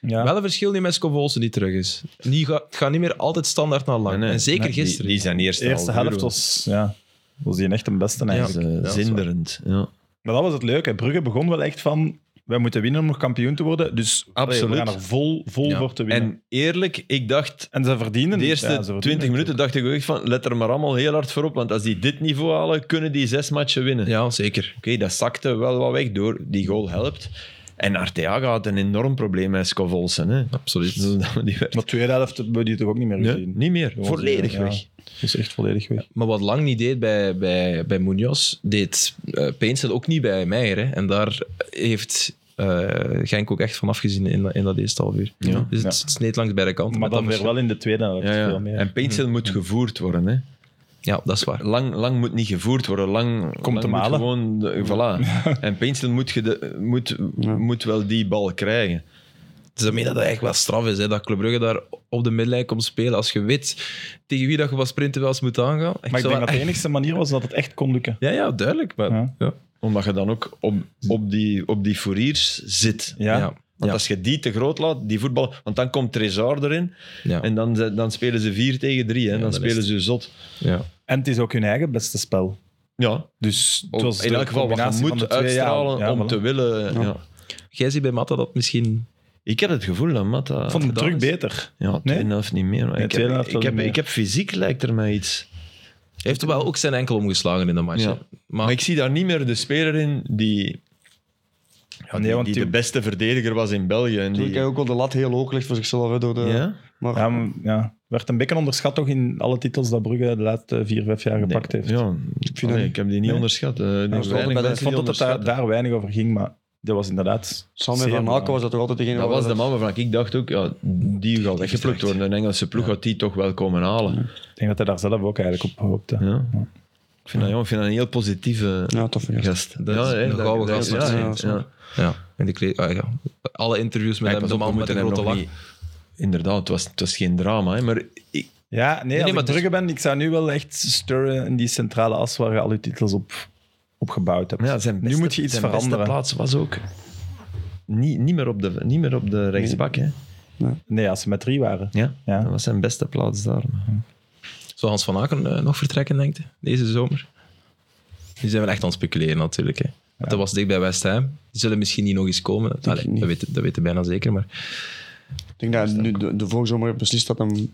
Speaker 3: Ja.
Speaker 1: Wel een verschil die met Scott Olsen die terug is. Die gaat, gaat niet meer altijd standaard naar lang.
Speaker 2: Nee, nee.
Speaker 1: En zeker
Speaker 2: Nee, die-
Speaker 1: gisteren.
Speaker 2: Die, zijn eerste,
Speaker 3: de eerste
Speaker 2: half uur
Speaker 3: helft was, ja, was die echt een beste
Speaker 2: was,
Speaker 3: eigenlijk.
Speaker 2: eh,
Speaker 1: dat is waar.
Speaker 2: zinderend. Ja.
Speaker 3: Maar dat was het leuke. Brugge begon wel echt van, wij moeten winnen om nog kampioen te worden. Dus allee,
Speaker 2: Absoluut.
Speaker 3: we gaan er vol, vol
Speaker 1: Ja.
Speaker 3: voor te winnen. En,
Speaker 2: En eerlijk, ik dacht
Speaker 3: ze verdienen.
Speaker 2: De
Speaker 3: ja, ze
Speaker 2: eerste
Speaker 3: verdienen
Speaker 2: 20
Speaker 3: het.
Speaker 2: minuten dacht ik ook echt van, let er maar allemaal heel hard voor op, want als die dit niveau halen, kunnen die zes matchen winnen.
Speaker 1: Ja, zeker.
Speaker 2: Oké, dat zakte wel wat weg door. Die goal helpt. En Arteaga had een enorm probleem met Scovolsen. Hè.
Speaker 1: Absoluut.
Speaker 2: Dus Die werd
Speaker 3: Maar tweede helft hebben we die toch ook niet meer
Speaker 2: Nee,
Speaker 3: gezien.
Speaker 2: niet meer.
Speaker 3: Gewoon
Speaker 2: Volledig
Speaker 3: zo, ja.
Speaker 2: weg.
Speaker 3: Dat is echt volledig weg.
Speaker 1: Maar wat Lang niet deed bij, bij, bij Munoz, deed eh Painsel ook niet bij Meijer. Hè. En daar heeft eh, Genk ook echt van afgezien in, dat- in dat eerste half uur.
Speaker 2: Ja.
Speaker 1: Dus het
Speaker 3: Ja.
Speaker 1: het sneed langs beide kanten.
Speaker 3: Maar
Speaker 1: Met
Speaker 3: dan
Speaker 1: dat
Speaker 3: weer wel in de tweede helft
Speaker 2: Ja,
Speaker 3: veel
Speaker 2: ja.
Speaker 3: meer. Hm,
Speaker 2: En Paintsel moet gevoerd worden. Hè.
Speaker 1: Ja, dat is waar.
Speaker 2: Lang, lang moet niet gevoerd worden. Lang,
Speaker 3: Komt
Speaker 2: lang
Speaker 3: hem
Speaker 2: moet
Speaker 3: halen.
Speaker 2: Gewoon de- voilà. En Paintsel moet, je de- moet, moet wel die bal krijgen.
Speaker 1: Dus dat meen dat dat eigenlijk wel straf is, hè, dat Club Brugge daar op de middenlijn komt spelen. Als je weet tegen wie dat je wat sprinten wel eens moet aangaan.
Speaker 3: Maar
Speaker 1: zou
Speaker 3: ik denk dat
Speaker 1: wel-
Speaker 3: de enige manier was dat het echt kon lukken.
Speaker 1: Ja, ja, duidelijk. Maar,
Speaker 3: Ja.
Speaker 1: ja. Ja.
Speaker 2: Omdat je dan ook op, op, die, op die fouriers zit.
Speaker 3: Ja.
Speaker 2: Want
Speaker 1: Ja.
Speaker 2: als je die te groot laat, die voetbal, want dan komt Trezor erin
Speaker 1: Ja.
Speaker 2: en dan, ze- dan spelen ze 4 tegen 3 en dan,
Speaker 1: dan is
Speaker 2: spelen
Speaker 1: het-
Speaker 2: ze zot.
Speaker 1: Ja.
Speaker 3: En het is ook hun eigen beste spel.
Speaker 2: Ja,
Speaker 3: Dus het
Speaker 2: op-
Speaker 3: was
Speaker 2: Oh, in
Speaker 3: de
Speaker 2: elk geval wat je
Speaker 3: combinatie van
Speaker 2: moet
Speaker 3: de twee, ja.
Speaker 2: uitstralen
Speaker 3: Ja,
Speaker 2: om
Speaker 3: voilà.
Speaker 2: te willen. Ja.
Speaker 4: Ja.
Speaker 1: Jij ziet bij Matta dat misschien...
Speaker 2: Ik heb het gevoel dat Matta.
Speaker 3: Ik vond het
Speaker 1: gedaan
Speaker 3: terug
Speaker 1: is.
Speaker 3: beter.
Speaker 2: Ja,
Speaker 3: Nee?
Speaker 2: tweede helft niet meer. Maar
Speaker 3: Nee,
Speaker 2: ik,
Speaker 3: tweede
Speaker 2: heb,
Speaker 3: helft
Speaker 2: ik,
Speaker 3: wel
Speaker 2: heb,
Speaker 3: niet meer.
Speaker 2: ik heb fysiek lijkt er mij iets.
Speaker 1: Hij heeft wel ook zijn enkel omgeslagen in de match.
Speaker 2: Ja.
Speaker 1: hè.
Speaker 2: Maar ik zie daar niet meer de speler in die, ja, die,
Speaker 3: Nee, want
Speaker 2: die
Speaker 3: die-
Speaker 2: de beste verdediger was in België. En die,
Speaker 4: Natuurlijk, hij ook wel de lat heel hoog legt voor zichzelf. hè, door de,
Speaker 2: ja?
Speaker 4: Maar
Speaker 3: Ja, maar- ja. Werd een beetje onderschat toch in alle titels dat Brugge de laatste vier, vijf jaar gepakt heeft.
Speaker 2: Ja,
Speaker 4: dat
Speaker 2: Allee,
Speaker 4: niet.
Speaker 2: ik heb die niet
Speaker 3: Nee.
Speaker 2: onderschat. eh, ik denk
Speaker 4: dat
Speaker 2: weinig
Speaker 4: bij de-
Speaker 2: mensen
Speaker 3: Ik vond
Speaker 2: die
Speaker 3: dat het daar,
Speaker 2: onderschatten.
Speaker 3: daar weinig over ging, maar dat was inderdaad...
Speaker 4: Sam en
Speaker 3: zeer
Speaker 4: Van Aken was dat toch altijd degene...
Speaker 2: Dat
Speaker 4: waar
Speaker 2: was de man waarvan ik dacht ook, ja, die gaat weggeplukt worden. Een Engelse ploeg gaat die toch wel komen halen.
Speaker 3: belangrijk. Ik denk dat hij daar zelf ook eigenlijk op hoopte.
Speaker 2: Ja. Ik, vind dat, ja, ik vind dat een heel positieve
Speaker 4: Ja, tof. Ja.
Speaker 2: gast.
Speaker 1: Dat is
Speaker 2: ja, hè,
Speaker 1: een
Speaker 2: dat-
Speaker 1: gouden
Speaker 2: dat-
Speaker 1: gast.
Speaker 2: Ja,
Speaker 4: Ja,
Speaker 2: ja,
Speaker 4: snap ik.
Speaker 1: Ja. In de kleed... ah, ja. Alle interviews met
Speaker 2: Ja,
Speaker 1: hem,
Speaker 2: pas
Speaker 1: de
Speaker 2: op,
Speaker 1: man
Speaker 2: we
Speaker 1: met
Speaker 2: moeten
Speaker 1: de
Speaker 2: hem
Speaker 1: grote
Speaker 2: nog
Speaker 1: lach.
Speaker 2: niet... Inderdaad, het was, het was geen drama. Hè, maar ik,
Speaker 3: Ja, nee, als
Speaker 1: maar
Speaker 3: ik
Speaker 1: dus-
Speaker 3: Brugge ben, ik zou nu wel echt sturren in die centrale as waar je al je titels op opgebouwd hebt.
Speaker 2: Ja, zijn beste-
Speaker 3: moet je iets
Speaker 2: zijn
Speaker 3: veranderen.
Speaker 2: beste plaats was ook niet, niet, meer, op de, niet meer op de rechtsbak. Hè.
Speaker 3: Nee, als ze met drie waren.
Speaker 2: Ja,
Speaker 3: Ja.
Speaker 2: dat was zijn beste plaats daar.
Speaker 1: Zal Hans van Aken eh, nog vertrekken, denkt hij, deze zomer? Nu zijn we echt aan het speculeren natuurlijk. Hè. Want Dat was dicht bij West Ham. Die zullen misschien niet nog eens komen. Allee,
Speaker 4: het niet.
Speaker 1: dat, weten, dat weten we bijna zeker. Maar
Speaker 4: Ik denk dat nu de, de vorige zomer beslist dat hem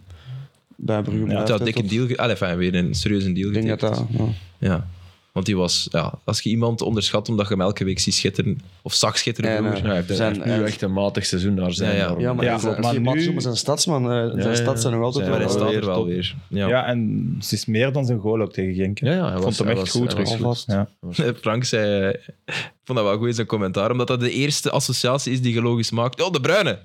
Speaker 4: bij Brugge
Speaker 1: het
Speaker 4: blijft.
Speaker 1: had
Speaker 4: hè,
Speaker 1: een dikke
Speaker 4: tot-
Speaker 1: deal ge- Allee, fijn, weer een serieuze deal
Speaker 4: Ik denk dat
Speaker 1: getekend.
Speaker 4: dat... Ja.
Speaker 1: Ja. Want die was, ja, als je iemand onderschat omdat je hem elke week ziet schitteren, of zag schitteren,
Speaker 4: En,
Speaker 1: vroeger,
Speaker 4: eh,
Speaker 1: nou, hij heeft
Speaker 4: zijn-
Speaker 1: eigenlijk-
Speaker 2: Nu echt een matig seizoen daar zijn.
Speaker 1: Ja, ja.
Speaker 2: daarom.
Speaker 4: Ja, maar,
Speaker 3: Ja,
Speaker 4: dat is-
Speaker 3: klopt,
Speaker 4: als je
Speaker 3: maar
Speaker 4: maakt
Speaker 3: nu-
Speaker 4: zomaar zijn stadsman. eh, zijn
Speaker 2: ja,
Speaker 4: stads zijn nog altijd
Speaker 2: Zijn
Speaker 1: maar hij
Speaker 4: wel...
Speaker 2: wel
Speaker 1: staat
Speaker 2: weer
Speaker 1: er wel
Speaker 2: top.
Speaker 1: weer.
Speaker 3: Ja.
Speaker 1: Ja.
Speaker 3: en ze is meer dan zijn goal ook tegen Genk. hè.
Speaker 2: Ja, ja, hij
Speaker 3: Ik
Speaker 2: was-
Speaker 3: vond hem
Speaker 2: hij
Speaker 3: echt
Speaker 2: was-
Speaker 3: goed
Speaker 2: hij was
Speaker 3: terug.
Speaker 2: goed.
Speaker 4: Alvast.
Speaker 3: Ja.
Speaker 1: Frank zei, eh, ik vond dat wel goed in zijn commentaar, omdat dat de eerste associatie is die je logisch maakt. Oh, de Bruine.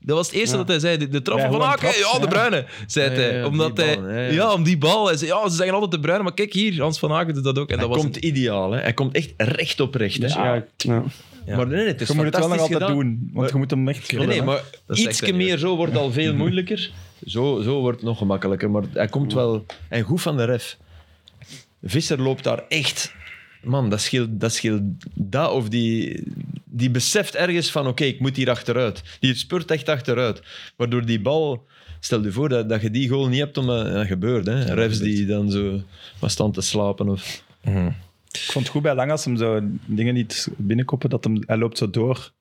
Speaker 1: Dat was het eerste
Speaker 4: Ja.
Speaker 1: dat hij zei. De, de trap
Speaker 3: Ja,
Speaker 1: van
Speaker 3: gewoon
Speaker 1: Aken.
Speaker 3: traps,
Speaker 1: Ja, de
Speaker 3: ja.
Speaker 1: Bruine, zei
Speaker 2: Ja,
Speaker 1: hij.
Speaker 2: ja, ja,
Speaker 1: omdat
Speaker 2: die
Speaker 1: hij,
Speaker 2: bal,
Speaker 1: ja,
Speaker 2: ja, ja.
Speaker 1: om die bal. Hij zei, ja, ze zeggen altijd de Bruine, maar kijk hier, Hans van Aken doet dat ook. En
Speaker 2: Hij
Speaker 1: dat was
Speaker 2: komt
Speaker 1: een-
Speaker 2: ideaal, hè. Hij komt echt recht op recht. Hè.
Speaker 3: Ja, je
Speaker 4: Ja.
Speaker 1: Ja.
Speaker 2: Maar nee, nee, het is
Speaker 3: moet het wel nog
Speaker 2: fantastisch
Speaker 3: altijd
Speaker 2: gedaan.
Speaker 3: doen, want je moet hem echt
Speaker 2: Nee,
Speaker 3: vullen,
Speaker 2: nee,
Speaker 3: hè.
Speaker 2: maar
Speaker 1: Dat is echt
Speaker 2: ietsje
Speaker 1: een
Speaker 2: meer zo wordt al veel moeilijker. Zo, zo wordt het nog gemakkelijker, maar hij komt wel... En goed van de ref. Visser loopt daar echt... Man, dat scheelt dat. Scheelt dat of die, die beseft ergens van, oké, ik moet hier achteruit. Die spurt echt achteruit. Waardoor die bal... Stel je voor dat, dat je die goal niet hebt, om, eh, dat gebeurt. Hè. Refs die dan zo maar staan te slapen. Of,
Speaker 3: Ik vond het goed bij Lang als hem zo dingen niet binnenkoppen, dat hem, hij loopt zo door.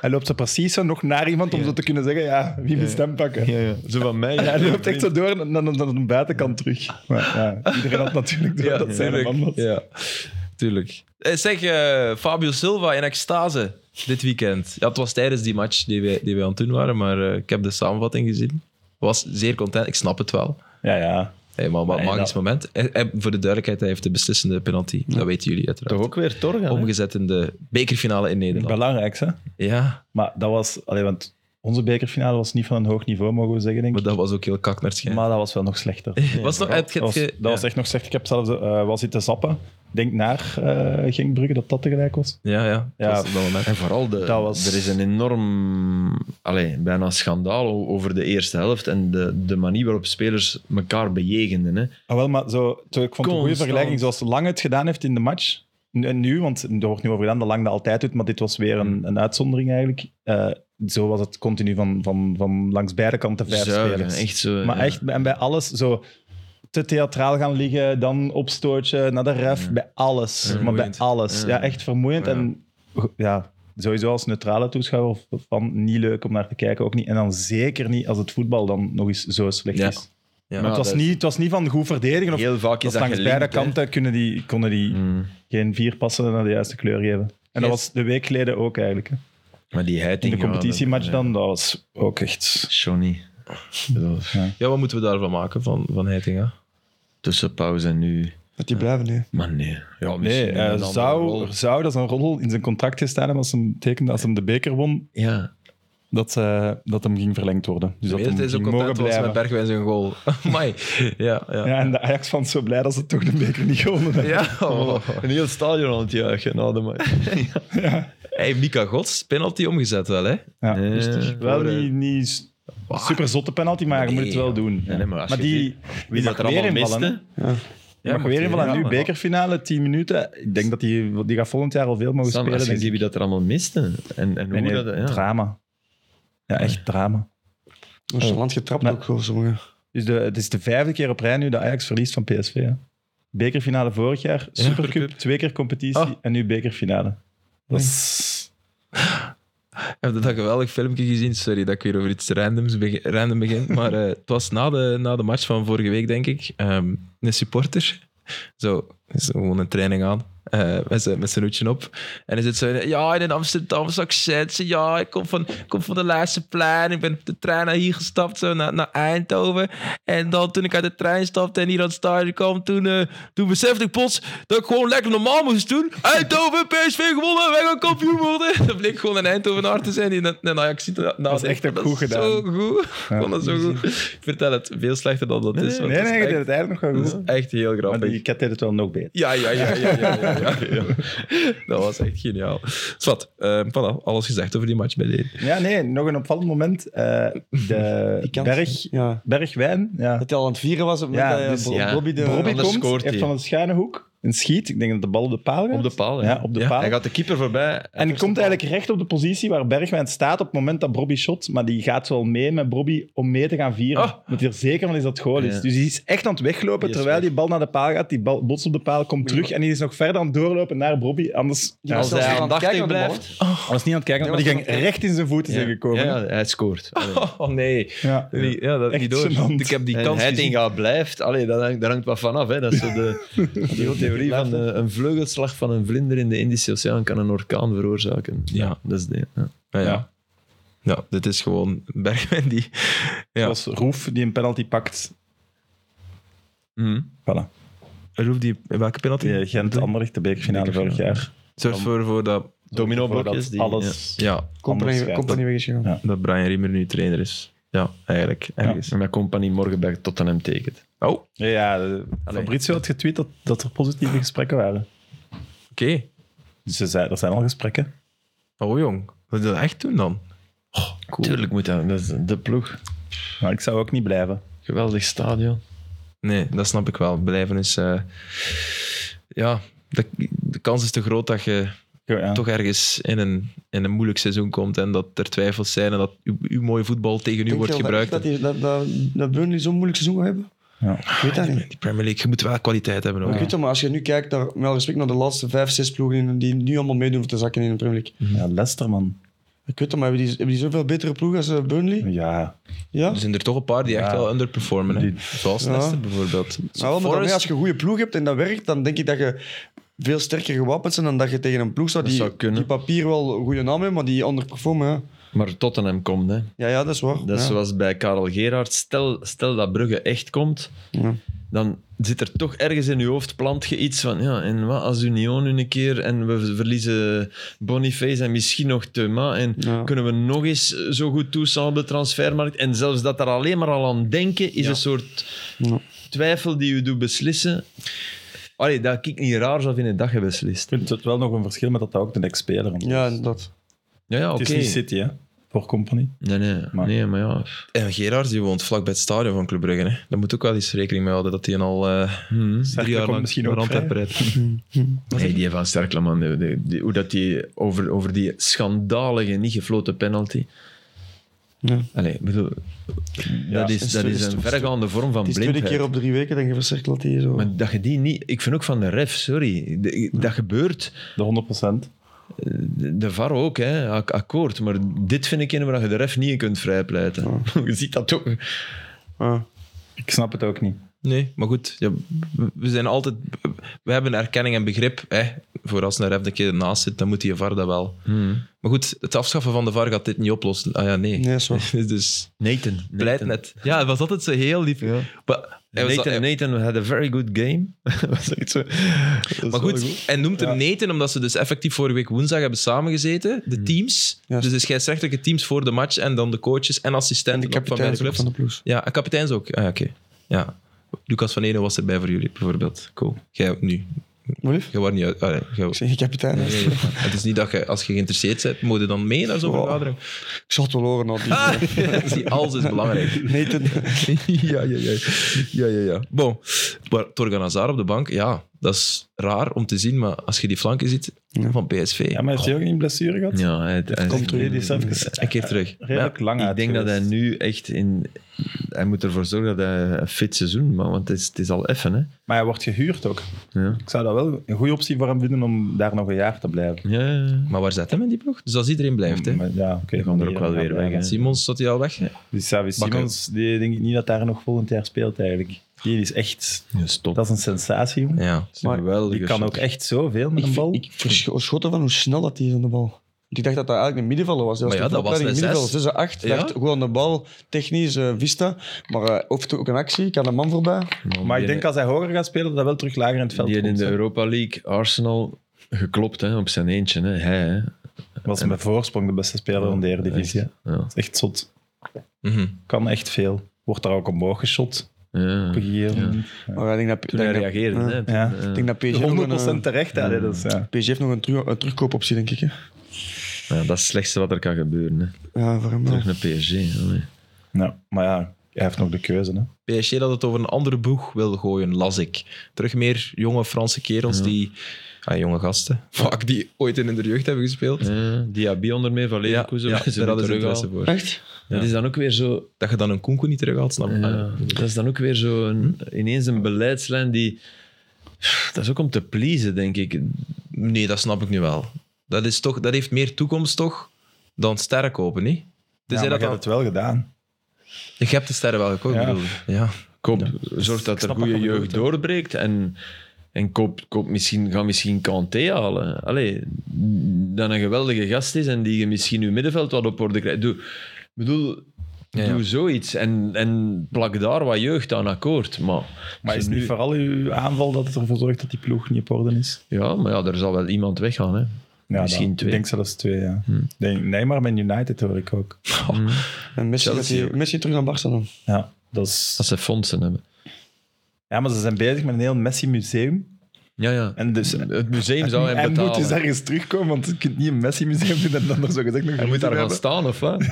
Speaker 3: Hij loopt zo precies zo nog naar iemand om zo te kunnen zeggen, ja, wie moet hem pakken?
Speaker 2: Zo van mij.
Speaker 3: En hij loopt echt zo door en dan dan- dan de buitenkant terug. Maar, ja, iedereen had natuurlijk door dat zijn een man was.
Speaker 1: Ja, tuurlijk. Eh, Zeg, eh, Fabio Silva in extase dit weekend. Ja, het was tijdens die match die wij, die wij aan het doen waren, maar eh, ik heb de samenvatting gezien. Was zeer content, ik snap het wel.
Speaker 3: Ja, ja.
Speaker 1: Hey, maar wat
Speaker 3: Nee,
Speaker 1: magisch
Speaker 3: dat-
Speaker 1: moment. Hij- hij- voor de duidelijkheid, hij heeft de beslissende penalty. Dat weten jullie uiteraard.
Speaker 2: Toch ook weer Torgan. hè?
Speaker 1: Omgezet in de bekerfinale in Nederland.
Speaker 3: Belangrijk, hè?
Speaker 1: Ja,
Speaker 3: Maar dat was, allee, want onze bekerfinale was niet van een hoog niveau, mogen we zeggen, denk
Speaker 1: maar
Speaker 3: ik.
Speaker 1: dat was ook heel kak naar het schijn.
Speaker 3: Maar dat was wel nog slechter.
Speaker 1: was nog,
Speaker 3: Dat was, dat was echt nog slechter. Ik heb zelfs eh wel zitten zappen. Denk naar eh Genkbrugge, dat dat tegelijk was.
Speaker 1: Ja, ja.
Speaker 3: Ja.
Speaker 1: ja. Dat was op dat moment.
Speaker 2: En vooral, de,
Speaker 3: Dat was-
Speaker 2: er is een enorm, allee, bijna schandaal o- over de eerste helft en de, de manier waarop spelers elkaar bejegenden. Hè.
Speaker 3: Ah, wel, maar zo, ik vond het een goede
Speaker 2: Constant.
Speaker 3: vergelijking. Zoals Lang het gedaan heeft in de match. nu- En nu, want er wordt nu over gedaan dat Lang dat altijd doet, maar dit was weer
Speaker 2: Hmm.
Speaker 3: een, een uitzondering eigenlijk. Eh, zo was het continu van, van, van langs beide kanten vijf
Speaker 2: Zuigen,
Speaker 3: spelers.
Speaker 2: echt eh, zo.
Speaker 3: maar
Speaker 2: ja.
Speaker 3: echt, en bij alles zo te theatraal gaan liggen, dan opstootje naar de ref, bij alles. maar bij
Speaker 1: Vermoeiend.
Speaker 3: alles. Ja,
Speaker 2: Ja.
Speaker 3: echt vermoeiend. En ja, sowieso als neutrale toeschouwer van niet leuk om naar te kijken, ook niet. En dan zeker niet als het voetbal dan nog eens zo slecht
Speaker 1: Ja.
Speaker 3: is.
Speaker 1: Ja.
Speaker 3: Maar
Speaker 2: Ja,
Speaker 3: het, was
Speaker 2: dat is-
Speaker 3: niet, het was niet van goed verdedigen. Of,
Speaker 2: Heel vaak is
Speaker 3: dat
Speaker 2: dat
Speaker 3: langs beide
Speaker 2: gelinkt, hè.
Speaker 3: kanten kunnen die, konden die
Speaker 2: Mm.
Speaker 3: geen vier passen naar de juiste kleur geven. En dat
Speaker 1: Yes.
Speaker 3: was de week geleden ook eigenlijk. hè.
Speaker 2: Maar die
Speaker 3: In
Speaker 2: heiting...
Speaker 3: de
Speaker 2: ja,
Speaker 3: competitiematch
Speaker 2: dat-
Speaker 3: dan, dat was ook echt...
Speaker 2: Johnny.
Speaker 1: eh, ja, wat moeten we daarvan maken, van, van Heitinga?
Speaker 2: Tussen pauze en nu.
Speaker 4: Dat die blijven, nee.
Speaker 2: Maar nee. Ja, misschien
Speaker 3: Nee,
Speaker 2: in
Speaker 3: eh,
Speaker 2: een andere
Speaker 3: zou,
Speaker 2: rol.
Speaker 3: er zou, dat is een roddel, in zijn contract gestaan hebben als hem tekende, als hem de beker won,
Speaker 2: Ja.
Speaker 3: dat, eh, dat hem ging verlengd worden. Dus dat
Speaker 1: het
Speaker 3: hem
Speaker 1: is ook
Speaker 3: ging mogen
Speaker 1: content was
Speaker 3: blijven.
Speaker 1: met Bergwijn zijn goal. Amai. Ja, ja.
Speaker 3: Ja, en de Ajax fans zo blij dat ze toch de beker niet gewonnen hebben.
Speaker 1: Ja, oh.
Speaker 2: Een heel stadion aan het juichen nou. na de match.
Speaker 1: Hey, Mika Gods, penalty omgezet wel, hè?
Speaker 3: Ja,
Speaker 2: Nee,
Speaker 3: rustig. Wel
Speaker 2: voor, eh,
Speaker 3: niet, niet super zotte penalty, maar je moet het
Speaker 1: Nee,
Speaker 3: wel
Speaker 1: ja.
Speaker 3: doen.
Speaker 2: Nee, nee, maar als je
Speaker 3: die,
Speaker 2: Wie
Speaker 3: die
Speaker 2: dat
Speaker 3: mag
Speaker 2: er
Speaker 3: weer
Speaker 2: allemaal
Speaker 3: invallen. hè?
Speaker 2: miste.
Speaker 3: Ja, mag weer invallen. En nu bekerfinale, 10 minuten. Ik denk dat die, die gaat volgend jaar al veel mogen
Speaker 2: Sam, als
Speaker 3: spelen.
Speaker 2: je
Speaker 3: denk
Speaker 2: ziet
Speaker 3: ik.
Speaker 2: wie dat er allemaal miste. En, en hoe
Speaker 3: Nee, nee,
Speaker 2: dat... Ja.
Speaker 3: drama. Ja, echt drama.
Speaker 4: Als je land getrapt
Speaker 3: Nee.
Speaker 4: ook, gewoon sommigen.
Speaker 3: Dus de, het is de vijfde keer op rij nu dat Ajax verliest van PSV. Hè? Bekerfinale vorig jaar, Supercup, twee keer competitie
Speaker 1: Ah.
Speaker 3: en nu bekerfinale. Dat is...
Speaker 1: Ik heb dat geweldig filmpje gezien. Sorry dat ik weer over iets randoms beg- random begin. Maar eh, het was na de, na de match van vorige week, denk ik. ehm, een supporter. Zo, is gewoon een training aan. eh, met zijn- met zijn hoedje op. En hij zit zo in, ja, in een Amsterdamse accent. Zo, Ja, ik kom van, ik kom van de laatste plein. Ik ben op de trein naar hier gestapt, zo naar, naar Eindhoven. En dan toen ik uit de trein stapte en hier aan het stage kwam, toen, eh, toen besefte ik plots dat ik gewoon lekker normaal moest doen. Eindhoven, PSV gewonnen, wij gaan kampioen worden. Dat bleek gewoon een Eindhovenaar te zijn die een, een Ajax Dat
Speaker 3: is echt ook goed gedaan.
Speaker 1: Zo goed. Ik vond dat zo goed. Ik vertel het veel slechter dan dat is.
Speaker 3: Nee,
Speaker 1: want
Speaker 3: Dus- nee,
Speaker 1: het is
Speaker 3: je deed
Speaker 1: echt-
Speaker 3: het eigenlijk nog wel
Speaker 1: het is
Speaker 3: goed.
Speaker 1: echt heel
Speaker 3: Maar
Speaker 1: grappig.
Speaker 3: die cat deed het wel nog beter.
Speaker 1: Ja, ja, ja, ja, ja, ja, ja. Dat was echt geniaal. Zwat, eh, voilà, alles gezegd over die match bij de.
Speaker 3: Ja, nee, nog een opvallend moment. eh, de
Speaker 4: Die kans-
Speaker 3: berg,
Speaker 4: Ja.
Speaker 3: Bergwijn, ja.
Speaker 4: Dat hij al aan het vieren was op het
Speaker 3: Ja,
Speaker 4: moment dat
Speaker 3: dus
Speaker 4: eh, Bo-
Speaker 2: ja.
Speaker 4: Bobby de...
Speaker 3: Robbie
Speaker 2: anders
Speaker 3: komt,
Speaker 2: scoort
Speaker 3: heeft
Speaker 2: hij.
Speaker 3: van een schuine hoek en schiet. Ik denk dat de bal op de paal gaat.
Speaker 2: Op de paal.
Speaker 3: Ja, op de
Speaker 2: Ja,
Speaker 3: paal.
Speaker 2: Hij gaat de keeper voorbij.
Speaker 3: En die komt eigenlijk recht op de positie waar Bergwijn staat op het moment dat Bobby shot. Maar die gaat wel mee met Bobby om mee te gaan vieren.
Speaker 1: Ah.
Speaker 3: Omdat hij er zeker van is dat het goal is.
Speaker 2: Oh. Ja.
Speaker 3: Dus die is echt aan het weglopen
Speaker 2: Die is
Speaker 3: terwijl
Speaker 2: weg.
Speaker 3: die bal naar de paal gaat. Die bal botst op de paal, komt terug. En die is nog verder aan het doorlopen naar Bobby. Anders
Speaker 4: Die
Speaker 3: ja,
Speaker 2: Als
Speaker 4: was
Speaker 3: hij
Speaker 4: zelfs
Speaker 2: hij
Speaker 4: aan het kijken
Speaker 2: aandachtig
Speaker 4: naar de bal,
Speaker 2: blijft.
Speaker 3: was niet aan het kijken. Maar die ging recht in zijn voeten zijn gekomen.
Speaker 2: Ja, hij scoort. Allee.
Speaker 1: Oh nee.
Speaker 3: Ja.
Speaker 1: Die- Ja, dat
Speaker 3: Echt
Speaker 1: niet door.
Speaker 3: gênant.
Speaker 1: Ik heb die
Speaker 2: en
Speaker 1: kans
Speaker 2: hij
Speaker 1: gezien.
Speaker 2: gaat blijft. Allee, daar hangt, daar hangt wat van af. Hè. Dat is zo de, die theorie van eh, een vleugelslag van een vlinder in de Indische Oceaan kan een orkaan veroorzaken.
Speaker 1: Ja.
Speaker 2: Dat is de, ja.
Speaker 1: Ja, ja.
Speaker 3: Ja.
Speaker 1: ja, dit is gewoon Bergwijn die... Ja.
Speaker 3: Zoals Roef die een penalty pakt.
Speaker 2: Mhm.
Speaker 3: Voilà.
Speaker 1: Roef die... Welke penalty?
Speaker 3: Die Gent Anderlecht, de bekerfinale vorig jaar.
Speaker 1: Zorg voor, voor dat,
Speaker 2: Domino-blokjes.
Speaker 3: Voordat
Speaker 2: die-
Speaker 3: alles
Speaker 1: ja,
Speaker 4: Komt er
Speaker 3: Anders
Speaker 4: niet-
Speaker 3: gaat
Speaker 4: komt
Speaker 3: dat-
Speaker 4: er niet weg is, jongen.
Speaker 3: Ja.
Speaker 1: dat Brian Riemer nu trainer is. Ja, eigenlijk.
Speaker 2: Ja.
Speaker 1: Ergens.
Speaker 2: En dat compagnie morgen bij Tottenham tekent.
Speaker 1: Oh, oké.
Speaker 3: Ja, ja, Fabrizio had getweet dat, dat er positieve gesprekken waren. Dus ze zei, er zijn al gesprekken.
Speaker 1: Oh jong, wat wil je dat echt doen dan?
Speaker 2: Tuurlijk moet dat. Dat is de ploeg.
Speaker 3: Maar ik zou ook niet blijven.
Speaker 2: Geweldig stadion.
Speaker 1: Nee, dat snap ik wel. Blijven is... eh, ja, de, de kans is te groot dat je
Speaker 3: Ja.
Speaker 1: toch ergens in een, in een moeilijk seizoen komt en dat er twijfels zijn en dat uw, uw mooie voetbal tegen u
Speaker 4: Denk
Speaker 1: wordt
Speaker 4: je wel
Speaker 1: gebruikt.
Speaker 4: Dat, echt dat, die- dat, dat, dat Burnley zo'n moeilijk seizoen gaat hebben?
Speaker 3: Ja.
Speaker 4: Ik weet dat niet.
Speaker 1: Die Premier League, je moet wel kwaliteit hebben. Ook.
Speaker 4: Ik weet dat, maar als je nu kijkt, naar, met alle respect naar de laatste vijf, zes ploegen die nu allemaal meedoen voor te zakken in de Premier League.
Speaker 3: Ja, Leicester, man.
Speaker 4: Ik weet dat, maar hebben die, hebben die zoveel betere ploegen als eh, Burnley?
Speaker 3: Ja.
Speaker 4: Ja?
Speaker 1: Er
Speaker 2: Dus-
Speaker 1: zijn er toch een paar die echt
Speaker 3: Ja.
Speaker 1: wel underperformen. hè.
Speaker 3: Die-
Speaker 1: Zoals
Speaker 4: Ja. Nou,
Speaker 1: Leicester bijvoorbeeld.
Speaker 4: Maar Ah, wel, maar
Speaker 1: Forest-
Speaker 4: daarmee, als je een goede ploeg hebt en dat werkt, dan denk ik dat je veel sterker gewapend bent dan dat je tegen een ploeg zou
Speaker 2: Dat
Speaker 4: die,
Speaker 2: zou kunnen.
Speaker 4: die papier wel een goede naam heeft, maar die underperformen. Ja,
Speaker 2: Maar Tottenham komt, hè.
Speaker 4: ja, ja dat is waar.
Speaker 2: Dat is
Speaker 4: ja.
Speaker 2: zoals bij Karel Gerard. Stel, stel dat Brugge echt komt,
Speaker 4: Ja.
Speaker 2: dan zit er toch ergens in uw hoofd plant je iets van, ja, en wat als Union nu een keer en we verliezen Boniface en misschien nog Thuma en
Speaker 4: Ja.
Speaker 2: kunnen we nog eens zo goed toestaan op de transfermarkt en zelfs dat daar alleen maar al aan denken is een soort
Speaker 4: Ja.
Speaker 2: twijfel die u doet beslissen. Allee, dat ik niet raar zou vinden dat je beslist.
Speaker 3: Ik vind het wel nog een verschil met dat dat ook de ex-speler is.
Speaker 4: Ja, inderdaad.
Speaker 2: Ja, ja
Speaker 3: Het
Speaker 2: oké.
Speaker 3: is niet City, hè. Voor Company.
Speaker 2: Nee, nee,
Speaker 3: Maar-
Speaker 2: nee, maar ja.
Speaker 1: En Gerard die woont vlakbij het stadion van Club Brugge. Hè. Daar moet ook wel eens rekening mee houden dat hij al eh,
Speaker 2: Hmm.
Speaker 1: drie jaar
Speaker 3: komt
Speaker 1: lang
Speaker 3: misschien
Speaker 1: naar
Speaker 3: ook
Speaker 1: Antwerpen rijdt.
Speaker 2: Nee, die van Sterkleman, die- die- die- hoe dat die over, over die schandalige, niet gefloten penalty.
Speaker 4: Ja.
Speaker 2: Allee, ik bedoel, dat is,
Speaker 4: is
Speaker 2: dat
Speaker 4: tweede-
Speaker 2: is een verregaande vorm van
Speaker 4: Het is de tweede keer
Speaker 2: blindheid.
Speaker 4: op drie weken dat je versterkt dat die zo...
Speaker 2: Maar dat je die niet... Ik vind ook van de ref, sorry, de- dat gebeurt.
Speaker 3: De 100 procent.
Speaker 2: De de VAR ook, hè, ak- akkoord. Maar dit vind ik in waar je de ref niet in kunt vrijpleiten. Je ziet dat ook.
Speaker 4: Ja.
Speaker 3: Ik snap het ook niet.
Speaker 1: Nee, maar goed. Ja, we- we zijn altijd... We hebben erkenning en begrip. Hè. Voor als een ref een keer ernaast zit, dan moet die VAR dat wel. Maar goed, het afschaffen van de VAR gaat dit niet oplossen. Ah ja, nee.
Speaker 4: Nee, dat is waar.
Speaker 1: dus
Speaker 2: Nathan.
Speaker 1: pleit
Speaker 2: Nathan.
Speaker 1: net. Ja, was altijd zo heel lief.
Speaker 2: Ja.
Speaker 1: Maar, hij was-
Speaker 2: Nathan,
Speaker 1: hij-
Speaker 2: Nathan had a very good game. Was echt zo-
Speaker 1: maar goed, hij noemt hem Nathan omdat ze dus effectief vorige week woensdag hebben samengezeten. De teams.
Speaker 4: Mhm. Juist.
Speaker 1: Dus de scheidsrechtelijke teams voor de match en dan de coaches en
Speaker 4: En de
Speaker 1: assistenten ook van
Speaker 4: kapitein
Speaker 1: beide
Speaker 4: is ook
Speaker 1: clubs.
Speaker 4: van de ploeg.
Speaker 1: Ja, en kapiteins ook. Ah, ja, oké. Ja. Lucas van Ene was erbij voor jullie, bijvoorbeeld. Cool. Jij ook nu.
Speaker 4: Wat lief?
Speaker 1: Jij was niet uit. allee, jij-
Speaker 4: Ik zeg je kapitein. hè.
Speaker 1: Nee, het is niet dat je, als je geïnteresseerd bent, moet je dan mee naar zo'n
Speaker 4: Wow.
Speaker 1: vergadering.
Speaker 4: Ik zal het wel horen. al die-
Speaker 1: Zie, Alles is belangrijk.
Speaker 4: Nee, ten-
Speaker 1: ja, ja, ja. Ja, ja, ja. Bon. Maar Torgan Hazard op de bank, ja, dat is raar om te zien, maar als je die flanken ziet van PSV,
Speaker 3: Ja, maar heeft hij ook geen blessure gehad?
Speaker 2: Ja, hij, hij-
Speaker 3: Komt terug. Die is even
Speaker 1: oh, een keer terug.
Speaker 3: redelijk lang
Speaker 2: Ik
Speaker 3: uit
Speaker 2: denk dat hij
Speaker 3: geweest.
Speaker 2: nu echt in. Hij moet ervoor zorgen dat hij een fit seizoen maakt, want het is, het is al effen, hè?
Speaker 3: Maar hij wordt gehuurd ook.
Speaker 2: Ja.
Speaker 3: Ik zou dat wel een goede optie voor hem vinden om daar nog een jaar te blijven.
Speaker 2: Ja, ja, ja.
Speaker 1: Maar waar zet hem in die ploeg? Dus als iedereen blijft, hè.
Speaker 3: Maar ja, oké.
Speaker 2: Die gaan er ook wel weer weg, hè.
Speaker 1: Simons zat hij al weg.
Speaker 3: Die Savi
Speaker 1: Bakker.
Speaker 3: Simons, die denk ik niet dat daar nog volgend jaar speelt eigenlijk. Die is echt...
Speaker 2: Ja, stop.
Speaker 3: Dat is een sensatie, jongen.
Speaker 1: Ja.
Speaker 2: is een geweldige
Speaker 3: Die kan
Speaker 2: shot.
Speaker 3: ook echt zoveel met
Speaker 4: ik,
Speaker 3: een bal.
Speaker 4: vind- ik verscho- schot ervan hoe snel dat hij is aan de bal. Want ik dacht dat dat eigenlijk een middenvelder was.
Speaker 1: Maar ja,
Speaker 4: de
Speaker 1: dat was
Speaker 4: voorbereiding
Speaker 1: een
Speaker 4: middenvelder,
Speaker 1: zes.
Speaker 4: 6 8.
Speaker 1: Ja.
Speaker 4: dacht, goed aan de bal, technisch, eh, vista. Maar eh, of het ook een actie, kan een man voorbij.
Speaker 3: Maar ik denk als hij hoger gaat spelen, dat hij wel terug lager in het veld
Speaker 2: Die
Speaker 3: komt.
Speaker 2: in de
Speaker 3: hè.
Speaker 2: Europa League Arsenal geklopt hè, op zijn eentje. Hè. Hij, hè.
Speaker 3: was met voorsprong de beste speler van de Eredivisie. hè.
Speaker 2: Echt, Ja.
Speaker 3: Dat is echt zot.
Speaker 1: Mhm.
Speaker 3: Kan echt veel. Wordt daar ook omhoog geschot
Speaker 2: Ja.
Speaker 3: op een gegeven
Speaker 2: Ja.
Speaker 3: moment. Ja.
Speaker 4: Maar ik denk dat,
Speaker 2: Toen
Speaker 4: dat-
Speaker 2: hij
Speaker 4: dat-
Speaker 2: reageerde.
Speaker 4: Ja.
Speaker 2: Hè. Toen,
Speaker 3: Ja.
Speaker 2: eh,
Speaker 4: ik denk dat PSG nog een,
Speaker 3: 100% terecht. hè, dat is, ja.
Speaker 4: eh, PSG heeft nog een, terug- een terugkoopoptie, denk ik. Hè.
Speaker 2: ja, dat is het slechtste wat er kan gebeuren. Hè.
Speaker 4: Ja, voor hem eh. wel.
Speaker 2: Terug naar PSG. hè.
Speaker 3: Ja, Nou, Maar ja, Hij heeft nog de keuze.
Speaker 4: Dus
Speaker 3: Hè?
Speaker 1: PSG dat het over een andere boeg wil gooien, las ik. Terug meer jonge Franse kerels die... Ah, jonge gasten. Vaak die ooit in hun jeugd hebben gespeeld.
Speaker 2: Ja, Diaby onder meer van
Speaker 1: Ja,
Speaker 2: Leverkusen.
Speaker 1: ja,
Speaker 2: waar ze
Speaker 1: daar hadden ze
Speaker 2: terug
Speaker 1: interesse
Speaker 2: al.
Speaker 1: voor.
Speaker 4: Echt?
Speaker 1: Ja.
Speaker 2: Dat is dan ook weer zo...
Speaker 1: Dat je dan een Konko niet terug haalt, snap ik.
Speaker 2: ja, dat is dan ook weer zo een, ineens een beleidslijn die... Dat is ook om te pleasen, denk ik.
Speaker 1: Nee, dat snap ik nu wel. Dat, is toch, dat heeft meer toekomst toch dan sterren kopen, niet? Dus
Speaker 3: ja, maar
Speaker 1: dat
Speaker 3: je
Speaker 1: dan-
Speaker 3: hebt het wel gedaan.
Speaker 1: Je hebt de sterren wel gekocht,
Speaker 3: Ja.
Speaker 1: bedoel je? Ja.
Speaker 2: Koop, zorg dat er
Speaker 3: snap wat
Speaker 2: goede
Speaker 3: je bedoelt,
Speaker 2: jeugd
Speaker 3: hè.
Speaker 2: doorbreekt en, en koop, koop misschien, ga misschien Kanté halen. Allee, dat een geweldige gast is en die je misschien je middenveld wat op orde krijgt. Doe, ik bedoel,
Speaker 1: Ja, ja.
Speaker 2: doe zoiets en, en plak daar wat jeugd aan akkoord. Maar,
Speaker 3: Maar
Speaker 2: zo
Speaker 3: is het niet vooral uw aanval dat het ervoor zorgt dat die ploeg niet op orde is?
Speaker 2: Ja, maar ja, er zal wel iemand weggaan. Hè.
Speaker 3: Ja,
Speaker 2: Misschien
Speaker 3: dan-
Speaker 2: twee. Hmm.
Speaker 3: Ik denk zelfs twee, ja. Denk, nee, maar met United hoor ik ook.
Speaker 4: En Messi, gaat
Speaker 1: Chelsea
Speaker 4: die-
Speaker 1: ook.
Speaker 4: Messi terug naar Barcelona.
Speaker 3: Ja, dat is...
Speaker 2: Als ze fondsen hebben.
Speaker 3: ja, maar ze zijn bezig met een heel Messi-museum.
Speaker 2: Ja, ja.
Speaker 3: En dus...
Speaker 2: Het museum zou hem
Speaker 3: hij
Speaker 2: betalen.
Speaker 3: moet dus ergens terugkomen, want je kunt niet een Messi-museum doen en dan nog zo gezegd nog
Speaker 2: Hij moet daar gaan staan, of wat?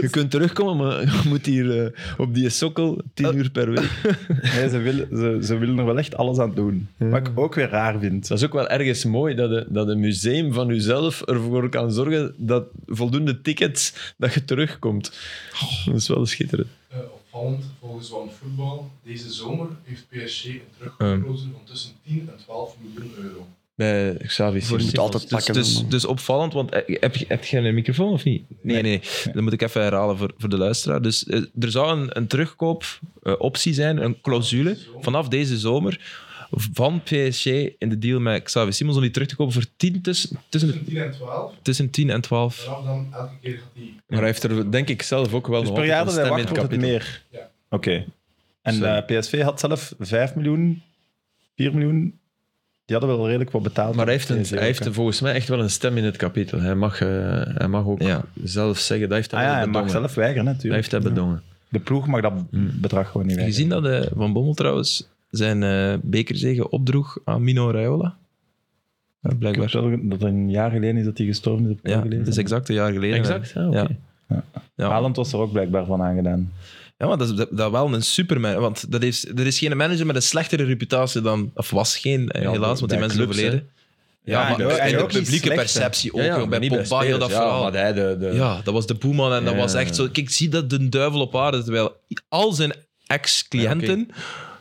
Speaker 2: Je kunt terugkomen, maar je moet hier eh, op die sokkel tien uur per week.
Speaker 3: Nee, ze willen, ze, ze willen er wel echt alles aan doen. Wat ik ook weer raar vind.
Speaker 2: Dat is ook wel ergens mooi dat, de, dat een museum van jezelf ervoor kan zorgen dat voldoende tickets dat je terugkomt. Dat is wel schitterend.
Speaker 5: Eh, opvallend volgens One Football, deze zomer heeft PSG een teruggekozen van tussen 10 en 12 miljoen euro.
Speaker 2: Bij Xavi
Speaker 4: Je
Speaker 2: Simons.
Speaker 4: moet altijd
Speaker 1: Dus,
Speaker 4: pakken.
Speaker 1: dus,
Speaker 4: man.
Speaker 1: dus opvallend, want eh, heb je, heb je een microfoon of niet? Nee, nee, Dat moet ik even herhalen voor, voor de luisteraar. Dus eh, er zou een, een terugkoopoptie zijn, een clausule, vanaf deze zomer van PSG in de deal met Xavi Simons om die terug te kopen voor 10 tussen, tussen, de-
Speaker 5: Tussen 10 en 12,
Speaker 1: tussen 10 en 12.
Speaker 5: vanaf dan elke keer gaat die
Speaker 2: Maar hij heeft er denk ik zelf ook wel
Speaker 3: Dus
Speaker 2: nog
Speaker 3: per jaar
Speaker 2: altijd
Speaker 3: dat
Speaker 2: een
Speaker 3: hij
Speaker 2: stem in
Speaker 3: wacht
Speaker 2: het
Speaker 3: wordt het
Speaker 2: kapitaal.
Speaker 3: meer.
Speaker 5: Ja.
Speaker 3: Oké. En
Speaker 2: Sorry.
Speaker 3: eh, PSV had zelf 5 miljoen, 4 miljoen. Die hadden wel redelijk wat betaald.
Speaker 2: Maar hij heeft, een,
Speaker 3: PSV ook,
Speaker 2: hij heeft
Speaker 3: hè.
Speaker 2: volgens mij echt wel een stem in het kapitel. Hij mag, eh, hij mag ook
Speaker 1: Ja.
Speaker 2: zelf zeggen, dat heeft hij
Speaker 3: Ah ja,
Speaker 2: wel
Speaker 3: hij mag
Speaker 2: bedongen.
Speaker 3: zelf weigeren
Speaker 2: Hij
Speaker 3: natuurlijk.
Speaker 2: heeft dat bedongen.
Speaker 3: De ploeg mag dat bedrag gewoon niet
Speaker 1: Heb je
Speaker 3: weigeren.
Speaker 1: gezien dat eh, Van Bommel trouwens zijn eh bekerzegen opdroeg aan Mino Raiola? Ja,
Speaker 3: Ik heb
Speaker 1: blijkbaar.
Speaker 3: wel- dat een jaar geleden is dat hij gestorven is. Heb ik
Speaker 1: Ja,
Speaker 3: gelezen.
Speaker 1: dat is exact Ah, een jaar geleden.
Speaker 2: Exact, ja, oké.
Speaker 1: Ja. Ja.
Speaker 3: Haaland was er ook blijkbaar van aangedaan.
Speaker 1: Ja, maar dat is dat, dat wel een superman. Want dat is, er is geen manager met een slechtere reputatie dan... Of was geen, eh,
Speaker 2: Ja,
Speaker 1: helaas, want
Speaker 2: bij
Speaker 1: die mensen
Speaker 2: clubs,
Speaker 1: overleden.
Speaker 2: Ja,
Speaker 1: Ja,
Speaker 2: en ook-
Speaker 1: maar
Speaker 2: en
Speaker 1: in de
Speaker 2: ook
Speaker 3: niet
Speaker 1: publieke
Speaker 3: slecht, hè.
Speaker 1: perceptie ook.
Speaker 2: Ja, ja,
Speaker 1: jong. bij
Speaker 2: maar niet
Speaker 1: Pogba, heel
Speaker 2: spelers.
Speaker 1: dat
Speaker 2: Ja,
Speaker 1: verhaal.
Speaker 2: maar hij de, de,
Speaker 1: Ja, dat was de boeman en dat
Speaker 2: Ja.
Speaker 1: was echt zo... Kijk, ik zie dat de duivel op aarde. Terwijl al zijn ex-cliënten...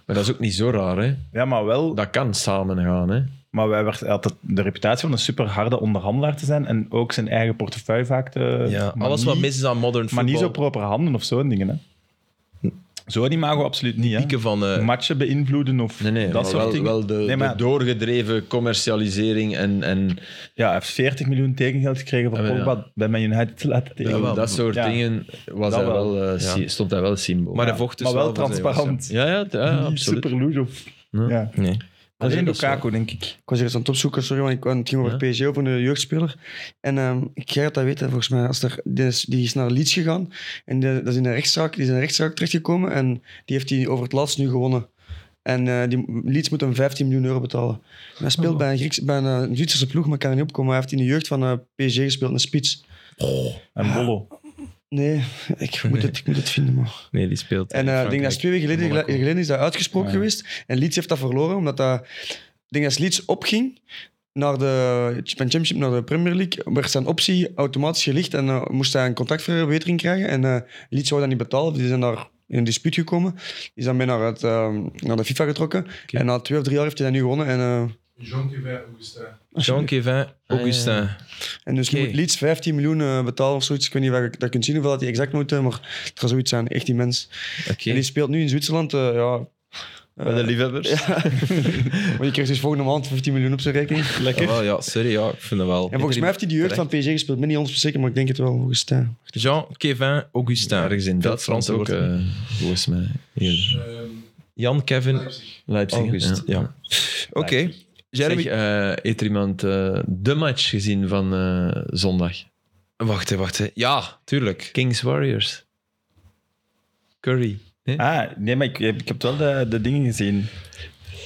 Speaker 2: Maar dat is ook niet zo raar, hè.
Speaker 3: Ja, maar wel.
Speaker 2: Dat kan samen gaan, hè.
Speaker 3: Maar wij werd, hij had het- de reputatie van een super harde onderhandelaar te zijn. En ook zijn eigen portefeuille vaak te.
Speaker 1: ja,
Speaker 3: maar
Speaker 1: alles
Speaker 3: niet-
Speaker 1: wat mis is aan modern
Speaker 3: Maar
Speaker 1: football.
Speaker 3: niet zo proper handen of zo'n dingen. Hè. Zo'n imago absoluut niet. Hè.
Speaker 1: pieken van... eh,
Speaker 3: Matchen beïnvloeden of
Speaker 2: Nee, nee,
Speaker 3: dat
Speaker 2: maar
Speaker 3: soort
Speaker 2: wel,
Speaker 3: dingen.
Speaker 2: wel de,
Speaker 3: Nee, maar-
Speaker 2: de doorgedreven commercialisering en, en
Speaker 3: Ja, hij heeft 40 miljoen tekengeld gekregen voor
Speaker 2: Ja, maar ja.
Speaker 3: Pogba bij Man United te laten tegen.
Speaker 1: wel.
Speaker 2: dat soort
Speaker 3: Ja.
Speaker 2: dingen was
Speaker 3: Dat
Speaker 2: hij wel, eh,
Speaker 1: Ja.
Speaker 2: sy- stond hij wel symbool.
Speaker 1: maar hij vocht dus
Speaker 3: maar
Speaker 1: voor
Speaker 3: wel,
Speaker 1: zijn
Speaker 3: transparant.
Speaker 2: ja, ja, t- ja,
Speaker 3: Niet
Speaker 2: absoluut.
Speaker 3: super loes of... Ja.
Speaker 1: jongens, ja. Nee.
Speaker 3: Alleen
Speaker 2: dat is
Speaker 3: Lukaku, denk ik.
Speaker 4: Ik was hier eens aan het opzoeken, sorry, want ik, want het ging over PSG, over een jeugdspeler. En ehm jij gaat dat weten, volgens mij. Als er, die, is, die is naar Leeds gegaan en die, dat is in een rechtszaak, die is in een rechtszaak terechtgekomen en die heeft hij over het laatst nu gewonnen. En eh, die, Leeds moet hem 15 miljoen euro betalen. En hij speelt bij, een Grieks, bij een, eh, een Zwitserse ploeg, maar kan er niet opkomen. Hij heeft in de jeugd van eh, PSG gespeeld, een spits.
Speaker 3: En Bollo.
Speaker 4: Nee, ik moet, Het, ik moet het vinden, maar...
Speaker 1: nee, die speelt...
Speaker 4: En
Speaker 1: in
Speaker 4: eh, ik denk dat
Speaker 1: Frankrijk.
Speaker 4: is twee weken geleden,
Speaker 1: Monaco.
Speaker 4: geleden is dat uitgesproken
Speaker 3: Ja.
Speaker 4: geweest. En Leeds heeft dat verloren, omdat dat... Ik denk dat Leeds opging naar de, van Championship naar de Premier League, werd zijn optie automatisch gelicht en eh, moest hij een contractverbetering krijgen. En eh, Leeds zou dat niet betalen, die zijn daar in een dispuut gekomen. Die is dan mee naar, het, eh, naar de FIFA getrokken. En na twee of drie jaar heeft hij dat nu gewonnen. En, eh,
Speaker 5: Jean Kevin Augustin.
Speaker 1: Jean Kevin Ah, Augustin.
Speaker 4: en dus
Speaker 1: Oké.
Speaker 4: moet Leeds 15 miljoen eh, betalen of zoiets. Ik weet niet waar je dat kunt zien, hoeveel dat hij exact moet, eh, maar het gaat zoiets zijn. Echt immens.
Speaker 1: Oké.
Speaker 4: En die speelt nu in Zwitserland, eh, ja...
Speaker 2: Bij de liefhebbers.
Speaker 4: Maar je krijgt dus volgende maand 15 miljoen op zijn rekening.
Speaker 1: Ah, wel, ja, sorry, ja, ik vind het wel.
Speaker 4: En volgens mij heeft hij de jeugd van PSG gespeeld. Ik ben niet 100% zeker, maar ik denk het wel. Volgens mij.
Speaker 1: Jean Kevin Augustin.
Speaker 2: Ergens in
Speaker 1: Veel
Speaker 2: Duitsland
Speaker 1: Fransen
Speaker 2: ook,
Speaker 1: wordt-
Speaker 2: eh, volgens mij. Hier.
Speaker 5: Ehm,
Speaker 1: Jan Kevin
Speaker 5: Leipzig.
Speaker 2: Leipzig.
Speaker 3: Oh,
Speaker 1: August. Ja. Oké. Jeremy.
Speaker 2: Jeremy... Zeg, eh, heeft er iemand eh, de match gezien van eh, zondag?
Speaker 1: eh, wacht, hè, wacht. hè. Ja, tuurlijk.
Speaker 2: Kings Warriors. Curry. Nee?
Speaker 3: Ah, nee, maar ik, ik heb wel de, de dingen gezien. Ja,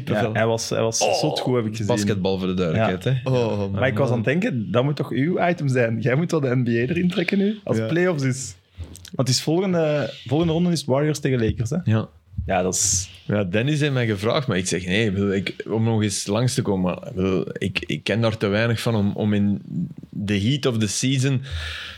Speaker 2: Kippenvel.
Speaker 3: hij was, hij was zot goed, heb ik gezien.
Speaker 1: Oh, Basketbal voor de duidelijkheid. Hè.
Speaker 2: oh, man.
Speaker 3: Maar ik was aan het denken, dat moet toch uw item zijn? Jij moet wel de NBA erin trekken nu, als playoffs is. Want het is volgende, volgende ronde is Warriors tegen Lakers. Hè?
Speaker 2: Ja.
Speaker 3: Ja, dat is.
Speaker 2: Ja, Dennis heeft mij gevraagd, maar ik zeg nee, ik bedoel, ik, om nog eens langs te komen. maar Ik, bedoel, ik, ik ken daar te weinig van om, om in de heat of the season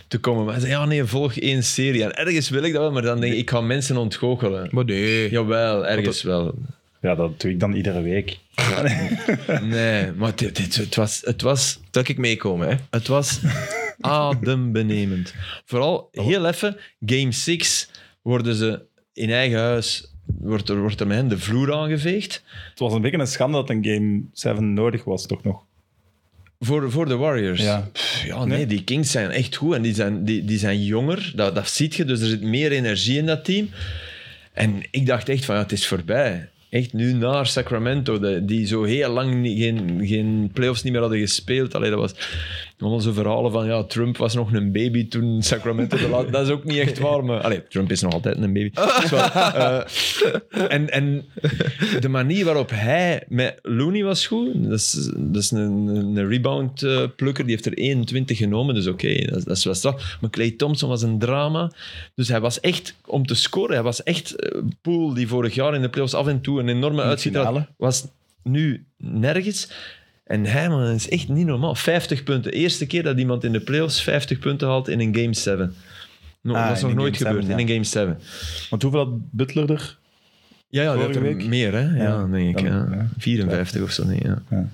Speaker 2: te komen. Maar hij zei, ja nee, volg één serie. En ergens wil ik dat wel, maar dan denk ik, ik ga mensen ontgoochelen.
Speaker 1: Maar nee.
Speaker 2: Jawel, ergens wel.
Speaker 3: Ja, dat doe ik dan iedere week.
Speaker 2: Nee, maar dit, dit, het, was, het, was,
Speaker 1: Dat ik meekomen, hè.
Speaker 2: het was adembenemend. Vooral
Speaker 1: Oh.
Speaker 2: heel even, game 6 worden ze in eigen huis, wordt er, wordt er met hen de vloer aangeveegd.
Speaker 3: Het was een beetje een schande dat een Game 7 nodig was, toch nog?
Speaker 2: Voor, voor de Warriors?
Speaker 3: Ja.
Speaker 2: Pff, ja nee, die Kings zijn echt goed en die zijn, die, die zijn jonger. Dat, dat ziet je, dus er zit meer energie in dat team. En ik dacht echt van, ja, het is voorbij. Echt nu naar Sacramento, de- die zo heel lang niet- geen, geen playoffs niet meer hadden gespeeld. Allee, dat was allemaal zo verhalen van, ja, Trump was nog een baby toen Sacramento de laat- Dat is ook niet echt waar, maar... Allee, Trump is nog altijd een baby. Is wel, eh, en, en de manier waarop hij met Looney was goed. Dat is, dat is een, een rebound eh, plukker. Die heeft er 21 genomen, dus oké, dat, is- dat is wel straf. Maar Clay Thompson was een drama. Dus hij was echt, om te scoren, hij was echt eh, Poel die vorig jaar in de playoffs af en toe een enorme
Speaker 3: de
Speaker 2: uitschieter had.
Speaker 3: finale.
Speaker 2: Was nu nergens. En hij, man, dat is echt niet normaal. 50 punten. Eerste keer dat iemand in de playoffs 50 punten haalt in een game 7. No,
Speaker 3: Ah,
Speaker 2: dat is
Speaker 3: in
Speaker 2: nog
Speaker 3: een
Speaker 2: nooit
Speaker 3: game
Speaker 2: gebeurd,
Speaker 3: seven,
Speaker 2: in een game 7.
Speaker 3: Want hoeveel had Butler er?
Speaker 2: Ja, ja die
Speaker 3: Vorige
Speaker 2: had er
Speaker 3: week?
Speaker 2: meer, hè? Ja,
Speaker 3: Ja,
Speaker 2: denk ik.
Speaker 3: dan-
Speaker 2: ja.
Speaker 3: ja.
Speaker 2: 54 of zo, nee. Ja.
Speaker 3: Ja.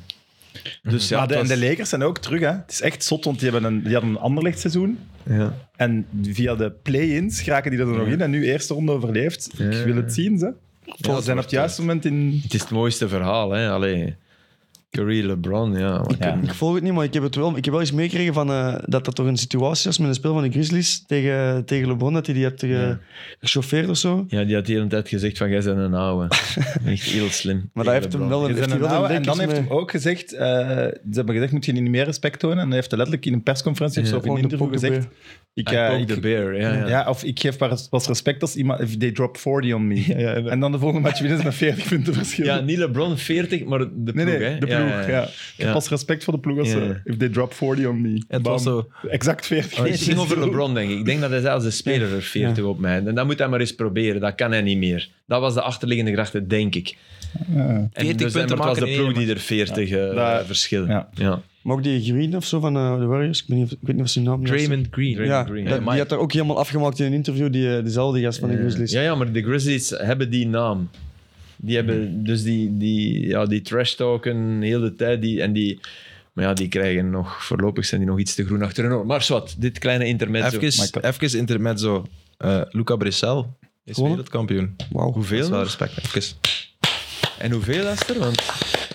Speaker 2: Dus ja,
Speaker 3: maar de,
Speaker 2: het
Speaker 3: En
Speaker 2: was-
Speaker 3: de Lakers zijn ook terug, hè? Het is echt zot, want die, hebben een, die hadden een ander seizoen.
Speaker 2: ja.
Speaker 3: En via de play-ins raken die er nog in. En nu eerste ronde overleefd. Ik
Speaker 2: Ja.
Speaker 3: wil het zien, ze.
Speaker 2: dat
Speaker 3: Ze zijn op
Speaker 2: wordt
Speaker 3: het juiste moment in...
Speaker 2: Het is het mooiste verhaal, hè? Allee. Curry, LeBron, ja. maar
Speaker 3: Ja.
Speaker 4: Ik volg het niet, maar ik heb, het wel, ik heb wel eens meegekregen van, eh, dat dat toch een situatie was met een spel van de Grizzlies tegen, tegen LeBron, dat hij die hebt
Speaker 2: Ja.
Speaker 4: ge, gechauffeerd of zo.
Speaker 2: Ja, die had de hele tijd gezegd van, jij bent een ouwe. Echt heel slim.
Speaker 4: Maar dat heeft hem wel
Speaker 3: Ze
Speaker 4: een, heeft
Speaker 3: zijn
Speaker 4: hij
Speaker 3: een
Speaker 4: wel een
Speaker 3: oude,
Speaker 4: link
Speaker 3: en dan
Speaker 4: iets
Speaker 3: heeft
Speaker 4: mee.
Speaker 3: hij ook gezegd... eh, ze hebben gezegd, moet je niet meer respect tonen? En hij heeft letterlijk in een persconferentie of
Speaker 2: Ja.
Speaker 3: zo, of in een
Speaker 4: Gewoon de
Speaker 3: interview
Speaker 4: pokken
Speaker 3: gezegd... Ik,
Speaker 2: I
Speaker 3: eh,
Speaker 2: poke
Speaker 3: ik-
Speaker 2: the Ah, bear, ja.
Speaker 3: ja.
Speaker 2: ja.
Speaker 3: of ik geef maar pas respect als iemand... If they drop 40 on me.
Speaker 2: ja,
Speaker 3: en,
Speaker 2: en-
Speaker 3: dan... de volgende match winnen ze met 40 punten verschil.
Speaker 2: Ja, niet LeBron 40, maar de ploeg,
Speaker 3: nee, nee,
Speaker 2: hè?
Speaker 3: de ploeg. Ja, Ik heb
Speaker 2: Ja.
Speaker 3: pas respect voor de ploeg als ze...
Speaker 2: Ja.
Speaker 3: If they drop 40 on me.
Speaker 1: Het was
Speaker 3: Bam.
Speaker 1: zo.
Speaker 3: Exact 40.
Speaker 2: Nee, het ging over LeBron, denk ik. Ik denk dat hij zelfs de speler er 40 op mij. En dat moet hij maar eens proberen. Dat kan hij niet meer. Dat was de achterliggende gedachte, denk ik. En
Speaker 1: 40 punten
Speaker 2: dus, maar het was
Speaker 1: maken
Speaker 2: de
Speaker 1: in
Speaker 2: ploeg
Speaker 1: één
Speaker 2: die er 40 eh,
Speaker 3: Daar-
Speaker 2: verschillen.
Speaker 3: ja.
Speaker 2: Ja.
Speaker 4: Maar ook die Green of zo van eh, de Warriors, ik weet niet of, ik weet niet of zijn naam was.
Speaker 1: Draymond Green.
Speaker 4: Ja,
Speaker 2: Green,
Speaker 4: dat-
Speaker 1: ja.
Speaker 4: die had daar ook helemaal afgemaakt in een interview, die, eh, diezelfde gast van de Grizzlies.
Speaker 2: Ja, ja, maar de Grizzlies hebben die naam. Die hebben dus die, die, ja, die trash talken heel de tijd. Die, en die, maar ja, die krijgen nog, voorlopig zijn die nog iets te groen achter hun oor. Maar zwart, dit kleine intermezzo.
Speaker 1: Even, even intermezzo. Eh Luca Brissel is
Speaker 4: Gewonnen?
Speaker 1: wereldkampioen.
Speaker 4: Wauw.
Speaker 1: Dat is
Speaker 2: Hoeveel?
Speaker 1: wel
Speaker 2: nog?
Speaker 1: respect. Even.
Speaker 2: En hoeveel is er? Want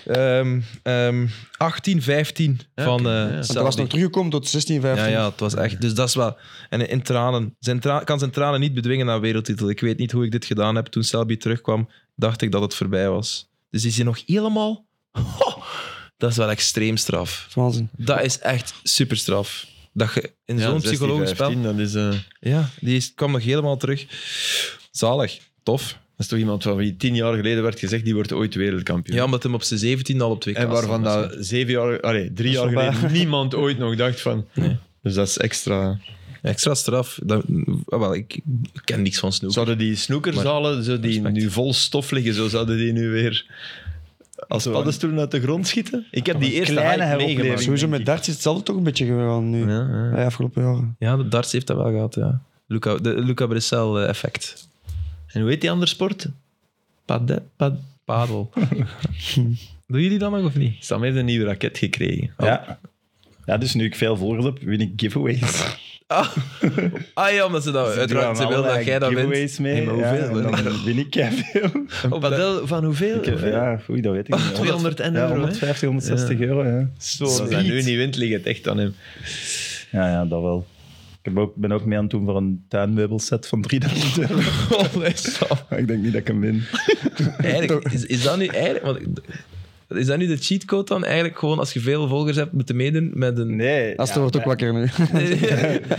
Speaker 1: Ehm, ehm, 18, 15
Speaker 2: Ja,
Speaker 1: van
Speaker 2: oké,
Speaker 1: eh,
Speaker 2: ja. Want er
Speaker 4: Want hij was
Speaker 1: Saudi.
Speaker 4: nog teruggekomen tot 16, 15.
Speaker 1: Ja, ja, het was echt. Dus dat is wel. En in tranen. Zijn tra- kan zijn tranen niet bedwingen naar wereldtitel. Ik weet niet hoe ik dit gedaan heb. Toen Selby terugkwam, dacht ik dat het voorbij was. Dus is hij nog helemaal. Ho! dat is wel extreem straf.
Speaker 4: Waanzin.
Speaker 1: Dat is echt super straf. Dat je in
Speaker 2: Ja,
Speaker 1: zo'n
Speaker 2: 16,
Speaker 1: psychologisch spel.
Speaker 2: 15, Dat is, eh,
Speaker 1: Ja, die is, kwam nog helemaal terug. Zalig. Tof.
Speaker 2: Dat is toch iemand van wie tien jaar geleden werd gezegd, die wordt ooit wereldkampioen.
Speaker 1: Ja, omdat hem op zijn 17 al op twee
Speaker 2: en waarvan dat zeven jaar, allee, drie
Speaker 4: Dat
Speaker 2: jaar
Speaker 4: is
Speaker 2: geleden niemand ooit nog dacht van. Dus dat is extra.
Speaker 1: Extra straf. Dat, ah, wel, ik, ik ken niks van snoep.
Speaker 2: Zouden die snoekerzalen, zo die
Speaker 1: Respect.
Speaker 2: nu vol stof liggen, zo zouden die nu weer als
Speaker 3: Zo.
Speaker 2: paddenstoelen uit de grond schieten? Ik heb die eerste hype
Speaker 3: kleine heropleving.
Speaker 2: meegemaakt.
Speaker 4: Sowieso met darts is hetzelfde toch een beetje gegaan nu,
Speaker 2: Ja, ja.
Speaker 4: de afgelopen jaren.
Speaker 1: Ja, de darts heeft dat wel gehad, ja. Luca, de Luca Bressel eh, effect.
Speaker 2: En hoe heet die andere sport? Pad, pad.
Speaker 1: Padel. Doen jullie dat nog of niet?
Speaker 2: Sam heeft een nieuwe raket gekregen.
Speaker 3: Ja. ja, dus nu ik veel volgers heb, win ik giveaways.
Speaker 1: Ah, ah ja, omdat ze dat...
Speaker 3: Dus ik doe aan
Speaker 1: uiteraard, ze wil dat
Speaker 3: allerlei
Speaker 1: jij dat wint.
Speaker 3: giveaways mee.
Speaker 1: Nee, maar
Speaker 3: ja,
Speaker 1: hoeveel?
Speaker 3: en dan win ik jij veel.
Speaker 2: Een padel van hoeveel?
Speaker 3: Ja,
Speaker 1: eh,
Speaker 3: oei, dat weet ik niet.
Speaker 2: 200 en
Speaker 3: Ja,
Speaker 2: euro. hè?
Speaker 3: 150, 160 euro. Ja.
Speaker 2: Zo, als hij
Speaker 3: Sweet.
Speaker 2: nu niet wint, ligt het echt aan hem.
Speaker 3: ja, ja, dat wel. Ik heb ook, ben ook mee aan het doen voor een tuinmeubelset van 3000 euro.
Speaker 1: Oh, nee, Sam.
Speaker 3: Maar ik denk niet dat ik hem win.
Speaker 1: Eigenlijk, is, is dat nu eigenlijk... Want ik- Is dat niet de cheatcode dan? Eigenlijk gewoon als je veel volgers hebt, moeten meedoen met een...
Speaker 3: Nee.
Speaker 4: Astro
Speaker 3: ja,
Speaker 4: wordt ook
Speaker 3: bij-
Speaker 4: wakker nu.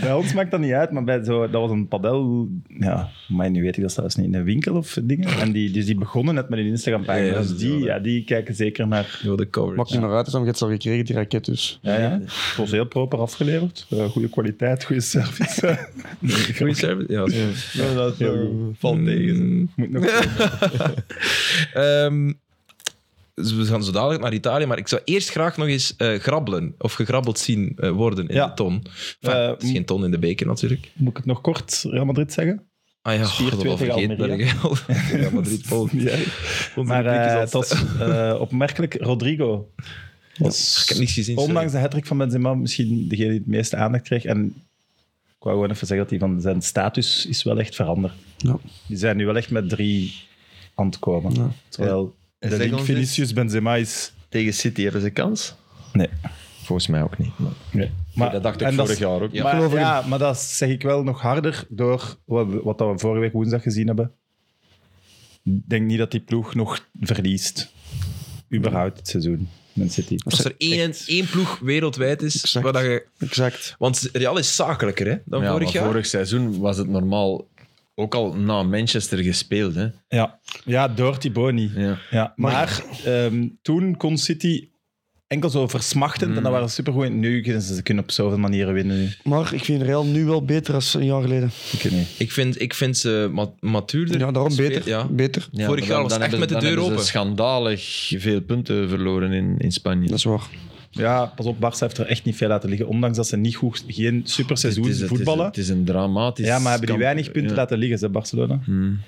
Speaker 3: Bij ons maakt dat niet uit, maar bij zo, dat was een padel... Ja, maar nu weet ik dat zelfs niet. In een winkel of dingen. En die, dus die begonnen net met hun Instagram-pagina.
Speaker 1: Ja, ja,
Speaker 3: dus die,
Speaker 1: ja,
Speaker 3: ja, die kijken zeker naar...
Speaker 1: Yo, de coverage.
Speaker 4: Maakt niet meer uit, dus dan heb je het al gekregen, die raket dus.
Speaker 3: Ja, ja. Het was heel proper afgeleverd. Eh, goede kwaliteit, goede service. Eh,
Speaker 1: Goeie service. eh, Ja,
Speaker 2: Ja, dat
Speaker 3: Heel goed.
Speaker 2: valt tegen. zeg.
Speaker 1: Mm.
Speaker 3: Moet nog...
Speaker 1: Ehm, dus we gaan zo dadelijk naar Italië, maar ik zou eerst graag nog eens eh, grabbelen of gegrabbeld zien eh, worden in
Speaker 3: Ja.
Speaker 1: de ton. Enfin,
Speaker 3: Eh,
Speaker 1: het is geen ton in de beker natuurlijk.
Speaker 3: Moet ik het nog kort Real Madrid zeggen?
Speaker 1: Ah ja, god,
Speaker 3: 4-2
Speaker 1: dat wel
Speaker 3: tegen
Speaker 1: vergeten ben ik
Speaker 3: Almeria.
Speaker 1: al. Ja, Madrid oh, volgt.
Speaker 3: Ja.
Speaker 1: Onze
Speaker 3: Maar
Speaker 1: rubriek is
Speaker 3: eh
Speaker 1: al
Speaker 3: het was eh, opmerkelijk Rodrigo. Was
Speaker 1: Ik heb niks gezien. sorry.
Speaker 3: ondanks de hattrick van Benzema misschien degene die het meeste aandacht kreeg. En ik wou gewoon even zeggen dat hij van zijn status is wel echt veranderd.
Speaker 4: Ja.
Speaker 3: Die zijn nu wel echt met drie aan het komen.
Speaker 4: Ja.
Speaker 3: Terwijl
Speaker 2: En
Speaker 3: de
Speaker 2: zeg
Speaker 3: link
Speaker 2: ons
Speaker 3: Vinicius Benzema is...
Speaker 2: Tegen City hebben ze kans?
Speaker 3: Nee.
Speaker 2: Volgens mij ook niet. maar-
Speaker 3: Maar,
Speaker 2: dat dacht ik
Speaker 3: en
Speaker 2: vorig
Speaker 3: is-
Speaker 2: jaar ook.
Speaker 3: Maar,
Speaker 4: Geloof ik
Speaker 3: ja, maar dat zeg ik wel nog harder door wat, we- wat dat we vorige week woensdag gezien hebben. Ik denk niet dat die ploeg nog verliest. Überhaupt het seizoen. Man City.
Speaker 1: Als er één, één ploeg wereldwijd is,
Speaker 4: Exact.
Speaker 1: waar dat je,
Speaker 4: Exact.
Speaker 1: want Real is zakelijker hè, dan
Speaker 2: Ja,
Speaker 1: vorig
Speaker 2: maar
Speaker 1: jaar.
Speaker 2: vorig seizoen was het normaal ook al na Manchester gespeeld. Hè?
Speaker 3: Ja, ja door Thibaut niet.
Speaker 2: Ja.
Speaker 3: Ja, maar ehm, toen kon City enkel zo
Speaker 2: Mm.
Speaker 3: versmachtend en dat waren ze supergoed. Nu kunnen ze, ze kunnen op zoveel manieren winnen. Nu.
Speaker 4: Maar ik vind Real nu wel beter als een jaar geleden.
Speaker 3: Ik weet niet.
Speaker 1: Ik vind, ik vind ze mat- matuurder.
Speaker 4: Ja, daarom
Speaker 1: Speel-
Speaker 4: beter.
Speaker 1: Ja.
Speaker 4: Beter.
Speaker 2: Ja,
Speaker 1: Vorig
Speaker 2: maar
Speaker 1: jaar was
Speaker 2: dan
Speaker 1: het echt
Speaker 2: hebben
Speaker 1: met de
Speaker 2: dan
Speaker 1: deur
Speaker 2: hebben ze
Speaker 1: open.
Speaker 2: schandalig veel punten verloren in, in Spanje.
Speaker 4: Dat is waar.
Speaker 3: Ja, pas op, Barça heeft er echt niet veel laten liggen. Ondanks dat ze niet goed, geen
Speaker 2: Het
Speaker 3: superseizoen
Speaker 2: is- het is-
Speaker 3: voetballen.
Speaker 2: Het is, een dramatisch.
Speaker 3: ja, maar hebben die
Speaker 2: kamp-
Speaker 3: weinig punten
Speaker 2: ja.
Speaker 3: laten liggen, ze Barcelona.
Speaker 2: Hmm.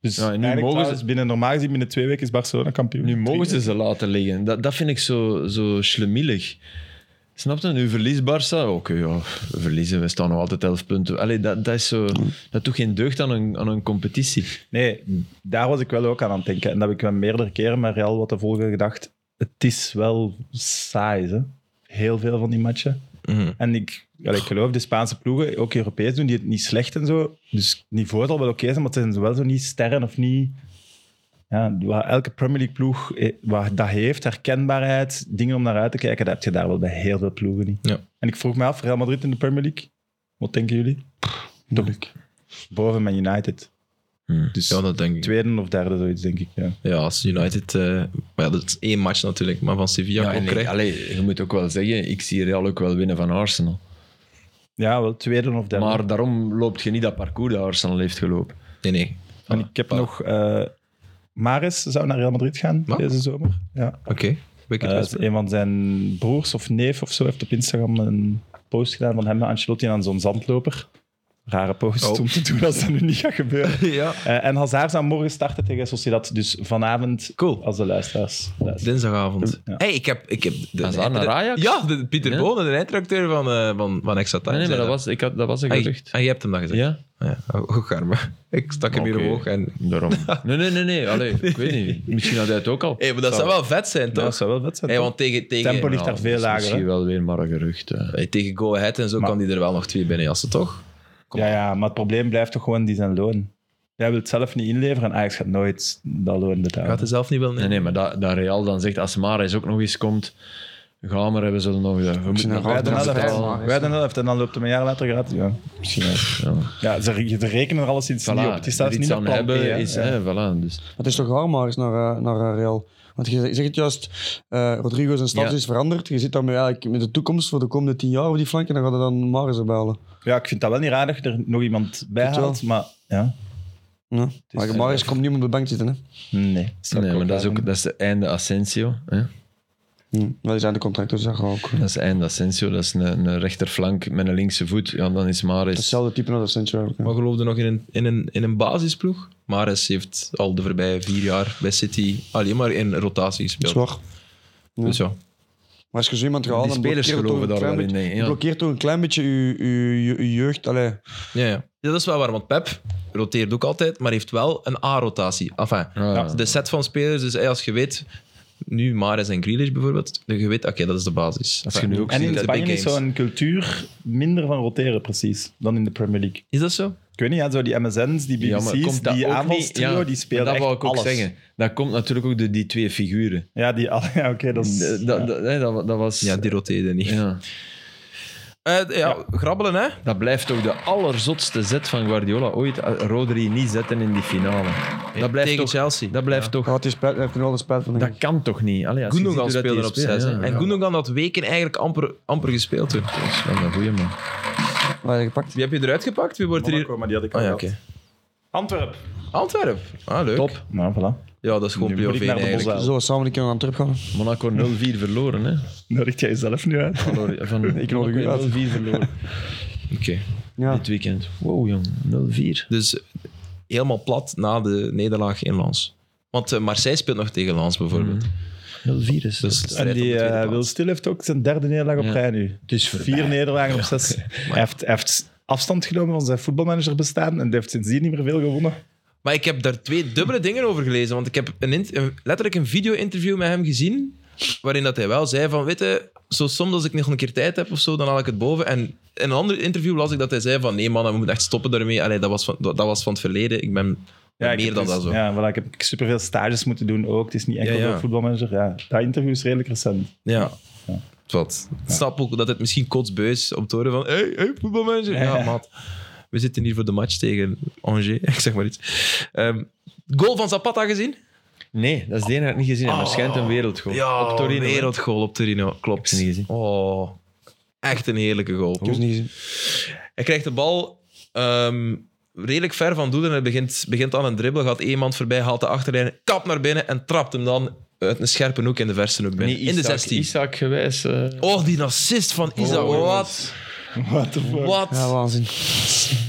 Speaker 3: Dus
Speaker 2: Ja, en nu
Speaker 3: eigenlijk
Speaker 2: mogen ze-
Speaker 3: trouwens, binnen normaal gezien, binnen twee weken is Barcelona kampioen.
Speaker 2: Nu mogen
Speaker 3: Drie-
Speaker 2: ze ze laten liggen. Dat, dat vind ik zo, zo schlemielig. Snap je? Nu verliest Barça. Oké, ja, we verliezen. We staan nog altijd 11 punten. Allee, dat, dat, is zo, dat doet geen deugd aan een, aan een competitie.
Speaker 3: Nee, daar was ik wel ook aan aan het denken. En dat heb ik wel meerdere keren met Real wat te volgen gedacht. Het is wel saai, hè? Heel veel van die matchen.
Speaker 1: Mhm.
Speaker 3: En ik, wel, ik geloof, de Spaanse ploegen, ook Europees, doen die het niet slecht en zo. Dus het niveau zal wel oké zijn, maar het zijn wel zo niet sterren of niet... Ja, waar elke Premier League ploeg eh, waar dat heeft, herkenbaarheid, dingen om naar uit te kijken, dat heb je daar wel bij heel veel ploegen niet.
Speaker 1: Ja.
Speaker 3: En ik vroeg me af, Real Madrid in de Premier League, wat denken jullie?
Speaker 4: Moeilijk.
Speaker 3: Boven Man United.
Speaker 2: Hmm.
Speaker 1: Dus ja, dat denk ik.
Speaker 3: Tweede of derde, zoiets, denk ik. Ja.
Speaker 1: Ja, als United... eh, maar ja, dat is één match natuurlijk, maar van Sevilla
Speaker 2: Ja,
Speaker 1: ook
Speaker 2: en ik-
Speaker 1: krijgt.
Speaker 2: allee, je moet ook wel zeggen, ik zie Real ook wel winnen van Arsenal.
Speaker 3: ja, wel tweede of derde.
Speaker 2: Maar daarom loopt je niet dat parcours dat Arsenal heeft gelopen.
Speaker 1: Nee, nee.
Speaker 3: en ik heb
Speaker 1: Ah.
Speaker 3: nog... eh Maris zou naar Real Madrid gaan
Speaker 1: Wat?
Speaker 3: deze zomer. Ja.
Speaker 1: Oké. Wicked
Speaker 3: Eh,
Speaker 1: West.
Speaker 3: een van zijn broers of neef of zo heeft op Instagram een post gedaan van hem en Ancelotti aan zo'n zandloper. Rare post
Speaker 1: Oh.
Speaker 3: om te doen als dat nu niet gaat gebeuren.
Speaker 1: ja.
Speaker 3: Eh, en Hazard zou morgen starten tegen Sociedad. Dus vanavond
Speaker 1: Cool.
Speaker 3: als de luisteraars. luisteren.
Speaker 1: Dinsdagavond.
Speaker 3: Ja.
Speaker 1: Hey, ik heb... Ik heb de,
Speaker 2: Hazard naar
Speaker 1: de-
Speaker 2: Ajax?
Speaker 1: Ja, de, Pieter
Speaker 2: Ja.
Speaker 1: Bonen, de eindredacteur van, eh van, van Extra Time.
Speaker 2: Nee, nee, maar
Speaker 1: zei
Speaker 2: dat was, ik had, dat was een
Speaker 1: Ah, je-
Speaker 2: gerucht.
Speaker 1: ah, je hebt hem dat gezegd.
Speaker 2: Ja?
Speaker 1: Ja, oh, garme. Ik stak hem
Speaker 2: Oké.
Speaker 1: hier omhoog en...
Speaker 2: Daarom. Nee, nee, nee, nee. Allee, ik weet niet. Misschien had hij het ook al.
Speaker 1: Hé, maar dat zou wel vet zijn,
Speaker 3: Ja,
Speaker 1: toch?
Speaker 3: dat zou wel vet zijn.
Speaker 1: Hey,
Speaker 3: toch?
Speaker 1: want tegen,
Speaker 3: Tempo
Speaker 1: tegen,
Speaker 3: ligt daar
Speaker 2: Ja,
Speaker 3: veel
Speaker 2: dat is
Speaker 3: lager,
Speaker 2: Misschien
Speaker 3: hè?
Speaker 2: wel weer maar een gerucht. eh. hè.
Speaker 1: hey, tegen Go Ahead en zo
Speaker 3: Maar-
Speaker 1: kan hij er wel nog twee binnen jassen, toch?
Speaker 3: ja, ja, maar het probleem blijft toch gewoon die zijn loon. Jij wil het zelf niet inleveren en Ajax gaat nooit dat loon betalen.
Speaker 1: Gaat hij zelf niet wel
Speaker 2: Nee,
Speaker 1: nemen?
Speaker 2: nee, maar dat, dat Real dan zegt, als Maris ook nog eens komt, ga maar, hebben ze nog... eh, We moeten
Speaker 4: een
Speaker 2: nog
Speaker 4: raar
Speaker 3: wij de
Speaker 4: dan
Speaker 3: helft,
Speaker 4: betaalt Maris.
Speaker 3: wij de helft en dan loopt hem een jaar later gratis. Ja, misschien wel.
Speaker 2: ja.
Speaker 3: Ja, ze, re- ze rekenen er alles iets niet op.
Speaker 2: Voilà,
Speaker 3: Het is zelfs
Speaker 2: er iets
Speaker 3: niet naar
Speaker 2: aan
Speaker 3: plan
Speaker 2: hebben
Speaker 3: B, hè.
Speaker 2: is...
Speaker 3: Ja.
Speaker 2: Hè, voilà, dus.
Speaker 4: Het is toch raar, maar eens naar, eh, naar eh, Real. Want je zegt het juist, eh, Rodrigo zijn status
Speaker 2: Ja.
Speaker 4: is veranderd. Je zit daarmee eigenlijk met de toekomst voor de komende tien jaar op die flank en dan gaat hij dan Maris erbij halen.
Speaker 3: Ja, ik vind dat wel niet raar dat je er nog iemand bij
Speaker 4: Tot wel.
Speaker 3: haalt, maar ja.
Speaker 4: Ja. Maar Maris komt niet om op de bank zitten. Hè.
Speaker 3: Nee. zou ik
Speaker 2: Nee, maar dat is
Speaker 3: raar
Speaker 2: ook dat is het einde Asensio. Hè?
Speaker 4: Hm. Wij zijn de contracten, dus dat gaat ook.
Speaker 2: Dat is het einde Asensio. Dat is een, een rechterflank met een linkse voet. Ja, dan is Maris...
Speaker 4: Hetzelfde type als Asensio eigenlijk.
Speaker 1: Maar geloofde nog in een, in, een, in een basisploeg. Mares heeft al de voorbije vier jaar bij City alleen maar in rotatie
Speaker 4: Ja.
Speaker 1: gespeeld.
Speaker 4: Zwaar.
Speaker 1: Dus ja.
Speaker 4: Maar als je zo iemand
Speaker 2: Die
Speaker 4: gehaald dan
Speaker 2: spelers
Speaker 4: blokkeert toch
Speaker 2: geloven
Speaker 4: een
Speaker 2: daar wel
Speaker 4: klein
Speaker 2: in,
Speaker 4: beetje-
Speaker 2: denk ik, ja.
Speaker 4: blokkeert toch een klein beetje je, je, je, je jeugd. Allee,
Speaker 1: Ja, ja. ja, dat is wel waar, want Pep roteert ook altijd, maar heeft wel een A-rotatie. Enfin,
Speaker 2: Ja, ja.
Speaker 1: de set van spelers, dus hey, als je weet, Nu Mares en Grealish bijvoorbeeld. Je weet, oké, dat is de basis.
Speaker 2: Als je nu ook
Speaker 1: Enfin,
Speaker 3: En
Speaker 1: de
Speaker 3: in
Speaker 1: big
Speaker 3: Spanje is
Speaker 1: games.
Speaker 3: zo'n cultuur minder van roteren, precies, dan in de Premier League.
Speaker 1: Is dat zo?
Speaker 3: Ik weet niet, ja, zo die MSN's, die
Speaker 2: Ja, maar
Speaker 3: BBC's,
Speaker 2: komt dat
Speaker 3: die
Speaker 2: ook niet...
Speaker 3: aanvalstrio,
Speaker 2: Ja,
Speaker 3: die
Speaker 2: maar
Speaker 3: spelen
Speaker 2: dat
Speaker 3: echt
Speaker 2: wou ik ook
Speaker 3: alles.
Speaker 2: zeggen. Dat komt natuurlijk ook door die twee figuren.
Speaker 3: Ja, die, al- ja oké, dat is...
Speaker 2: Dat, dat, dat, hè, dat, dat was...
Speaker 1: Ja, die roteerde niet.
Speaker 2: ja.
Speaker 1: Eh, ja, grabbelen, hè?
Speaker 2: Dat blijft ook de allerzotste zet van Guardiola ooit. eh, Rodri niet zetten in die finale. Dat blijft
Speaker 1: Tegen
Speaker 2: toch...
Speaker 1: Chelsea.
Speaker 2: Dat blijft toch...
Speaker 4: Hij heeft er wel de spijt van. denk
Speaker 2: Dat
Speaker 4: ik.
Speaker 2: kan toch niet? Allee, als je ziet
Speaker 1: Gundogan
Speaker 2: hoe dat die
Speaker 1: speelde op 6.
Speaker 2: speelt, ja.
Speaker 1: En Gundogan had weken eigenlijk amper, amper gespeeld. Toen.
Speaker 2: Ja, Dat is een goeie man.
Speaker 4: Waar hij gepakt.
Speaker 1: Wie heb je eruit gepakt? Wie wordt er hier...
Speaker 3: Monaco, maar die had ik
Speaker 2: Oh,
Speaker 1: Ah
Speaker 3: al
Speaker 1: ja,
Speaker 3: gehad.
Speaker 1: oké.
Speaker 3: Antwerp.
Speaker 1: Antwerpen. Ah, leuk.
Speaker 2: Top.
Speaker 3: Nou, voilà.
Speaker 1: Ja, dat is gewoon
Speaker 3: Nu
Speaker 1: play-off
Speaker 3: moet ik
Speaker 1: 1
Speaker 3: naar de
Speaker 1: eigenlijk.
Speaker 3: Bosel.
Speaker 4: Zo, samen een keer aan het terug gaan.
Speaker 2: Monaco 0-4 verloren, hè?
Speaker 3: Nodigt jij jezelf nu uit?
Speaker 2: Verloren- Van,
Speaker 4: Ik nodig u uit.
Speaker 2: Monaco 0-4 verloren
Speaker 1: Oké.
Speaker 4: Ja.
Speaker 2: dit weekend. Wow, jong. 0-4.
Speaker 1: Dus helemaal plat na de nederlaag in Lens. Want eh, Marseille speelt nog tegen Lens bijvoorbeeld.
Speaker 2: 0-4 is
Speaker 1: Dus de strijd
Speaker 3: Mm. En
Speaker 1: om de
Speaker 3: die
Speaker 1: tweede
Speaker 3: eh
Speaker 1: plaats.
Speaker 3: Wil Stil heeft ook zijn derde nederlaag op
Speaker 2: Ja.
Speaker 3: rij nu. Dus
Speaker 2: Het is voorbij.
Speaker 3: Vier nederlagen op zes. Hij heeft, hij heeft afstand genomen van zijn voetbalmanager bestaan en die heeft sindsdien niet meer veel gewonnen.
Speaker 1: Maar ik heb daar twee dubbele dingen over gelezen. Want ik heb een int- een- letterlijk een video-interview met hem gezien. Waarin dat hij wel zei van, weet je, zo soms als ik nog een keer tijd heb of zo, dan haal ik het boven. En in een ander interview las ik dat hij zei van, nee man, we moeten echt stoppen daarmee. Allee, dat, was van, dat dat was van het verleden. Ik ben ben
Speaker 3: ik
Speaker 1: meer
Speaker 3: heb
Speaker 1: dan
Speaker 3: dus-
Speaker 1: dat zo.
Speaker 3: Ja, voilà, ik heb superveel stages moeten doen ook. Het is niet enkel
Speaker 1: Ja, ja.
Speaker 3: voor voetbalmanager. Ja, dat interview is redelijk recent.
Speaker 1: Ja. Wat. Ik snap ook dat het misschien kotsbeu is om te horen van... Hey, hey, voetbalmanager. Ja,
Speaker 3: Ja.
Speaker 1: maat. We zitten hier voor de match tegen Angers. Ik zeg maar iets. Ehm, goal van Zapata gezien?
Speaker 2: Nee, dat is de ene dat ik niet gezien heb. Maar schijnt een wereldgoal.
Speaker 1: Ja,
Speaker 2: Op Torino. hè?
Speaker 1: Wereldgoal op Torino.
Speaker 2: Ik heb
Speaker 1: Klopt.
Speaker 2: ze niet gezien.
Speaker 1: Oh, echt een heerlijke goal. Dus
Speaker 4: Ik heb het niet gezien.
Speaker 1: Hij krijgt de bal ehm, redelijk ver van doel en hij begint, begint aan een dribbel. Gaat iemand voorbij, haalt de achterlijn, kap naar binnen en trapt hem dan uit een scherpe hoek in de verste hoek binnen.
Speaker 2: Nee,
Speaker 1: in de
Speaker 2: Isaac-
Speaker 1: 16.
Speaker 2: Isaac gewijs. eh,
Speaker 1: Oh, die narcist van Isaac.
Speaker 2: jongens.
Speaker 1: wat?
Speaker 3: What the fuck?
Speaker 1: Wat?
Speaker 4: Ja, waanzin.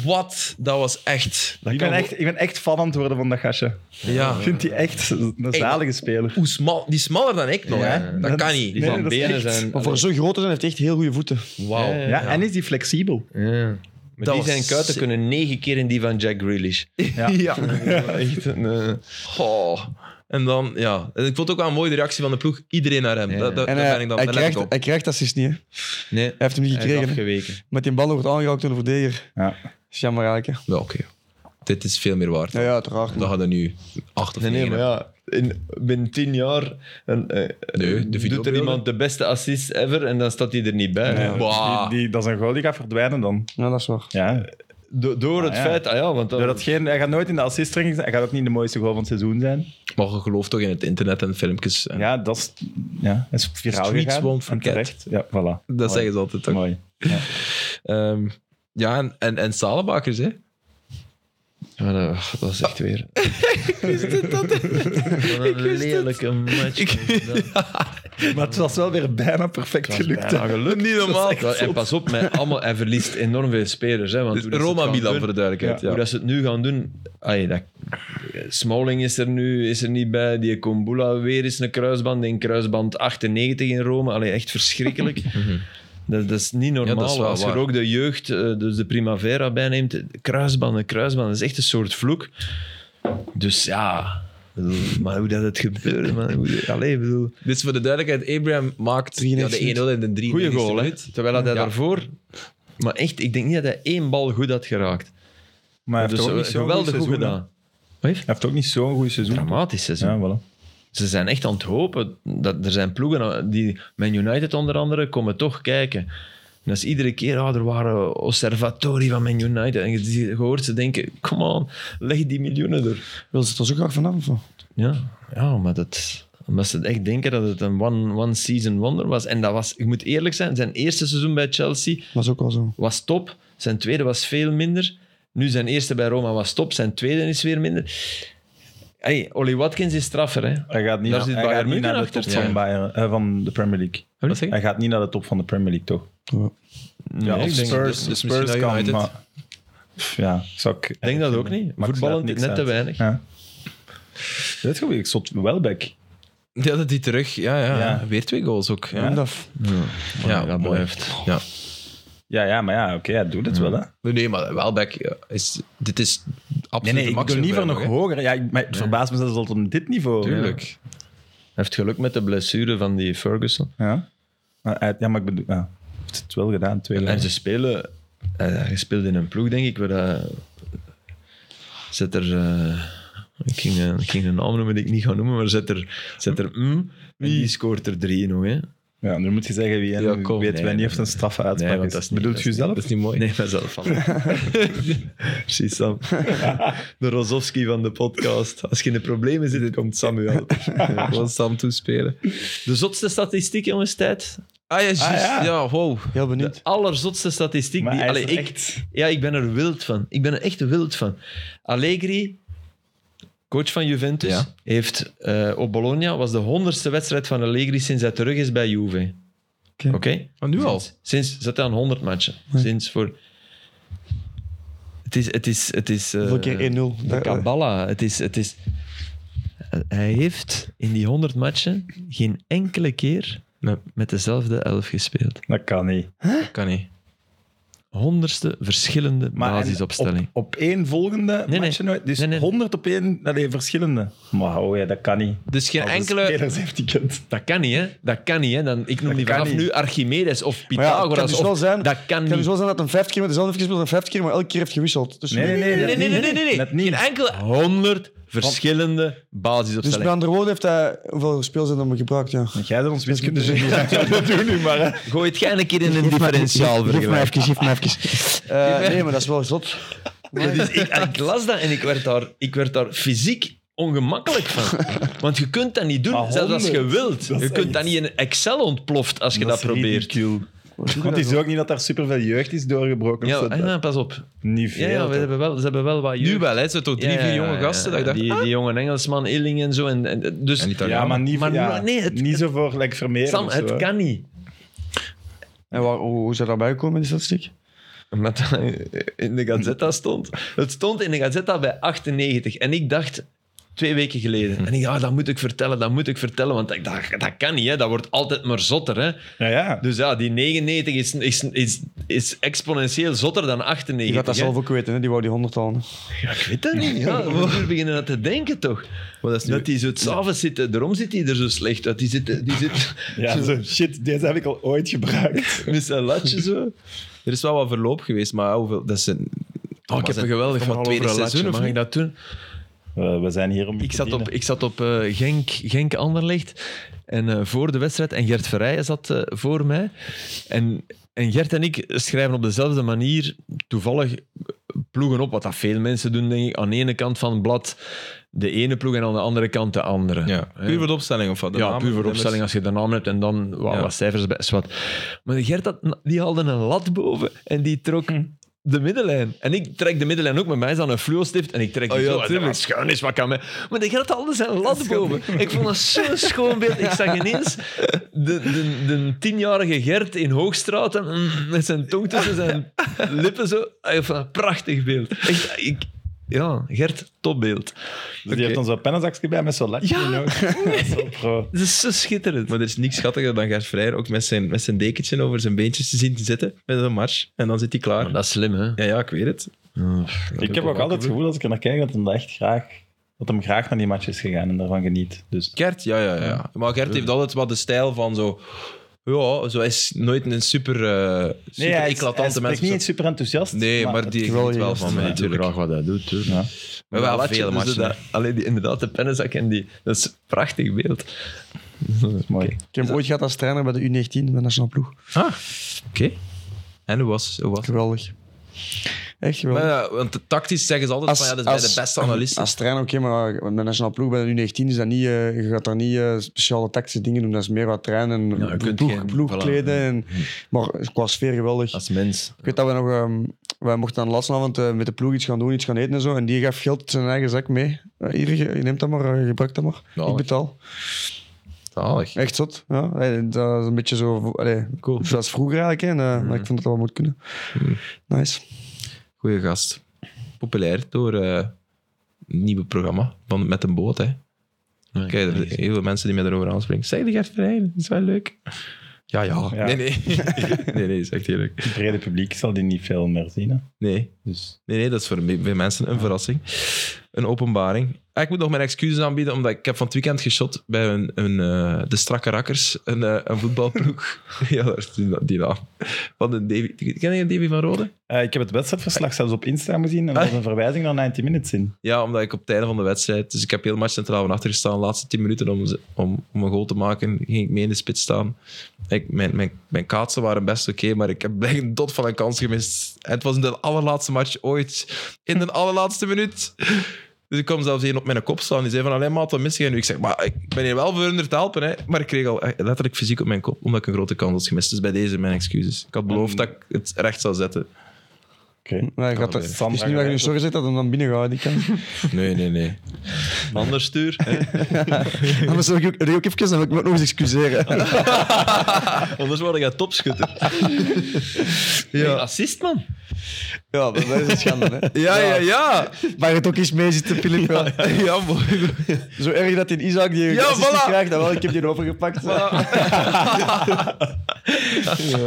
Speaker 1: Wat? Dat was echt.
Speaker 3: Ik ben, echt, ik ben echt fan aan het worden van dat gastje.
Speaker 1: Ja.
Speaker 3: Ik vind die echt een zalige speler.
Speaker 1: Hoe smal, die is smaller dan ik nog,
Speaker 3: Ja,
Speaker 1: hè? Dat
Speaker 3: dat-
Speaker 1: kan niet.
Speaker 2: Die
Speaker 3: Nee,
Speaker 2: van
Speaker 3: dat is
Speaker 2: benen
Speaker 3: echt-
Speaker 2: zijn...
Speaker 4: Maar voor zo groot te zijn heeft hij echt heel goede voeten.
Speaker 1: Wauw.
Speaker 2: Ja, ja.
Speaker 3: Ja, en is die flexibel?
Speaker 2: Ja. Maar
Speaker 1: Dat
Speaker 2: die
Speaker 1: was
Speaker 2: zijn kuiten
Speaker 1: sick.
Speaker 2: kunnen negen keer in die van Jack Grealish.
Speaker 1: Ja.
Speaker 2: Echt een...
Speaker 1: Goh. En dan, ja. En ik vond ook wel een mooie de reactie van de ploeg. Iedereen naar hem.
Speaker 2: Ja.
Speaker 1: Dat, dat,
Speaker 4: En
Speaker 1: daar
Speaker 4: hij,
Speaker 1: ben ik dan
Speaker 4: hij,
Speaker 1: daar let ik
Speaker 4: krijgt,
Speaker 1: op.
Speaker 4: hij krijgt assist niet. Hè. Hij
Speaker 2: Nee,
Speaker 4: heeft hem niet
Speaker 2: hij is
Speaker 4: gekregen. hè.
Speaker 2: afgeweken.
Speaker 4: Met die bal wordt aangeraakt door de verdediger.
Speaker 3: Ja.
Speaker 4: Dat is jammer eigenlijk. hè.
Speaker 1: Ja, oké. Dit is veel meer waard.
Speaker 4: Ja, ja, uiteraard.
Speaker 1: Dat hadden nu acht of
Speaker 2: Nee, nee,
Speaker 1: negen.
Speaker 2: maar ja, in, binnen tien jaar een, eh,
Speaker 1: Nee, de
Speaker 2: doet er
Speaker 1: videobeelden.
Speaker 2: iemand de beste assist ever en dan staat hij er niet bij.
Speaker 3: Ja.
Speaker 1: Bah.
Speaker 3: Dus Die, die- dat is een goal die gaat verdwijnen dan.
Speaker 4: Ja, dat is waar.
Speaker 3: Ja.
Speaker 2: Do- door het
Speaker 3: Ah, ja.
Speaker 2: feit, ah ja, want dan,
Speaker 3: Doordat geen, hij gaat nooit in de assistring zijn. Hij gaat ook niet de mooiste goal van het seizoen zijn.
Speaker 1: Maar je gelooft toch in het internet en filmpjes. En
Speaker 3: Ja, dat is, ja, dat is viraal
Speaker 1: Streets
Speaker 3: gegaan.
Speaker 1: won't
Speaker 3: En
Speaker 1: forget.
Speaker 3: terecht. Ja, voilà.
Speaker 1: Dat zeggen ze altijd toch?
Speaker 3: Mooi.
Speaker 1: Ehm, ja, en, en, en Salebakers, hè?
Speaker 2: Maar, eh, dat is echt weer. Wat een lelijke match. was dat.
Speaker 3: Maar het was wel weer bijna perfect gelukt.
Speaker 2: Bijna gelukt.
Speaker 1: Niet normaal.
Speaker 2: Wel, En pas op, met allemaal, hij verliest enorm veel spelers. Hè, want
Speaker 1: Dus
Speaker 2: hoe dat ze het gaan
Speaker 1: Roma-Milan,
Speaker 2: doen-
Speaker 1: voor de duidelijkheid.
Speaker 2: Hoe
Speaker 1: ja.
Speaker 2: dat ze het nu gaan doen. Ay, dat, Smalling is er nu is er niet bij. Die Kombula weer is een kruisband. In kruisband 98 in Rome. Allee, echt verschrikkelijk. dat, dat is niet normaal.
Speaker 1: Ja, dat is wel
Speaker 2: Als je er
Speaker 1: waar.
Speaker 2: ook de jeugd, eh, dus de Primavera bij neemt. Kruisbanden, kruisbanden. Dat is echt een soort vloek. Dus ja. ik bedoel, Maar hoe dat het gebeurde, man. Hoe- Allee, ik bedoel...
Speaker 1: Dit is voor de duidelijkheid. Abraham maakt ja, de 1-0 in de 3
Speaker 2: Goeie goal, hè? Terwijl dat hij daarvoor... Maar echt, ik denk niet dat hij één bal goed had geraakt.
Speaker 3: Maar hij heeft
Speaker 2: dus
Speaker 3: ook
Speaker 2: eh,
Speaker 3: niet zo'n
Speaker 2: geweldig
Speaker 3: goed
Speaker 2: goed
Speaker 3: seizoen, hè.
Speaker 2: gedaan. Wat heeft-
Speaker 3: Hij heeft ook niet zo'n goed seizoen.
Speaker 2: Dramatisch seizoen.
Speaker 3: Ja, voilà.
Speaker 2: Ze zijn echt aan het hopen. Dat, er zijn ploegen, eh, die, Man United onder andere, komen toch kijken. En dat is iedere keer, ah, er waren observatori van Man United. En je ziet- je hoort ze denken, come on, leg die miljoenen er.
Speaker 4: Wil ze het er zo graag vanaf? of wat?
Speaker 2: Ja, ja maar dat, omdat ze echt denken dat het een one- one-season wonder was. En dat was, ik moet eerlijk zijn, zijn eerste seizoen bij Chelsea
Speaker 4: Dat is ook wel zo.
Speaker 2: was top. Zijn tweede was veel minder. Nu zijn eerste bij Roma was top. Zijn tweede is weer minder. Hey, Ollie Watkins is straffer. Hè?
Speaker 3: Hij gaat niet,
Speaker 2: Daar zit
Speaker 3: hij
Speaker 2: Bayern
Speaker 3: gaat niet
Speaker 2: München
Speaker 3: naar de
Speaker 2: achter.
Speaker 3: top van,
Speaker 2: Ja.
Speaker 3: Bayern, eh, van de Premier League.
Speaker 1: Wat zeg je?
Speaker 3: Hij gaat niet naar de top van de Premier League, toch?
Speaker 2: Nee,
Speaker 3: Ja, of
Speaker 2: ik denk,
Speaker 3: Spurs,
Speaker 1: dus- dus
Speaker 3: Spurs
Speaker 1: misschien
Speaker 3: kan,
Speaker 1: United.
Speaker 3: maar... Pff, Ja, zou ik...
Speaker 2: ik denk dat ook niet.
Speaker 3: Max
Speaker 2: Voetballend net
Speaker 3: laat niks
Speaker 2: te
Speaker 3: uit.
Speaker 2: weinig.
Speaker 3: Ja. Weet je, ik zot Welbeck.
Speaker 1: Ja, dat die terug. Ja, ja,
Speaker 3: Ja.
Speaker 1: Weer twee goals ook. Ja,
Speaker 4: Ja.
Speaker 1: ja,
Speaker 2: Maar dat
Speaker 1: mooi.
Speaker 2: blijft.
Speaker 1: Ja.
Speaker 3: Ja, ja, maar ja, oké, hij doet het wel, hè.
Speaker 1: Nee, nee, maar Welbeck ja, is... Dit is absoluut
Speaker 3: Nee, nee,
Speaker 1: de
Speaker 3: ik wil
Speaker 1: maximum
Speaker 3: liever
Speaker 1: voor
Speaker 3: nog
Speaker 1: hem hè.
Speaker 3: hoger. Ja, ik- maar het verbaast me zelfs tot op dit niveau. eh,
Speaker 1: Tuurlijk.
Speaker 2: heeft geluk met de blessure van die Ferguson.
Speaker 3: Ja, maar, hij- ja, maar ik bedoel, ja. Hij heeft het wel gedaan, twee
Speaker 2: En
Speaker 3: jaar.
Speaker 2: ze spelen... Hij, hij speelde in een ploeg, denk ik, waar dat... Zet er... eh, ik, ging, eh, ik ging een naam noemen die ik niet ga noemen, maar zet er... Zet er mm, en die scoort er drie nog, hè.
Speaker 3: Ja, nu moet je zeggen wie en
Speaker 2: Ja, kom,
Speaker 3: weet
Speaker 2: nee,
Speaker 3: wij niet
Speaker 2: nee,
Speaker 3: of het een straffe uitspraak
Speaker 2: Nee, want
Speaker 3: is.
Speaker 2: dat is niet-
Speaker 3: Bedoelt
Speaker 2: dat
Speaker 3: u
Speaker 2: is niet-
Speaker 3: zelf?
Speaker 1: Dat is niet mooi.
Speaker 2: Nee, mezelf van. Precies, Sam. De Rozovski van de podcast. Als je in de problemen zit, komt Samuel.
Speaker 1: Gewoon Sam toespelen.
Speaker 2: De zotste statistiek, jongens, tijd.
Speaker 1: Ah ja, juist.
Speaker 3: ja.
Speaker 1: ja. wow.
Speaker 4: Heel
Speaker 2: De
Speaker 4: benieuwd.
Speaker 2: allerzotste statistiek.
Speaker 3: Maar
Speaker 2: Die,
Speaker 3: hij is
Speaker 2: allee,
Speaker 3: er
Speaker 2: ik,
Speaker 3: echt...
Speaker 2: Ja, ik ben er wild van. Ik ben er echt wild van. Allegri, coach van Juventus,
Speaker 1: Ja.
Speaker 2: heeft eh, op Bologna was de honderdste wedstrijd van Allegri sinds hij terug is bij Juve. Oké?
Speaker 3: Oké.
Speaker 1: Maar nu al.
Speaker 2: Sinds, sinds zat hij aan 100 matchen. Sinds voor. Het is. Het is, het is eh,
Speaker 4: Hoeveel keer 1-0?
Speaker 2: de
Speaker 4: Daar-
Speaker 2: Kabbala. Het is, het is, hij heeft in die 100 matchen geen enkele keer
Speaker 1: Nee.
Speaker 2: met dezelfde elf gespeeld.
Speaker 3: Dat kan niet.
Speaker 1: Dat kan niet.
Speaker 2: Honderdste verschillende
Speaker 3: Maar en
Speaker 2: basisopstellingen.
Speaker 3: Op, op één volgende
Speaker 2: nee.
Speaker 3: match nooit. Dus
Speaker 2: Nee, nee.
Speaker 3: 100 op één allee, verschillende. Maar oh ja, dat kan niet.
Speaker 1: Dus geen
Speaker 3: Als
Speaker 1: enkele...
Speaker 3: de spelers heeft die kent.
Speaker 2: Dat kan niet, hè? Dat kan niet, hè? Dan, ik noem die
Speaker 3: kan
Speaker 2: vanaf
Speaker 3: niet.
Speaker 2: nu Archimedes of
Speaker 4: Maar ja, het
Speaker 2: Pythagoras.
Speaker 4: kan dus wel
Speaker 2: of-
Speaker 4: zijn,
Speaker 2: dat kan
Speaker 4: het
Speaker 2: niet.
Speaker 4: kan dus wel zijn dat een vijf keer met dezelfde heeft gespeeld en vijf keer, maar elke keer heeft gewisseld. Dus
Speaker 3: Nee, nee, nee.
Speaker 1: Nee,
Speaker 3: dat
Speaker 1: nee, nee, nee,
Speaker 3: niet.
Speaker 1: nee. nee,
Speaker 3: Dat
Speaker 1: Geen
Speaker 3: niet.
Speaker 1: enkele...
Speaker 2: 100 verschillende
Speaker 4: Dus met
Speaker 2: basisopstellingen.
Speaker 4: andere woorden heeft hij hoeveel speels hij dan gebruikt, ja.
Speaker 3: Want jij bent ons wiskunde zo Dat doen nu maar. Hè.
Speaker 4: Dus
Speaker 2: Gooi het jij een keer in een differentiaal
Speaker 4: Geef mij
Speaker 2: vergelijk.
Speaker 4: even, geef mij even. Eh, nee, maar dat is wel zot.
Speaker 2: Ja, dus ik, ik las dat en ik werd, daar, ik werd daar fysiek ongemakkelijk van. Want je kunt dat niet doen,
Speaker 3: Maar
Speaker 2: zelfs als je
Speaker 3: honderd,
Speaker 2: wilt.
Speaker 3: dat is
Speaker 2: Je kunt
Speaker 3: echt-
Speaker 2: dat niet in Excel ontploft als je dat,
Speaker 3: is
Speaker 2: probeert.
Speaker 3: ridicule. Want het is ook niet dat daar superveel jeugd is doorgebroken.
Speaker 2: Ja,
Speaker 3: of zo.
Speaker 2: en, eh, pas op.
Speaker 3: Niet
Speaker 2: Ja,
Speaker 3: veel.
Speaker 2: ja, we hebben wel, ze hebben wel wat jeugd.
Speaker 1: Nu wel, hè. Het zijn toch drie,
Speaker 2: Ja, ja,
Speaker 1: vier
Speaker 2: ja,
Speaker 1: jonge
Speaker 2: ja.
Speaker 1: gasten dat ik dacht...
Speaker 2: Die, die jonge Engelsman, Illing en zo. En, en- dus,
Speaker 1: En die
Speaker 3: toch? ja, maar niet,
Speaker 2: Maar
Speaker 3: ja,
Speaker 2: nee, het-
Speaker 3: niet zo voor like, Vermeer.
Speaker 2: Sam,
Speaker 3: of zo,
Speaker 2: het
Speaker 3: hè.
Speaker 2: kan niet.
Speaker 4: En waar, hoe, hoe zou dat bijkomen in die statistiek?
Speaker 2: Omdat dat eh, in de Gazzetta stond. Het stond in de Gazzetta bij 98. En ik dacht, twee weken geleden. En ik dacht, ah, dat moet ik vertellen, dat moet ik vertellen. Want dat, dat, dat kan niet, hè. dat wordt altijd maar zotter. Hè.
Speaker 3: Ja, ja.
Speaker 2: Dus ja, die 99 is, is, is, is exponentieel zotter dan
Speaker 4: Die
Speaker 2: 98.
Speaker 4: gaat dat
Speaker 2: hè.
Speaker 4: zelf ook weten, hè? die wou die 100 halen.
Speaker 2: Ja, ik weet dat niet. Ja, we beginnen aan te denken, toch?
Speaker 1: Maar dat is nu-
Speaker 2: Dat die zo s'avonds zitten, daarom zit hij er zo slecht uit. Die zit, die zit
Speaker 3: ja zo, shit, deze heb ik al ooit gebruikt.
Speaker 2: met zijn latje zo.
Speaker 1: Er is wel wat verloop geweest, maar hoeveel... Dat is een...
Speaker 2: Oh, ik heb een geweldig
Speaker 1: Van
Speaker 2: verhaal
Speaker 1: tweede
Speaker 2: over een latje.
Speaker 1: seizoen, of
Speaker 2: Mag
Speaker 1: niet?
Speaker 2: ik dat doen?
Speaker 3: Eh, we zijn hier om je
Speaker 2: Ik
Speaker 3: te
Speaker 2: zat op,
Speaker 3: dienen.
Speaker 2: ik zat op eh, Genk, Genk Anderlecht en eh, voor de wedstrijd. En Gert Verrijen zat eh, voor mij. En, en Gert en ik schrijven op dezelfde manier toevallig ploegen op. Wat dat veel mensen doen, denk ik. Aan de ene kant van het blad de ene ploeg en aan de andere kant de andere.
Speaker 1: Ja, puur voor de opstelling of wat? De
Speaker 2: Ja,
Speaker 1: namen,
Speaker 2: puur voor
Speaker 1: de
Speaker 2: opstelling als je de naam hebt en dan wauw,
Speaker 1: Ja.
Speaker 2: wat cijfers bij. Zwart. Maar Gert had, die haalde een lat boven en die trok de middenlijn. En ik trek de middenlijn ook, met mij is dan een fluostift en ik trek die
Speaker 1: Oh ja,
Speaker 2: zo. En
Speaker 1: tuurlijk.
Speaker 2: wat schuin is, wat kan mij. Maar de Gert haalde zijn lat boven. Ik vond dat zo'n schoon beeld. Ik zag ineens de, de, de tienjarige Gert in Hoogstraat en, mm, met zijn tong tussen zijn lippen zo. Ik vond dat een prachtig beeld. Echt, ik, ja, Gert, topbeeld.
Speaker 3: Dus die heeft ons een pennenzakje bij met zo'n latje.
Speaker 2: Ja.
Speaker 3: in ook. Dat is wel pro.
Speaker 2: Het is zo schitterend.
Speaker 1: Maar er is niks schattiger dan Gert Vrijer ook met zijn, met zijn dekentje over zijn beentjes te zien te zitten met een match. En dan zit hij klaar.
Speaker 2: Maar dat is slim, hè?
Speaker 1: Ja, ja, ik weet het.
Speaker 3: Ik heb ook altijd het gevoel als ik er naar kijk dat hem dat echt graag, dat hem graag naar die match is gegaan en daarvan geniet. Dus
Speaker 1: Gert, ja, ja, ja. Maar Gert heeft altijd wat de stijl van zo... Ja, zo hij is nooit een super, eh super
Speaker 3: hij is- hij
Speaker 1: eclatante
Speaker 3: spreekt
Speaker 1: mens. of zo.
Speaker 3: niet super enthousiast.
Speaker 1: Nee, maar die
Speaker 4: geweldige
Speaker 1: geniet wel
Speaker 4: gast.
Speaker 1: van mij,
Speaker 2: Ik doe
Speaker 1: natuurlijk.
Speaker 2: graag wat hij doet. hoor.
Speaker 3: Ja.
Speaker 1: We hebben wel
Speaker 2: Dat
Speaker 1: veel
Speaker 2: latje, dus
Speaker 1: matchen.
Speaker 2: dat- Alleen die, inderdaad, de pennenzak en die. Dat is een prachtig beeld.
Speaker 3: Dat is mooi.
Speaker 4: Ik heb hem ooit gehad als trainer bij de U19, bij de nationale ploeg.
Speaker 1: hè. Ah, oké. En hoe was, hoe was het?
Speaker 4: Geweldig. Echt geweldig.
Speaker 1: Maar ja, want tactisch zeggen ze altijd van ja, dat is bij de beste analisten.
Speaker 4: Als trainer, oké, maar met de nationale ploeg bij de U19 is dat niet, eh, je gaat daar niet eh, speciale tactische dingen doen. Dat is meer wat trainen en
Speaker 2: je kunt
Speaker 4: ploeg,
Speaker 2: geen-
Speaker 4: ploeg
Speaker 2: voilà.
Speaker 4: kleden. En, maar qua sfeer geweldig.
Speaker 2: Als mens.
Speaker 4: Ik weet dat we nog... ehm, wij mochten aan de laatste avond eh, met de ploeg iets gaan doen, iets gaan eten en zo. En die gaf geld uit zijn eigen zak mee. Eh, hier, je je neemt dat maar, eh, je gebruikt dat maar.
Speaker 1: Zalig.
Speaker 4: Ik betaal.
Speaker 1: Zalig.
Speaker 4: Echt zot. Ja. Allee, dat is een beetje zo... Allee,
Speaker 1: Cool.
Speaker 4: Zoals vroeger eigenlijk. hè. En, eh, Maar ik vond dat dat wel moet kunnen. Nice.
Speaker 1: Goeie gast. Populair door eh, het nieuwe programma van Met een Boot. Hè.
Speaker 2: Nee,
Speaker 1: Kijk, er zijn heel veel mensen die mij erover aanspreken. Zeg de Gert Verheyen, dat is wel leuk. Ja, ja.
Speaker 3: Ja.
Speaker 1: Nee, nee. nee, nee, is echt eerlijk.
Speaker 3: Het brede publiek zal die niet veel meer zien. hè.
Speaker 1: Nee.
Speaker 3: Dus
Speaker 1: Nee, nee, dat is voor me- veel mensen een verrassing. Een openbaring. Ah, Ik moet nog mijn excuses aanbieden, omdat ik heb van het weekend geshot bij een, een, eh, de strakke rakkers, een, eh, een voetbalploeg. ja, daar is die, die naam. Van een Davy. Ken je Davy van Rode?
Speaker 3: Eh, ik heb het wedstrijdverslag zelfs op Instagram gezien en er
Speaker 4: Ah.
Speaker 3: was een verwijzing naar 90 Minutes in.
Speaker 1: Ja, omdat ik op het einde van de wedstrijd... Dus ik heb heel match centraal van achter gestaan. De laatste tien minuten om, ze- om, om een goal te maken, ging ik mee in de spits staan. Ik, mijn, mijn, mijn kaatsen waren best oké, maar ik heb blijkbaar een dot van een kans gemist. En het was in de allerlaatste match ooit. In de allerlaatste minuut. Dus ik kwam zelfs één op mijn kop staan. Die zei van, alleen maat, wat mis jij nu? Ik zeg, maar ik ben hier wel voor onder te helpen. Hè. Maar ik kreeg al echt letterlijk fysiek op mijn kop, omdat ik een grote kans had gemist. Dus bij deze mijn excuses. Ik had beloofd dat ik het recht zou zetten.
Speaker 3: Oké.
Speaker 4: Maar je gaat dat,
Speaker 1: weer.
Speaker 4: het is niet waar je nu zo gezegd dat hem dan binnen gaat, die kan.
Speaker 1: Nee, nee, nee.
Speaker 2: Anders stuur. hè.
Speaker 4: Ja, maar zal ik ook, ook even, dan wil ik me ook nog eens excuseren.
Speaker 2: Anders word jij topschutter.
Speaker 4: Ja.
Speaker 2: Een assist, man.
Speaker 4: Ja, dat is een schande, hè.
Speaker 1: Ja, ja, ja.
Speaker 4: Waar het ook eens mee zit, Filip. wel.
Speaker 1: Ja, mooi.
Speaker 4: Zo erg dat in Isaac die
Speaker 1: Ja,
Speaker 4: ja,
Speaker 1: voilà.
Speaker 4: krijgt, dan wel, ik heb die overgepakt.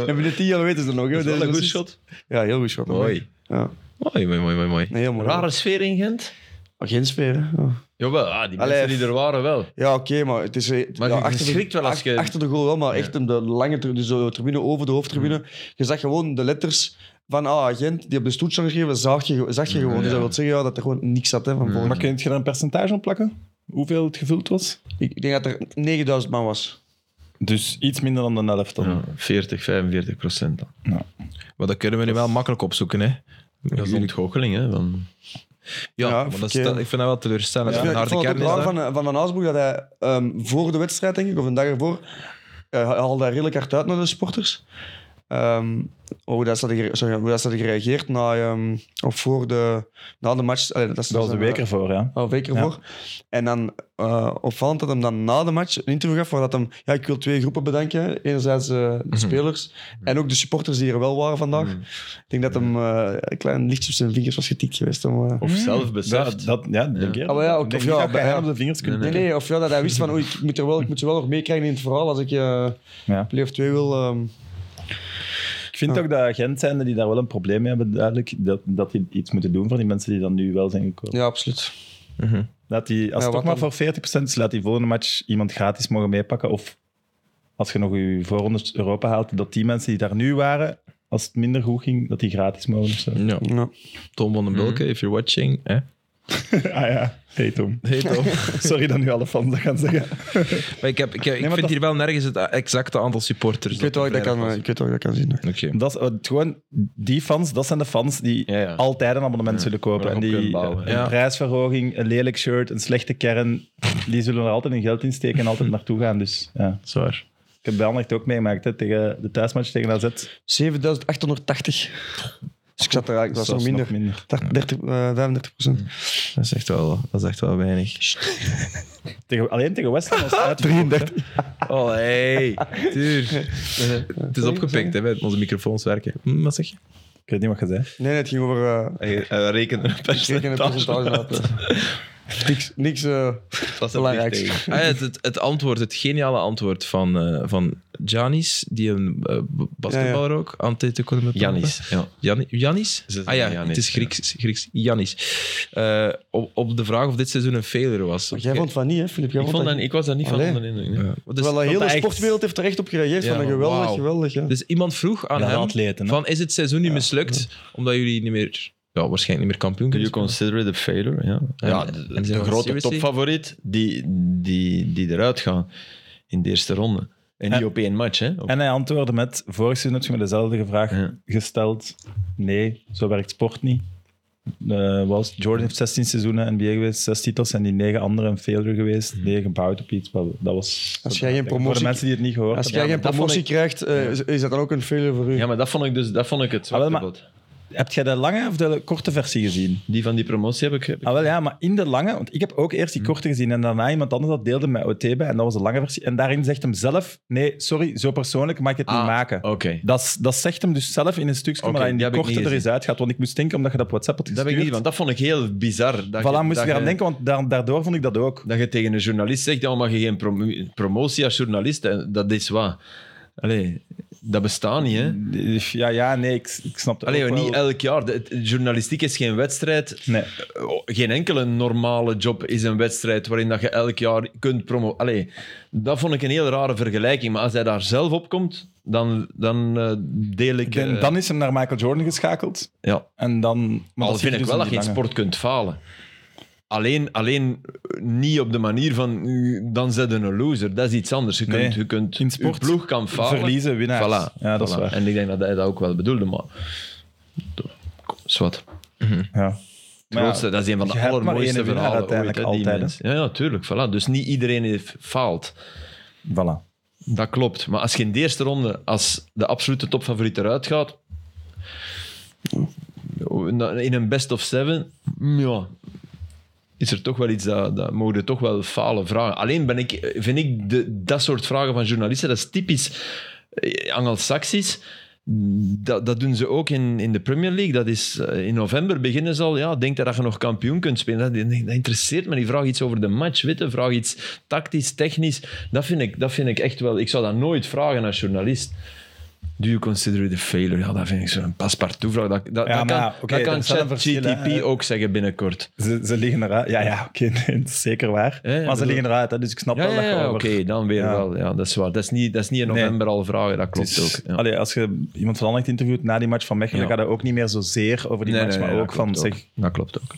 Speaker 4: En binnen tien jaar weten ze het nog. Hè,
Speaker 2: Dat is wel
Speaker 4: deze
Speaker 2: een goed
Speaker 4: assist.
Speaker 2: shot.
Speaker 4: Ja, heel goed shot.
Speaker 1: Mooi.
Speaker 4: Ja.
Speaker 1: Mooi, mooi, mooi, mooi. mooi.
Speaker 4: Nee, heel mooi.
Speaker 2: Rare sfeer in Gent.
Speaker 4: Maar Geen sfeer, hè. Ja.
Speaker 2: Jawel, ah, die
Speaker 4: Allee.
Speaker 2: mensen die er waren wel.
Speaker 4: Ja, oké, maar het is... eh,
Speaker 2: Maar
Speaker 4: ja,
Speaker 2: je schrikt wel als
Speaker 4: ach-
Speaker 2: je-
Speaker 4: Achter de goal wel, maar echt hem de lange tru- dus de tribune over de hoofdtribune. Je zag gewoon de letters van ah, Gent, die op de stoet zijn geschreven, zag je, zag je gewoon. Dus dat wil zeggen ja, Mm. dat er gewoon niks zat hè, van voor.
Speaker 3: Maar kun je er een percentage op plakken? Hoeveel het gevuld was?
Speaker 4: Ik denk dat er 9000 man was.
Speaker 3: Dus iets minder dan de helft dan.
Speaker 2: Ja, 40, 45 procent dan.
Speaker 1: Maar dat kunnen we nu wel makkelijk opzoeken, hè?
Speaker 2: Dat is een ontgoocheling, hè. Van...
Speaker 1: Ja,
Speaker 4: Ja,
Speaker 1: maar dat is,
Speaker 4: oké.
Speaker 1: dat- ik vind dat wel teleurstellend.
Speaker 4: Ik
Speaker 1: Ja,
Speaker 4: vind- ik vond het ook raar van, eh, van Van Haasbroek dat hij ehm, voor de wedstrijd, denk ik, of een dag ervoor, eh, hij haalde hij redelijk hard uit naar de sporters. Ehm, hoe, dat ze hadden gere- sorry, hoe dat ze hadden gereageerd na, ehm, of voor de, na de match. Allee, dat, is-
Speaker 3: Dat was de
Speaker 4: is-
Speaker 3: week ervoor, ja.
Speaker 4: Al een week ervoor. En dan eh, opvallend dat hem dan na de match een interview gaf waar dat hem... Ja, ik wil twee groepen bedanken. Enerzijds eh, de spelers en ook de supporters die er wel waren vandaag. Ik denk dat hem eh, een klein lichtje op zijn vingers was getikt geweest. Om, eh,
Speaker 2: Of zelf beseft.
Speaker 3: Dat, dat, ja, denk ik.
Speaker 4: Ah, maar ja, ook-
Speaker 3: Ik denk
Speaker 4: of
Speaker 3: niet
Speaker 4: ja,
Speaker 3: dat je
Speaker 4: bij-
Speaker 3: hem
Speaker 4: ja.
Speaker 3: op de vingers kunt
Speaker 4: nee, nee, of ja, dat hij wist van... Oei, ik moet er wel, ik moet er wel nog meekrijgen in het verhaal als ik eh
Speaker 3: Ja.
Speaker 4: play of 2 wil. ehm.
Speaker 3: Ik vind ook dat Gent zijnde die daar wel een probleem mee hebben, duidelijk, dat, dat die iets moeten doen voor die mensen die dan nu wel zijn gekomen.
Speaker 4: ja, absoluut.
Speaker 3: Laat die, als
Speaker 4: Ja,
Speaker 3: het toch
Speaker 4: wat
Speaker 3: maar voor 40% is, laat die volgende match iemand gratis mogen meepakken. Of als je nog je voorrondes Europa haalt, dat die mensen die daar nu waren, als het minder goed ging, dat die gratis mogen. of zo.
Speaker 1: Ja,
Speaker 4: Ja.
Speaker 1: Tom van den Bulke, if you're watching. Hè?
Speaker 3: Ah ja, hey Tom.
Speaker 1: Hey Tom.
Speaker 3: Sorry dat nu alle fans dat gaan zeggen.
Speaker 1: maar ik, heb, ik, ik vind
Speaker 3: dat-
Speaker 1: hier wel nergens het exacte aantal supporters.
Speaker 4: Ik weet wel dat ik dat kan, eh, ik weet wel dat ik dat kan zien. hè.
Speaker 1: Oké.
Speaker 3: Dat, is- het gewoon, die fans, dat zijn de fans die
Speaker 2: Ja, ja.
Speaker 3: altijd een abonnement zullen kopen.
Speaker 2: Waar we
Speaker 3: En
Speaker 2: op
Speaker 3: die
Speaker 2: kunnen bouwen,
Speaker 3: een
Speaker 1: ja.
Speaker 3: prijsverhoging, een lelijk shirt, een slechte kern, die zullen er altijd hun geld in steken en altijd naartoe gaan. Dus ja.
Speaker 1: Zwaar.
Speaker 3: Ik heb bij Anderlecht ook meegemaakt hè, tegen de thuismatch tegen AZ. Dus
Speaker 4: 7880. Dus ik zat er eigenlijk, dat was nog minder.
Speaker 3: minder.
Speaker 4: 30, eh, 35 procent.
Speaker 2: Mm.
Speaker 1: Dat is echt wel, dat is echt wel weinig.
Speaker 3: Tegen, alleen tegen West Ham was het uit.
Speaker 4: 33.
Speaker 1: Oh, hey. Duur. Het is opgepikt, hè. met Onze microfoons werken. Hm, wat zeg je?
Speaker 3: Ik weet niet wat je zei.
Speaker 4: Nee, nee, het ging over... eh,
Speaker 2: Hij, hij rekent een
Speaker 4: Ik een percentage uit. niks niks eh,
Speaker 2: Dat
Speaker 4: belangrijks.
Speaker 1: Ah, ja, het, het, het antwoord, het geniale antwoord van, eh van Janis, die een eh, b- basketballer ook, Antetokounmpo.
Speaker 2: Janis, ja.
Speaker 1: Jan- Janis?
Speaker 2: Ze zeggen
Speaker 1: Ah ja,
Speaker 2: Janis,
Speaker 1: het is
Speaker 2: ja.
Speaker 1: Grieks. Grieks Janis. Eh, op, op de vraag of dit seizoen een failure was.
Speaker 4: Maar jij vond van niet, hè, Filip? Jij
Speaker 2: Ik, vond dat,
Speaker 4: niet.
Speaker 2: ik was daar niet
Speaker 4: Allee.
Speaker 2: van onder in.
Speaker 1: Ja. Dus,
Speaker 4: Wel, de hele
Speaker 2: dat echt-
Speaker 4: sportwereld heeft er echt op gereageerd.
Speaker 1: Ja,
Speaker 4: van een geweldig,
Speaker 1: wauw.
Speaker 4: geweldig. Ja.
Speaker 1: dus iemand vroeg aan
Speaker 3: Ja,
Speaker 1: hem,
Speaker 3: atleten, hè.
Speaker 1: van is het seizoen nu mislukt omdat jullie niet meer, ja, waarschijnlijk niet meer kampioen
Speaker 2: Do
Speaker 1: kunnen
Speaker 2: you consider it a failure? Ja, ja
Speaker 1: en-
Speaker 2: de,
Speaker 1: en zijn
Speaker 2: de
Speaker 1: we
Speaker 2: grote
Speaker 1: seriously?
Speaker 2: topfavoriet die, die, die eruit gaan in de eerste ronde. En niet
Speaker 3: En-
Speaker 2: op één match, hè? Op-
Speaker 3: En hij antwoordde met, vorig seizoen heb je me dezelfde vraag
Speaker 2: Ja.
Speaker 3: gesteld. Nee, zo werkt sport niet. Eh, was, Jordan heeft 16 seizoenen NBA geweest, 6 titels en die 9 andere een failure geest,
Speaker 2: Mhm.
Speaker 3: 9 gebouwd op iets. Dat was
Speaker 4: Als jij geen
Speaker 3: Voor
Speaker 4: promotie-
Speaker 3: de mensen die het niet gehoord
Speaker 4: Als
Speaker 3: hebben.
Speaker 4: jij
Speaker 2: maar
Speaker 4: geen
Speaker 2: dat vond
Speaker 4: promotie
Speaker 2: ik-
Speaker 4: krijgt, eh, is- is dat dan ook een failure voor u.
Speaker 2: Ja, maar dat vond ik, dus, dat vond ik het
Speaker 3: Ah, wel,
Speaker 2: zwarte
Speaker 3: maar-
Speaker 2: blad.
Speaker 3: Heb jij de lange of de korte versie gezien?
Speaker 2: Die van die promotie heb ik... heb ik-
Speaker 3: Ah, wel ja, maar in de lange, want ik heb ook eerst
Speaker 2: Mhm.
Speaker 3: die korte gezien en daarna iemand anders dat deelde met OT bij en dat was de lange versie. En daarin zegt hem zelf, nee, sorry, zo persoonlijk mag ik het
Speaker 2: Ah,
Speaker 3: niet maken.
Speaker 2: Oké.
Speaker 3: Dat, is- dat zegt hem dus zelf in een stukje,
Speaker 2: Oké,
Speaker 3: maar dat in
Speaker 2: die
Speaker 3: die,
Speaker 2: heb ik
Speaker 3: korte
Speaker 2: niet
Speaker 3: er eens uitgaat. Want ik moest denken, omdat je dat op WhatsApp had
Speaker 2: Dat
Speaker 3: gestuurd.
Speaker 2: heb ik niet, Dus want dat vond ik heel bizar. Dat
Speaker 3: voilà,
Speaker 2: je-
Speaker 3: moest
Speaker 2: dat
Speaker 3: ik eraan
Speaker 2: je-
Speaker 3: denken, want daar, daardoor vond ik dat ook.
Speaker 2: Dat je tegen een journalist zegt, ja, maar je geen prom- promotie als journalist, en dat is waar. Allee, Dat bestaat niet, hè?
Speaker 3: Eh, Ja, ja, nee, ik, ik snap het
Speaker 2: Allee,
Speaker 3: ook
Speaker 2: joh,
Speaker 3: wel.
Speaker 2: niet elk jaar. De, het- journalistiek is geen wedstrijd.
Speaker 3: Nee.
Speaker 2: Oh, Geen enkele normale job is een wedstrijd waarin dat je elk jaar kunt promoveren. Allee, dat vond ik een heel rare vergelijking. Maar als hij daar zelf op komt, dan, dan eh, deel ik...
Speaker 3: Ik denk,
Speaker 2: eh,
Speaker 3: dan is hem naar Michael Jordan geschakeld.
Speaker 2: ja.
Speaker 3: En dan... Maar
Speaker 2: Al
Speaker 3: dat
Speaker 2: vind
Speaker 3: zit
Speaker 2: ik
Speaker 3: dus
Speaker 2: wel
Speaker 3: in
Speaker 2: dat je
Speaker 3: die
Speaker 2: in
Speaker 3: lange-
Speaker 2: sport kunt falen. Alleen, alleen eh, niet op de manier van eh, dan zet je een loser. Dat is iets anders. Je kunt,
Speaker 3: Nee,
Speaker 2: je kunt
Speaker 3: in
Speaker 2: je
Speaker 3: sport
Speaker 2: ploeg kan falen.
Speaker 3: Verliezen, winnaars.
Speaker 2: Voilà.
Speaker 3: Ja, dat
Speaker 2: voilà.
Speaker 3: is waar.
Speaker 2: En ik denk dat hij dat ook wel bedoelde, maar... Zwat.
Speaker 3: Ja.
Speaker 2: Het grootste, dat is een van
Speaker 3: je
Speaker 2: de
Speaker 3: hebt maar
Speaker 2: allermooiste
Speaker 3: één winnaar
Speaker 2: verhalen ooit,
Speaker 3: uiteindelijk
Speaker 2: hè, die
Speaker 3: altijd,
Speaker 2: mens. Ja, ja, tuurlijk. Voilà. Dus niet iedereen heeft faalt.
Speaker 3: Voilà.
Speaker 2: Dat klopt. Maar als je in de eerste ronde als de absolute topfavoriet eruit gaat, in een best of seven, ja, is er toch wel iets dat, dat mogen toch wel falen vragen. Alleen ben ik, vind ik de, dat soort vragen van journalisten, dat is typisch eh, Anglo-Saxisch. Dat, dat doen ze ook in, in de Premier League. Dat is, eh, in november beginnen ze al. Ja, denk dat je nog kampioen kunt spelen. Dat, dat interesseert me. Die vraag iets over de match. Witte, vraag iets tactisch, technisch. Dat vind, ik, dat vind ik echt wel. Ik zou dat nooit vragen als journalist. Do you consider it a failure? Ja, dat vind ik zo'n paspartout vraag. Dat, dat,
Speaker 3: Ja,
Speaker 2: dat
Speaker 3: maar
Speaker 2: kan,
Speaker 3: ja, oké,
Speaker 2: dat
Speaker 3: er
Speaker 2: kan
Speaker 3: is wel een verschil, hè.
Speaker 2: ChatGTP ook zeggen binnenkort.
Speaker 3: Ze, ze liggen eruit. Ja, ja, oké, nee, dat is zeker waar.
Speaker 2: Ja, ja,
Speaker 3: maar ze
Speaker 2: bedoel-
Speaker 3: liggen eruit, hè, dus ik snap
Speaker 2: Ja,
Speaker 3: wel
Speaker 2: ja,
Speaker 3: dat je
Speaker 2: ja,
Speaker 3: over-
Speaker 2: oké, dan weer
Speaker 3: Ja.
Speaker 2: wel. Ja, dat is waar. Dat is niet, dat is niet in
Speaker 3: Nee.
Speaker 2: november al vragen, dat klopt
Speaker 3: Dus,
Speaker 2: ook. Ja.
Speaker 3: allee, als je iemand van Anderlecht interviewt na die match van Mechelen,
Speaker 2: Ja.
Speaker 3: gaat het ook niet meer zozeer over die
Speaker 2: Nee,
Speaker 3: match,
Speaker 2: nee, nee,
Speaker 3: maar
Speaker 2: dat
Speaker 3: ook van,
Speaker 2: klopt
Speaker 3: zeg,
Speaker 2: Dat klopt ook.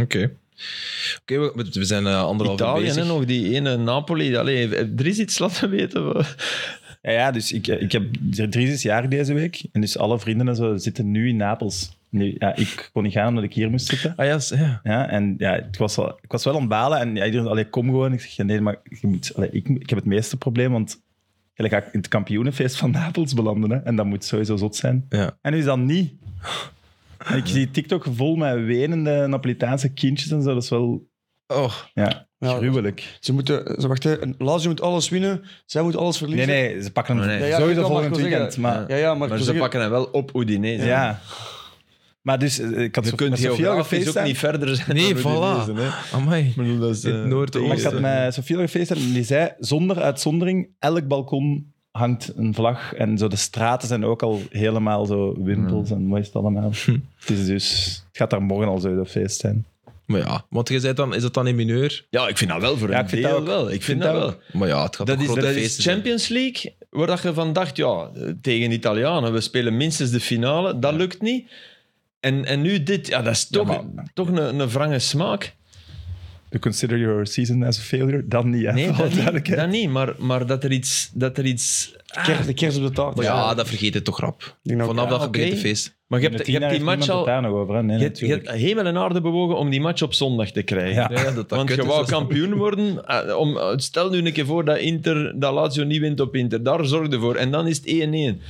Speaker 1: Oké. Oké, we, we zijn eh, anderhalf uur
Speaker 2: Italië
Speaker 1: bezig.
Speaker 2: en nog die ene Napoli. Allee, er is iets laten weten. we-
Speaker 3: Ja, ja dus ik, ik heb drie is jaar deze week. En dus alle vrienden en zo zitten nu in Napels. Nu, ja, ik kon niet gaan omdat ik hier moest zitten.
Speaker 1: Ah ja, s- ja.
Speaker 3: Ja, en ja, ik was wel, ik was wel aan het balen. En ja, iedereen zei, "Allee, kom gewoon. Ik zeg, "Ja, nee, maar je moet, allee, ik, ik heb het meeste probleem, want ja, dan ga ik in het kampioenenfeest van Napels belanden. Hè, en dat moet sowieso zot zijn.
Speaker 1: Ja.
Speaker 3: En nu is dat niet. En ik zie TikTok vol met wenende Napolitaanse kindjes en zo. Dat is wel
Speaker 1: Oh,
Speaker 3: ja,
Speaker 4: Ja.
Speaker 3: gruwelijk.
Speaker 4: Ze moeten, ze wachten, Lazio moet alles winnen, zij moet alles
Speaker 3: Nee,
Speaker 4: verliezen.
Speaker 3: nee, ze pakken hem
Speaker 2: Maar Oh, nee.
Speaker 4: Ja, ja, ik
Speaker 3: sowieso
Speaker 4: wil maar
Speaker 3: volgend
Speaker 4: gewoon
Speaker 3: weekend.
Speaker 4: zeggen,
Speaker 3: Maar
Speaker 4: Ja, ja, maar,
Speaker 2: Maar
Speaker 4: ik wil
Speaker 2: ze
Speaker 4: zeggen-
Speaker 2: pakken hem wel op Udinese.
Speaker 3: Ja. Maar dus, eh, ik had
Speaker 2: Je
Speaker 3: zo-
Speaker 2: kunt
Speaker 3: met Sofia
Speaker 2: geografisch ook
Speaker 3: gefeest
Speaker 2: niet verder zijn
Speaker 1: Nee,
Speaker 2: dan
Speaker 1: voilà.
Speaker 2: Udinese, hè.
Speaker 1: amai.
Speaker 2: Ik bedoel, dat is,
Speaker 1: In het
Speaker 2: eh,
Speaker 1: noorden
Speaker 3: Maar ik had met Sofia gefeest en die zei, zonder uitzondering, elk balkon hangt een vlag. En zo de straten zijn ook al helemaal zo wimpels en wat is het allemaal. Het is dus, het gaat daar morgen al zo dat feest zijn.
Speaker 1: Maar ja, want je zei dan, is dat dan in mineur?
Speaker 2: Ja, ik vind dat wel voor
Speaker 3: Ja,
Speaker 2: een
Speaker 3: ik vind
Speaker 2: deel
Speaker 3: dat ook.
Speaker 2: wel. Ik vind dat wel.
Speaker 1: Maar ja, het gaat
Speaker 2: Dat
Speaker 1: toch
Speaker 2: is,
Speaker 1: grote
Speaker 2: dat is
Speaker 1: feesten zijn.
Speaker 2: Champions League, waar dat je van dacht, ja, tegen de Italianen, we spelen minstens de finale, dat lukt niet. En, en nu dit, ja, dat is toch,
Speaker 3: maar-
Speaker 2: toch een, een wrange smaak.
Speaker 3: You consider your season as a failure? Dan niet, hè?
Speaker 2: Nee,
Speaker 3: Voor alle
Speaker 2: dat niet,
Speaker 3: duidelijkheid.
Speaker 2: dat niet maar, maar dat er iets... Dat er iets
Speaker 4: Kers- de kerst op de taart.
Speaker 1: Maar ja, dat vergeet het toch rap.
Speaker 4: denk dat ook,
Speaker 1: Vanaf
Speaker 2: ja,
Speaker 1: dat
Speaker 2: oké.
Speaker 1: gebeurt het feest.
Speaker 2: maar je
Speaker 3: In de
Speaker 2: hebt, je
Speaker 3: tien
Speaker 2: hebt die
Speaker 3: jaar heeft
Speaker 2: match
Speaker 3: niemand het
Speaker 2: al...
Speaker 3: daar nog over, hè? Nee,
Speaker 2: Je hebt, je
Speaker 3: natuurlijk.
Speaker 2: hebt hemel en aarde bewogen om die match op zondag te krijgen.
Speaker 3: Ja.
Speaker 1: dat,
Speaker 2: Want je wou kampioen worden. eh, Om, eh, stel nu een keer voor dat, Inter, dat Lazio niet wint op Inter. Daar zorgde voor. En dan is het 1-1.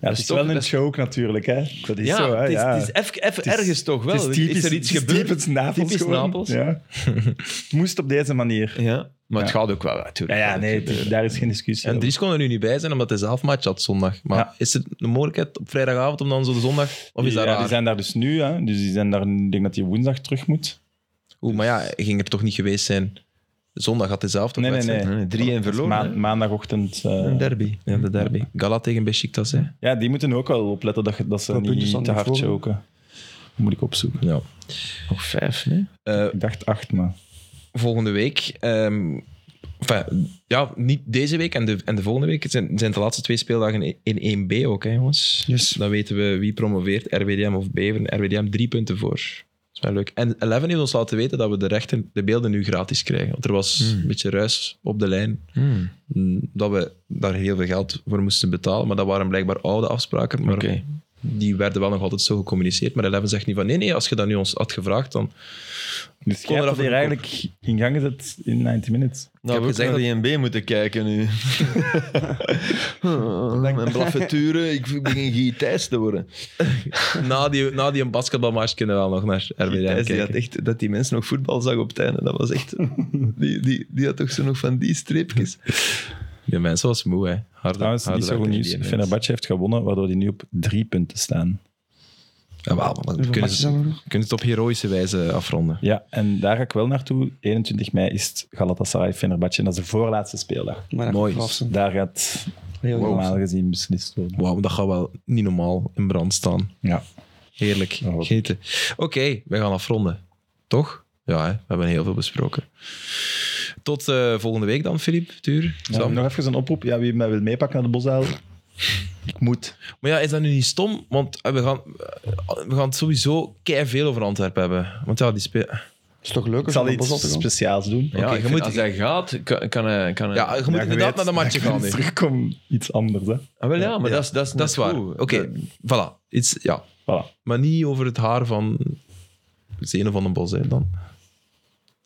Speaker 3: ja, het is
Speaker 2: toch-
Speaker 3: wel een
Speaker 2: dat is-
Speaker 3: joke natuurlijk, hè? Dat is
Speaker 2: ja,
Speaker 3: zo, hè?
Speaker 2: het is,
Speaker 3: ja.
Speaker 2: het is even, even
Speaker 3: Het is-
Speaker 2: ergens toch wel.
Speaker 3: het is typisch,
Speaker 2: is er iets
Speaker 3: het is
Speaker 2: gebeurd?
Speaker 3: Typisch Napels.
Speaker 2: Typisch
Speaker 3: gewoon.
Speaker 2: Napels.
Speaker 3: Ja. Het moest op deze manier.
Speaker 2: Ja, maar het
Speaker 3: Ja.
Speaker 2: gaat ook wel natuurlijk.
Speaker 3: Ja, nee, het is- daar is geen discussie
Speaker 1: En
Speaker 3: over.
Speaker 1: Dries kon er nu niet bij zijn, omdat hij zelf match had zondag. Maar
Speaker 3: Ja.
Speaker 1: is er een mogelijkheid op vrijdagavond om dan zo de zondag... Of is dat
Speaker 3: ja,
Speaker 1: raar?
Speaker 3: die zijn daar dus nu, hè? dus die zijn daar, ik denk dat die woensdag terug moet. Dus
Speaker 1: Oeh, maar ja, hij ging er toch niet geweest zijn. Zondag had hij zelf toch
Speaker 3: Nee, nee,
Speaker 1: wedstrijd?
Speaker 3: nee.
Speaker 2: Nee, 3-1 verloren.
Speaker 3: Ma-
Speaker 2: hè.
Speaker 3: maandagochtend. eh,
Speaker 1: Een derby. Ja, de derby. Gala tegen Besiktas, hè.
Speaker 3: ja, die moeten ook wel opletten dat, dat ze
Speaker 4: Wat punten
Speaker 3: niet
Speaker 4: staan
Speaker 3: te
Speaker 4: die
Speaker 3: hard
Speaker 4: voor?
Speaker 3: choken. Dat moet ik opzoeken.
Speaker 1: Ja.
Speaker 2: Nog vijf, nee?
Speaker 3: Ik dacht acht, maar...
Speaker 1: volgende week. ehm, enfin, ja, niet deze week en de, en de volgende week. Het zijn, zijn de laatste twee speeldagen in 1B ook, hè, jongens.
Speaker 4: Yes.
Speaker 1: Dan weten we wie promoveert, RWDM of Beveren. RWDM drie punten voor. Dat is wel leuk. En Eleven heeft ons laten weten dat we de rechten, de beelden nu gratis krijgen. Want er was een beetje ruis op de lijn.
Speaker 2: Hmm.
Speaker 1: mm, Dat we daar heel veel geld voor moesten betalen. Maar dat waren blijkbaar oude afspraken. Maar
Speaker 2: Oké.
Speaker 1: die werden wel nog altijd zo gecommuniceerd. Maar Eleven zegt nu van nee, nee, als je dat nu ons had gevraagd, dan
Speaker 3: Dus jij
Speaker 1: er
Speaker 3: hebt
Speaker 1: af
Speaker 3: dat hier
Speaker 1: en toe
Speaker 3: eigenlijk in gang gezet in 90 minutes.
Speaker 2: Nou, we
Speaker 1: gezegd
Speaker 2: hebben naar de 1B moeten kijken nu. Mijn blaffeturen, ik begin Gijtijs te worden.
Speaker 1: na die, na die basketbalmatch kunnen we wel nog naar RWDM
Speaker 2: Gijtijs, die had
Speaker 1: kijken.
Speaker 2: echt, dat die mensen nog voetbal zag op het einde, dat was echt... Die, die, die had toch zo nog van die streepjes.
Speaker 1: Die mensen was moe, hè. Harde,
Speaker 3: Trouwens, niet zo goed nieuws. Fenerbahce heeft gewonnen, waardoor die nu op drie punten staan.
Speaker 1: we kunnen,
Speaker 4: matchen
Speaker 1: ze-
Speaker 4: zijn er
Speaker 1: we kunnen het op heroïsche wijze afronden.
Speaker 3: Ja, en daar ga ik wel naartoe. 21 mei is het Galatasaray Fenerbahce en dat is de voorlaatste speeldag.
Speaker 4: Maar dat
Speaker 1: Mooi.
Speaker 4: gaat af zijn.
Speaker 3: Daar gaat
Speaker 4: Heel goed.
Speaker 3: normaal gezien beslist worden.
Speaker 1: Wauw, dat gaat wel niet normaal in brand staan.
Speaker 3: Ja.
Speaker 1: Heerlijk,
Speaker 3: hoop ik.
Speaker 1: genieten. Oké, we gaan afronden. Toch? Ja, hè? we hebben heel veel besproken. Tot eh, volgende week dan, Filip, Tuur.
Speaker 3: Ja,
Speaker 1: Sam.
Speaker 3: nog even een oproep. Ja, wie mij wil meepakken naar de bosuil, ik moet.
Speaker 1: Maar ja, is dat nu niet stom? Want eh, we gaan, eh, we gaan het sowieso keihard veel over Antwerpen hebben. Want ja, die speel...
Speaker 4: is toch leuk
Speaker 3: Ik
Speaker 4: als je
Speaker 3: zal
Speaker 4: naar het bos
Speaker 3: iets
Speaker 4: op te gaan?
Speaker 3: speciaals doen.
Speaker 1: Ja, je moet,
Speaker 2: als hij gaat, kan, kan hij... Kan hij-
Speaker 1: ja, je moet
Speaker 3: Ja, je
Speaker 1: inderdaad
Speaker 3: weet,
Speaker 1: naar de match
Speaker 3: ik
Speaker 1: gaan nu.
Speaker 3: eens terugkom, iets anders. Hè.
Speaker 2: Ah, wel, ja, maar
Speaker 1: Ja,
Speaker 2: dat is dat is
Speaker 1: Dat is waar. Oké, voilà. Iets, ja.
Speaker 3: Voilà.
Speaker 1: Maar niet over het haar van Zenen van den Bos, hè, dan.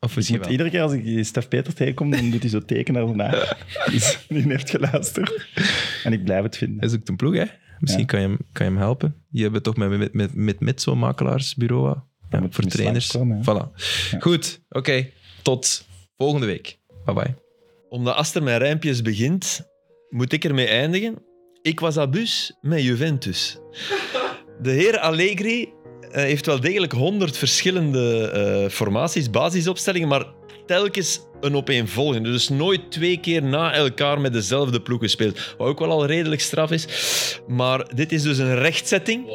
Speaker 1: Of
Speaker 3: Dus je
Speaker 1: misschien
Speaker 3: moet
Speaker 1: wel.
Speaker 3: iedere keer als ik Stef Peters tegenkom, dan doet hij zo tekenen naar zijn haar. Dus die heeft geluisterd. En ik blijf het vinden.
Speaker 1: Hij zoekt een ploeg, hè. Misschien
Speaker 3: Ja.
Speaker 1: kan, je hem, kan je hem helpen. Je hebt toch met, met, met, met, met zo'n makelaarsbureau hè? ja,
Speaker 3: moet
Speaker 1: voor
Speaker 3: je
Speaker 1: trainers.
Speaker 3: slagen
Speaker 1: voilà. Goed, oké. Tot volgende week. Bye-bye.
Speaker 2: Omdat Aster mijn rijmpjes begint, moet ik ermee eindigen. Ik was abus met Juventus. De heer Allegri eh, heeft wel degelijk honderd verschillende eh, formaties, basisopstellingen, maar telkens een opeenvolgende. Dus nooit twee keer na elkaar met dezelfde ploeg gespeeld. Wat ook wel al redelijk straf is. Maar dit is dus een rechtzetting.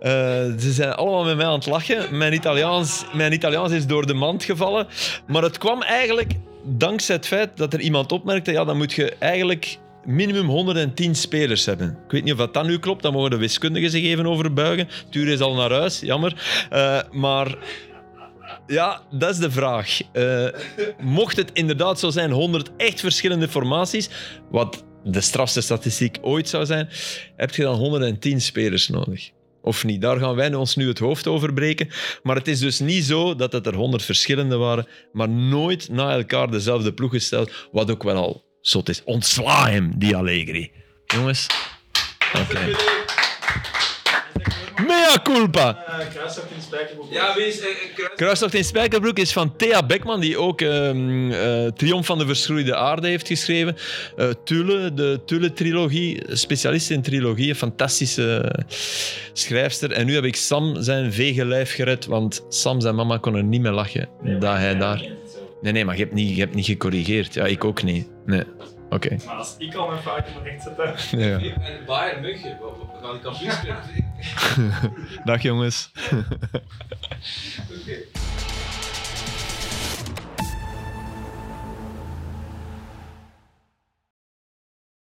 Speaker 2: Eh, ze zijn allemaal met mij aan het lachen. Mijn Italiaans, mijn Italiaans is door de mand gevallen. Maar het kwam eigenlijk dankzij het feit dat er iemand opmerkte: ja, dan moet je eigenlijk minimum 110 spelers hebben. Ik weet niet of dat dan nu klopt, dan mogen de wiskundigen zich even overbuigen. Tuur is al naar huis, jammer. Eh, maar ja, dat is de vraag. Eh, mocht het inderdaad zo zijn, 100 echt verschillende formaties, wat de strafste statistiek ooit zou zijn, heb je dan 110 spelers nodig. Of niet, daar gaan wij ons nu het hoofd over breken. Maar het is dus niet zo dat het er 100 verschillende waren, maar nooit na elkaar dezelfde ploeg gesteld, wat ook wel al zot is. Ontsla hem, die Allegri. Jongens. Oké. Mea culpa!
Speaker 1: Ja, wees...
Speaker 2: Kruistocht in Spijkerbroek is van Thea Beckman, die ook ehm eh, Triomf van de Verschroeide Aarde heeft geschreven. Eh Tulle, de Tulle-trilogie, specialist in trilogieën, fantastische schrijfster. En nu heb ik Sam zijn vege lijf gered, want Sam zijn mama kon er niet meer lachen dat hij daar... Nee, nee, maar je hebt niet, je hebt niet gecorrigeerd. Ja, ik ook niet. Nee, oké.
Speaker 6: Maar als ik al mijn fouten moet rechtzetten,
Speaker 2: Ja.
Speaker 1: En Bayern München, we gaan die kampioen spelen.
Speaker 2: Dag jongens.